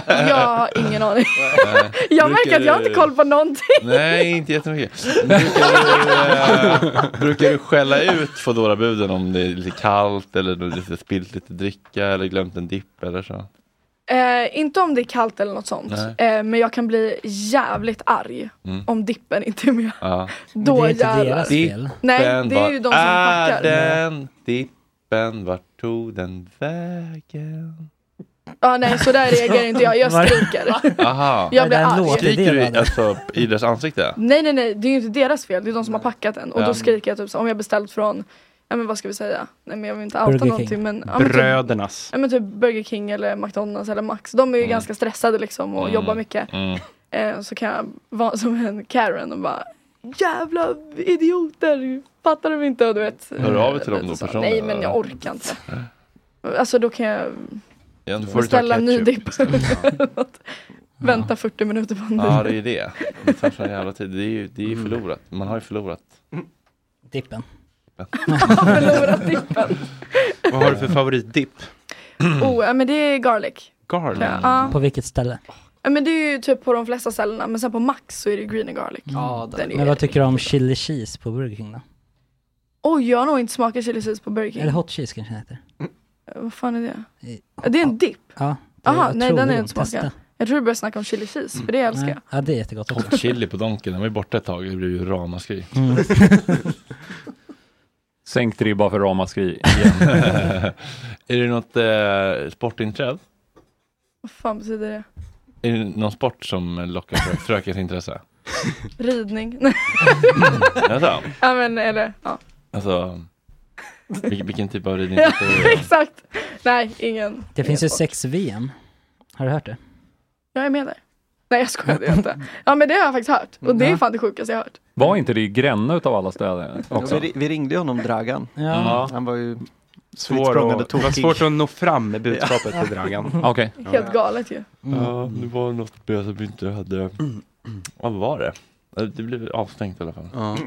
S10: Jag har ingen aning.
S1: Nej.
S10: jag
S1: Brukar
S10: märker att jag har
S1: du-
S10: inte koll på någonting.
S1: Nej, inte jättemycket. Brukar du, eh, brukar du skälla ut Foodora-buden om det är lite kallt eller du har lite spilt lite dricka eller glömt en dipp eller så?
S10: Eh, inte om det är kallt eller något sånt.
S1: Nej.
S10: Eh, men jag kan bli jävligt arg
S1: Mm.
S10: om dippen inte är med.
S1: Ja.
S10: Då jävlar. Nej, det är ju de som
S1: Var
S10: packar.
S1: är den dippen? Vart tog den vägen?
S10: Ja nej så där reagerar inte jag, jag
S1: Var-
S10: skriker.
S1: Aha.
S10: Jag blir Är det en arg. låt i
S1: Skriker du
S10: det,
S1: i- alltså, i deras ansikte?
S10: Nej nej nej, det är ju inte deras fel, det är de som har packat den. Och
S1: Ja.
S10: då skriker jag typ så, om jag beställt från, ja men vad ska vi säga? Nej men jag vill inte outa
S5: Burger
S10: någonting
S5: King.
S10: men, ja, men typ,
S5: Brödernas.
S10: ja, men typ Burger King eller McDonalds eller Max. De är ju ganska stressade liksom och
S5: Mm.
S10: jobbar mycket.
S1: Mm.
S10: Eh, så kan jag vara som en Karen och bara Jävla idioter! Fattar de inte? Och du vet.
S1: Hör du av dig till dem
S10: lite
S1: då
S10: så.
S1: personligen,
S10: Nej men jag
S1: eller?
S10: orkar inte. Alltså då kan jag
S1: Ja, då får du ta
S10: beställa en ny
S1: ketchup
S10: dipp.
S1: istället.
S10: Vänta 40 minuter på en ny
S1: Ja, det är ju det. Det tar sån jävla tid. Det är ju det är ju förlorat. Man har ju förlorat.
S7: Dippen.
S10: förlorat dippen.
S5: Vad har du för favoritdipp?
S10: Oh, ja, men det är garlic.
S5: Garlic.
S10: Ja, ja.
S7: På vilket ställe?
S10: Ja, men det är ju typ på de flesta ställena, men sen på Max så är det green and garlic. Den är
S7: Mm. Men
S10: ju...
S7: vad tycker du om chili cheese på Burger King då?
S10: Oj, jag har nog inte smakat chili cheese på Burger King. Eh,
S7: Eller hot cheese kanske den heter?
S10: Vad fan är det? Ja, Det är en dipp.
S7: Ja. det-
S10: Jaha,
S7: jag
S10: nej
S7: tror
S10: den
S7: det
S10: har jag
S7: går
S10: inte
S7: att testa. Mm.
S10: smakat. Jag tror du börjar snacka om chili cheese, för det älskar
S7: Nej.
S10: jag.
S7: Ja, det är jättegott också.
S1: Hot chili på Donken, den var ju borta ett tag. Det blev ju ramaskri.
S7: Mm.
S12: Sänkt ribba för ramaskri igen.
S1: är det något eh, sportinträd?
S10: Vad fan betyder det?
S1: Är det någon sport som lockar frö- frökens intresse?
S10: Ridning?
S7: Mm.
S10: Nej.
S1: Alltså,
S10: ja men eller, ja.
S1: alltså vilken, vilken typ av ridning?
S10: ja exakt. Nej, ingen.
S7: Det finns ju sex-VM. Har du hört det?
S10: Jag är med där. Nej jag skojar, det är jag inte. Ja men det har jag faktiskt hört. Och det är fan det sjukaste jag har hört.
S12: Var inte det i Gränna utav alla städer också?
S6: Ja, vi, vi ringde ju honom Dragan.
S12: Ja.
S6: Han var ju
S5: Svår att, det var svårt att nå fram med budskapet
S6: Ja.
S5: till Mm. Dragan.
S12: Okej.
S10: Helt galet ju.
S5: Mm.
S1: Ja, det var något jag som inte hade... Vad var det? Det blir avstängt i alla fall.
S5: Ja.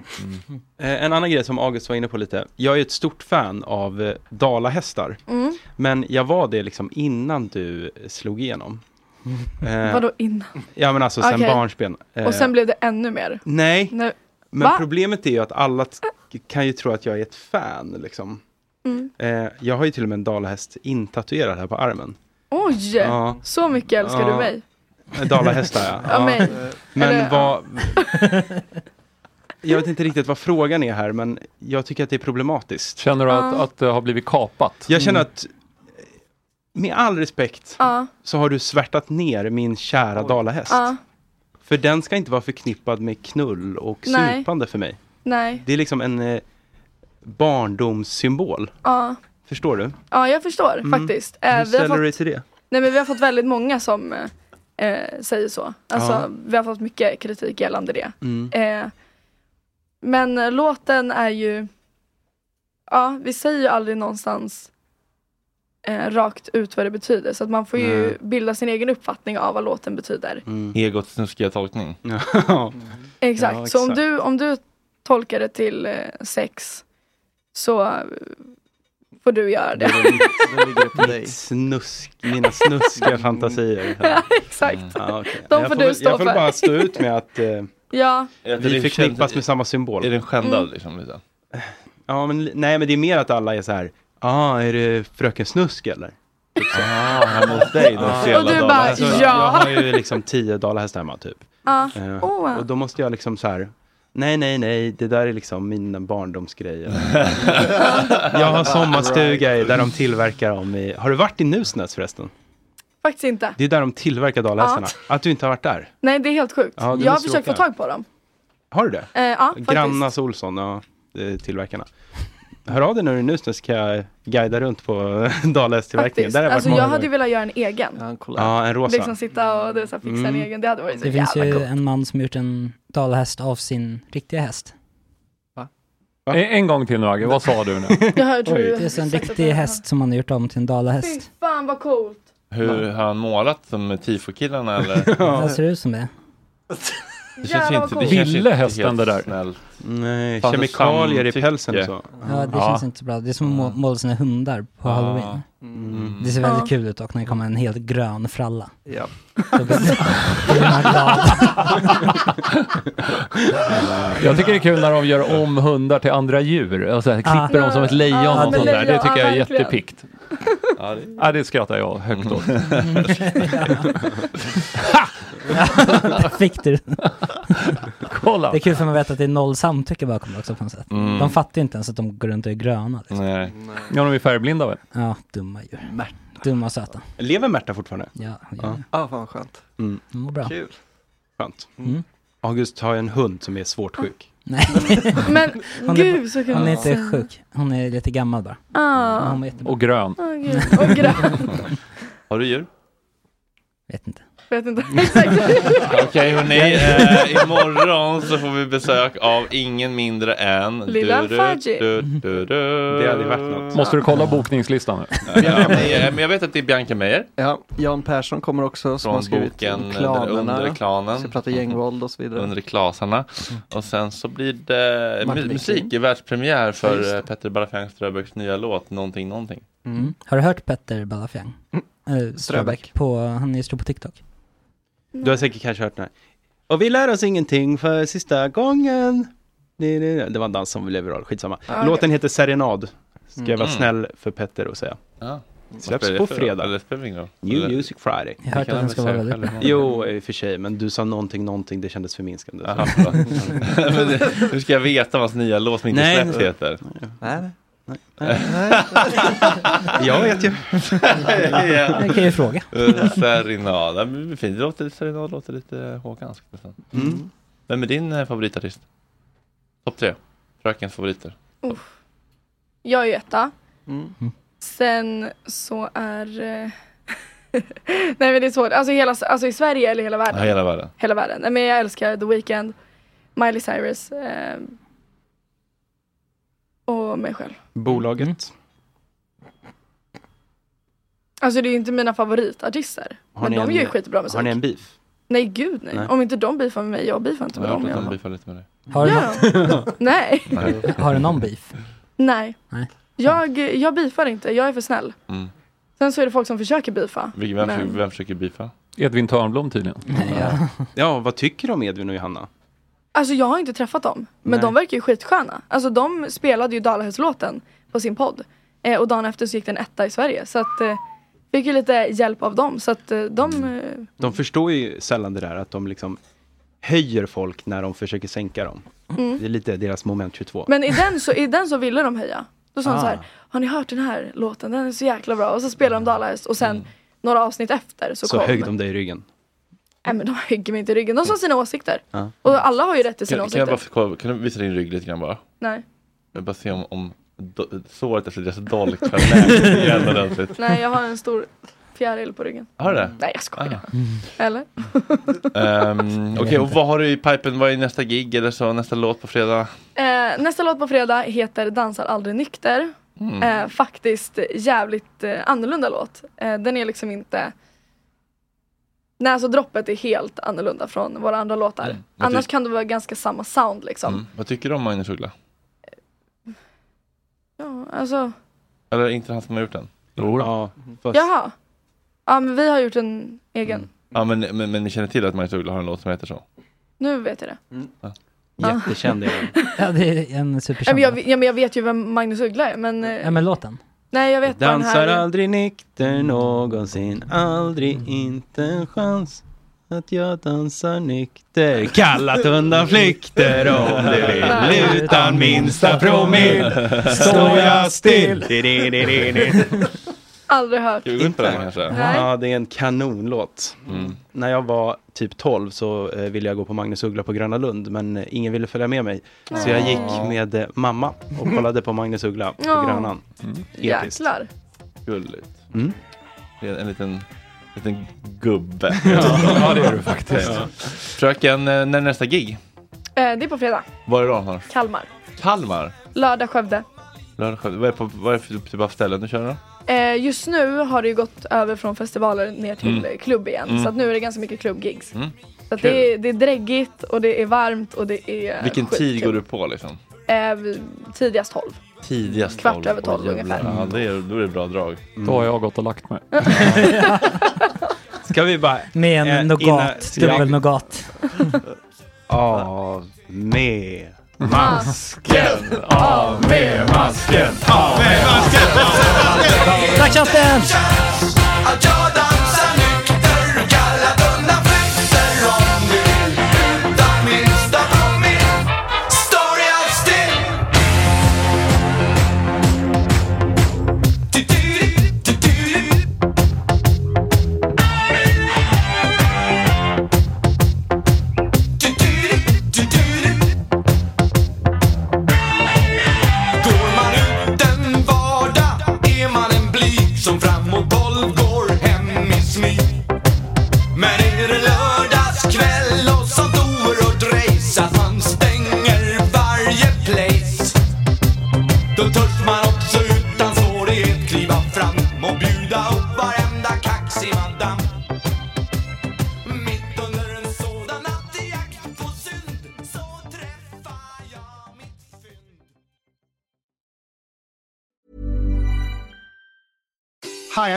S5: Eh, En annan grej som August var inne på lite. Jag är ju ett stort fan av eh, dalahästar.
S10: Mm.
S5: Men jag var det liksom innan du slog igenom. Eh,
S10: Vadå innan?
S5: Ja men alltså sen
S10: Okej.
S5: barnsben. Eh,
S10: Och sen blev det ännu mer?
S5: Nej,
S10: Nu,
S5: men
S10: Va? Eh.
S5: problemet är ju att alla t- kan ju tro att jag är ett fan liksom.
S10: Mm.
S5: Eh, jag har ju till och med en dalahäst intatuerad här på armen.
S10: Oj!
S5: Ja.
S10: Så mycket älskar
S5: Ja.
S10: du mig.
S5: Eh, Dalahästar ja.
S10: Ja, mig.
S5: Men
S10: Eller,
S5: vad... Jag vet inte riktigt vad frågan är här, men jag tycker att det är problematiskt.
S12: Känner du att-
S10: Ja.
S12: det har blivit kapat?
S5: Jag känner
S12: Mm.
S5: att, eh, med all respekt,
S10: Ja.
S5: så har du svärtat ner min kära dalahäst.
S10: Ja.
S5: För den ska inte vara förknippad med knull och
S10: Nej.
S5: supande för mig.
S10: Nej.
S5: Det är liksom en eh, barndomssymbol.
S10: Ja.
S5: Förstår du?
S10: Ja, jag förstår
S5: Mm.
S10: faktiskt. Eh,
S5: Hur
S10: vi, har
S5: ställer du dig
S10: fått,
S5: till det?
S10: nej, men vi har fått väldigt många som eh, eh, säger så. Alltså,
S5: Ja.
S10: Vi har fått mycket kritik gällande det.
S5: Mm.
S10: Eh, men eh, låten är ju, ja vi säger ju aldrig någonstans eh, rakt ut vad det betyder. Så att man får ju
S1: Nej.
S10: bilda sin egen uppfattning av vad låten betyder.
S1: Egots snuskiga tolkning.
S10: Exakt,
S1: Mm. Ja,
S10: så om
S1: exakt.
S10: du, om du tolkar det till eh, sex så eh, får du göra det.
S5: Mitt snusk, mina snuskiga fantasier.
S10: ja, exakt.
S5: Ja, okej.
S10: De
S5: jag
S10: får
S5: väl-
S10: du stå
S5: Jag får
S10: för.
S5: bara stå ut med att eh,
S10: Ja.
S5: vi förknippas med samma symbol.
S1: Är den skändad
S10: Mm.
S1: liksom? Lite?
S5: Ja, men, li- nej, men det är mer att alla är så här, ah, är det fröken Snusk eller? Ah, hemma hos dig,
S1: de fela Och du bara, dalarna. ja.
S5: Alltså, Jag har ju liksom tio dalahästar hemma typ.
S10: Ja.
S5: Eh,
S10: Åh.
S5: Och då måste jag liksom så här, nej, nej, nej, det där är liksom mina barndomsgrejer. jag har sommarstuga i- där de tillverkar dem i, har du varit i Nusnäs förresten?
S10: Faktiskt inte.
S5: Det är där de tillverkar dalahästarna. Att du inte har varit där.
S10: Nej det är helt sjukt.
S5: Ja, du
S10: jag har
S5: måste
S10: försökt
S5: åka.
S10: få tag på dem.
S5: Har du det?
S10: Eh, ja,
S5: Grannas Olsson, ja, eh, tillverkarna. Hör av dig när du är nu så ska jag guida runt på dalhästtillverkningen.
S10: faktiskt.
S5: Där har jag
S10: Alltså
S5: varit
S10: jag
S5: många
S10: hade ju
S5: gånger.
S10: velat göra en egen. Ja,
S5: Ja, en rosa.
S10: Liksom sitta och du, så här, fixa en
S5: Mm.
S10: egen. Det hade varit så
S7: Det finns
S10: jävla
S7: ju
S10: coolt.
S7: en man som gjort en dalahäst av sin riktiga häst.
S12: En, en gång till nu Agge, vad sa du nu?
S10: Jag hör, tror du-
S7: Det är så en
S10: exakt att
S7: riktig
S10: jag-
S7: häst som man har gjort om till en
S10: Fy
S7: dalahäst.
S10: fan vad coolt.
S1: Hur har han målat som med tifokillarna eller?
S7: Alltså, Det ser ut som det.
S1: Det känns
S10: Jävlar, vad
S1: inte, det
S10: coolt.
S1: känns
S12: Ville
S1: inte
S12: hästen
S1: helt
S12: det där?
S1: Snällt.
S5: Nej,
S1: Fanns det
S5: kemikalier i
S1: samtycke?
S5: pälsen och så.
S7: Ja, det känns inte så bra. Det är som att må- måla sina hundar på
S1: Ah.
S7: halloween.
S1: Mm.
S7: Det ser väldigt
S10: Ja.
S7: kul ut och när det kommer en helt grön fralla.
S6: Ja.
S7: Då blir då blir man glad.
S12: Jag tycker det är kul när de gör om hundar till andra djur. Alltså, klipper dem som ett lejon
S10: Ja,
S12: och
S10: men
S12: sånt där. Det
S10: lejon,
S12: tycker
S10: ja,
S12: jag är
S10: verkligen.
S12: jättepikt.
S1: Ja, det...
S12: Ja, det skrattar jag högt åt.
S7: Mm. Där Fick du den.
S12: Kolla.
S7: Det är kul för man vet att det är noll samtycke bakom det också på något sätt.
S12: Mm.
S7: De fattar ju inte ens att de går runt och är gröna. Liksom.
S1: Nej.
S12: Ja, de är färgblinda väl?
S7: Ja, dumma djur. Dumma och söta.
S5: Lever Märta fortfarande?
S7: Ja,
S5: Ja.
S6: Ja, fan vad skönt.
S5: Mm.
S7: de mår bra.
S6: Kul.
S5: Skönt.
S7: Mm.
S5: August har ju en hund som är svårt sjuk.
S7: Nej.
S10: Men
S7: Hon är,
S10: gud så kul.
S7: hon är
S10: att
S7: inte
S10: säga.
S7: sjuk. Hon är lite gammal bara. Men
S10: Ah.
S7: Hon var jättebra.
S12: Och grön.
S10: Åh gud, och grön.
S1: Har du djur?
S7: Vet inte.
S10: Vet inte
S5: Mm.
S10: exakt.
S1: Okej hörni, eh, imorgon så får vi besök av ingen mindre än
S10: Lilla Fudgy.
S1: Det
S5: hade varit något.
S12: Måste du kolla bokningslistan nu?
S1: Ja, men, jag- men jag vet att det är Bianca Meijer.
S6: Ja, Jan Persson kommer också som
S1: Från
S6: har skrivit
S1: boken, eh,
S6: Klanerna.
S1: Den undre klanen.
S6: Ska prata gängvåld och så vidare. Mm.
S1: Under klasarna. Och sen så blir det
S6: Martin
S1: mu-
S6: Luther
S1: musik
S6: King.
S1: i världspremiär
S6: Ja, just
S1: för
S6: det.
S1: eh, Petter Balafiang Ströbecks nya låt Någonting Någonting.
S7: Mm. Har du hört Petter Balafiang? Eh, Ströbeck. På, han är ju stor på TikTok.
S5: Du har säkert kanske hört den här. Och vi lär oss ingenting för sista gången. Nej, nej, nej. Det var en dans som blev viral, skitsamma.
S10: Ja.
S5: Låten heter Serenad. Ska jag vara
S1: Mm.
S5: snäll för Petter och säga.
S1: Ja. Vad
S5: Släpps
S1: spelar
S5: på
S1: det för då?
S5: fredag.
S1: Eller spelar det ingen roll?
S5: New
S1: Eller-
S5: Music Friday.
S7: Jag har hört
S1: kan
S7: att
S1: han
S7: den ska
S1: väl
S7: vara
S1: säga
S7: väldigt bra.
S1: själv.
S5: Jo, i och för sig, men du sa någonting, någonting, det kändes förminskande.
S1: Jaha, förlåt. Men det- Hur ska jag veta vad hans nya låt som inte
S5: Nej.
S1: släpps heter?
S6: Nej, nej. nej,
S5: Jag vet ju.
S1: Ja.
S7: Jag kan ju fråga.
S1: Eh, Serenad. Ja, men Fint, det låter, serenad låter lite håkanskt nästan.
S5: Mm.
S1: Vem är din eh, favoritartist? Topp tre. Frökens favoriter.
S10: Jag är etta.
S6: Mm.
S10: Sen så är... eh, Nej men det är svårt. Alltså, hela, alltså i Sverige eller hela
S1: Ja,
S10: världen?
S1: hela världen.
S10: Hela världen. Nej, men jag älskar The Weeknd, Miley Cyrus eh, och mig själv.
S5: Bolaget.
S10: Alltså det är ju inte mina favoritartister.
S5: Har
S10: men
S5: ni
S10: de
S5: en-
S10: gör ju skitbra musik.
S5: Har ni en beef?
S10: Nej gud nej.
S1: Nej.
S10: Om inte de beefar med mig, jag beefar inte med
S1: Jag
S10: dem.
S1: har hört att de
S10: Jag.
S1: beefar lite med dig.
S7: Har du
S10: Ja.
S7: någon-
S10: Nej.
S7: Har du någon beef?
S10: Nej.
S7: Nej.
S10: Jag, jag beefar inte, jag är för snäll.
S1: Mm.
S10: Sen så är det folk som försöker beefa.
S1: Vil- Vem,
S10: Men-
S1: försöker- vem försöker beefa?
S12: Edvin Törnblom tydligen.
S5: Ja. ja, vad tycker du om Edvin och Johanna?
S10: Alltså jag har inte träffat dem, men
S5: Nej.
S10: de verkar ju skitsköna. Alltså de spelade ju Dalahässlåten på sin podd. Eh, och dagen efter så gick den etta i Sverige. Så att, eh, fick ju lite hjälp av dem. Så att eh, de,
S1: Mm.
S10: eh,
S5: De förstår ju sällan det där att de liksom höjer folk när de försöker sänka dem.
S10: Mm.
S5: Det är lite deras moment 22.
S10: Men i den, så, i den så ville de höja. Då sa de
S5: Ah.
S10: så här, har ni hört den här låten? Den är så jäkla bra. Och så spelade
S1: Ah.
S10: de Dalahäst och sen
S1: Mm.
S10: några avsnitt efter så,
S5: så
S10: kom...
S5: högg de dig i ryggen.
S10: Nej men de högg mig inte i ryggen. De sa sina åsikter.
S5: Ja.
S10: Och alla har ju rätt till sina
S1: Ah. Kan, kan,
S10: åsikter.
S1: jag bara, få kolla- kan du visa din rygg lite grann bara?
S10: Nej.
S1: Jag vill bara se om, om do, såret efter deras dolk har läkt igen ordentligt.
S10: Nej, jag har en stor fjäril på ryggen.
S1: Har du det? Ah. Mm.
S10: Nej, jag skojar. Eller?
S1: Ehm, Okej, och vad har du i pipen? Vad är nästa gig eller så? Nästa låt på fredag?
S10: Eh, nästa låt på fredag heter Dansar aldrig nykter.
S1: Mm.
S10: Eh, faktiskt jävligt eh, annorlunda låt. Eh, den är liksom inte... Nej, alltså droppet är helt annorlunda från våra andra låtar.
S5: Mm.
S1: Vad
S10: Annars
S1: ty-
S10: kan det vara ganska samma sound liksom.
S1: Mm. Vad tycker du om Magnus Uggla?
S10: Ja, alltså,
S1: Eller inte han som har gjort den?
S5: Ja, fast... Mm.
S10: jaha. Ja, men vi har gjort en egen.
S1: Ja, men, men, men ni känner till att Magnus Uggla har en låt som heter så?
S10: Nu vet jag det.
S5: Mm.
S12: Mm.
S1: Ja.
S10: Ja.
S5: Jättekänd är han.
S7: Ja, det är en
S10: Ja,
S7: superkänd.
S10: Äh, men jag, ja, men jag vet ju vem Magnus Uggla är, men... eh,
S7: Ja, men Mm. låten.
S10: Nej, jag vet bara den
S5: Mm. Dansar
S10: här...
S5: aldrig nykter
S7: Mm.
S5: någonsin, aldrig inte en chans att jag dansar nykter. Kallat undan flykter om du vill, utan minsta promille står jag still.
S10: Aldrig hört. Nej.
S5: Ja, det är en kanonlåt.
S1: Mm.
S5: När jag var typ 12 så eh, ville jag gå på Magnus Uggla på Gröna Lund, men eh, ingen ville följa med mig. Så jag gick med eh, mamma och kollade på Magnus Uggla på
S10: Ja.
S5: Grönan. Episkt.
S10: Jäklar.
S1: Mm. Gulligt.
S5: Mm.
S1: Det är en liten, liten gubbe.
S12: Ja, det är du faktiskt.
S1: Ja. Fröken, eh, när är nästa gig?
S10: Eh, det är på fredag.
S1: Var är det då? Hanna?
S10: Kalmar.
S1: Kalmar?
S10: Lördag Skövde.
S1: Lördag, sjö- Vad är, på, vad är det för typ av ställen du kör då?
S10: Eh, just nu har det ju gått över från festivaler ner till
S1: Mm.
S10: eh, klubb igen.
S1: Mm.
S10: Så att nu är det ganska mycket klubbgigs.
S1: Mm.
S10: Så att
S1: Kul.
S10: det, är, det är dräggigt och det är varmt och det är
S1: Vilken tid
S10: skitkul.
S1: går du på liksom?
S10: Eh, vi- tidigast 12.
S1: Tidigast
S10: Kvart
S1: tolv.
S10: över tolv
S1: Åh, jävlar.
S10: ungefär.
S1: Ja, det är, då är det bra drag.
S12: Då har jag gått och lagt mig.
S5: Ska vi bara...
S7: Med en
S5: eh,
S7: nougat,
S5: innan-
S7: dubbel nougat.
S5: Av med
S10: masken,
S5: av med masken, av med
S7: Tack chatten!
S16: Går man ut en vardag är man en blyg som fram och boll går hem i smyg. Men är det lördagskväll och sånt oerhört race att man stänger varje place. Då törs man också utan svårighet kliva fram och bjuda upp varenda kaxig madam. Mitt under en sådan natt i jakt på synd så träffar jag mitt fynd.
S17: Hi,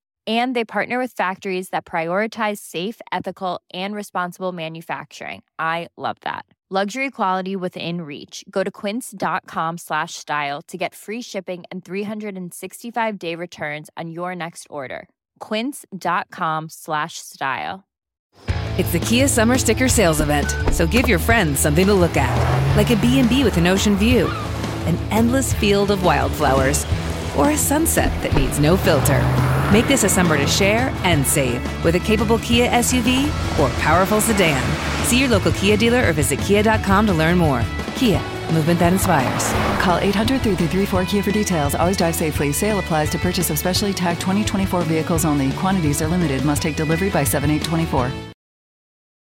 S18: And they partner with factories that prioritize safe, ethical, and responsible manufacturing. I love that. Luxury quality within reach. Go to quince.com slash style to get free shipping and 365 day returns on your next order. quince.com slash style.
S19: It's the Kia Summer Sticker Sales Event, so give your friends something to look at, like a B&B with an ocean view, an endless field of wildflowers, or a sunset that needs no filter. Make this a summer to share and save with a capable Kia SUV or powerful sedan. See your local Kia dealer or visit kia.com to learn more. Kia, movement that inspires.
S20: Call 800 334 Kia for details. Always drive safely. Sale applies to purchase of specially tagged 2024 vehicles only. Quantities are limited. Must take delivery by 7824.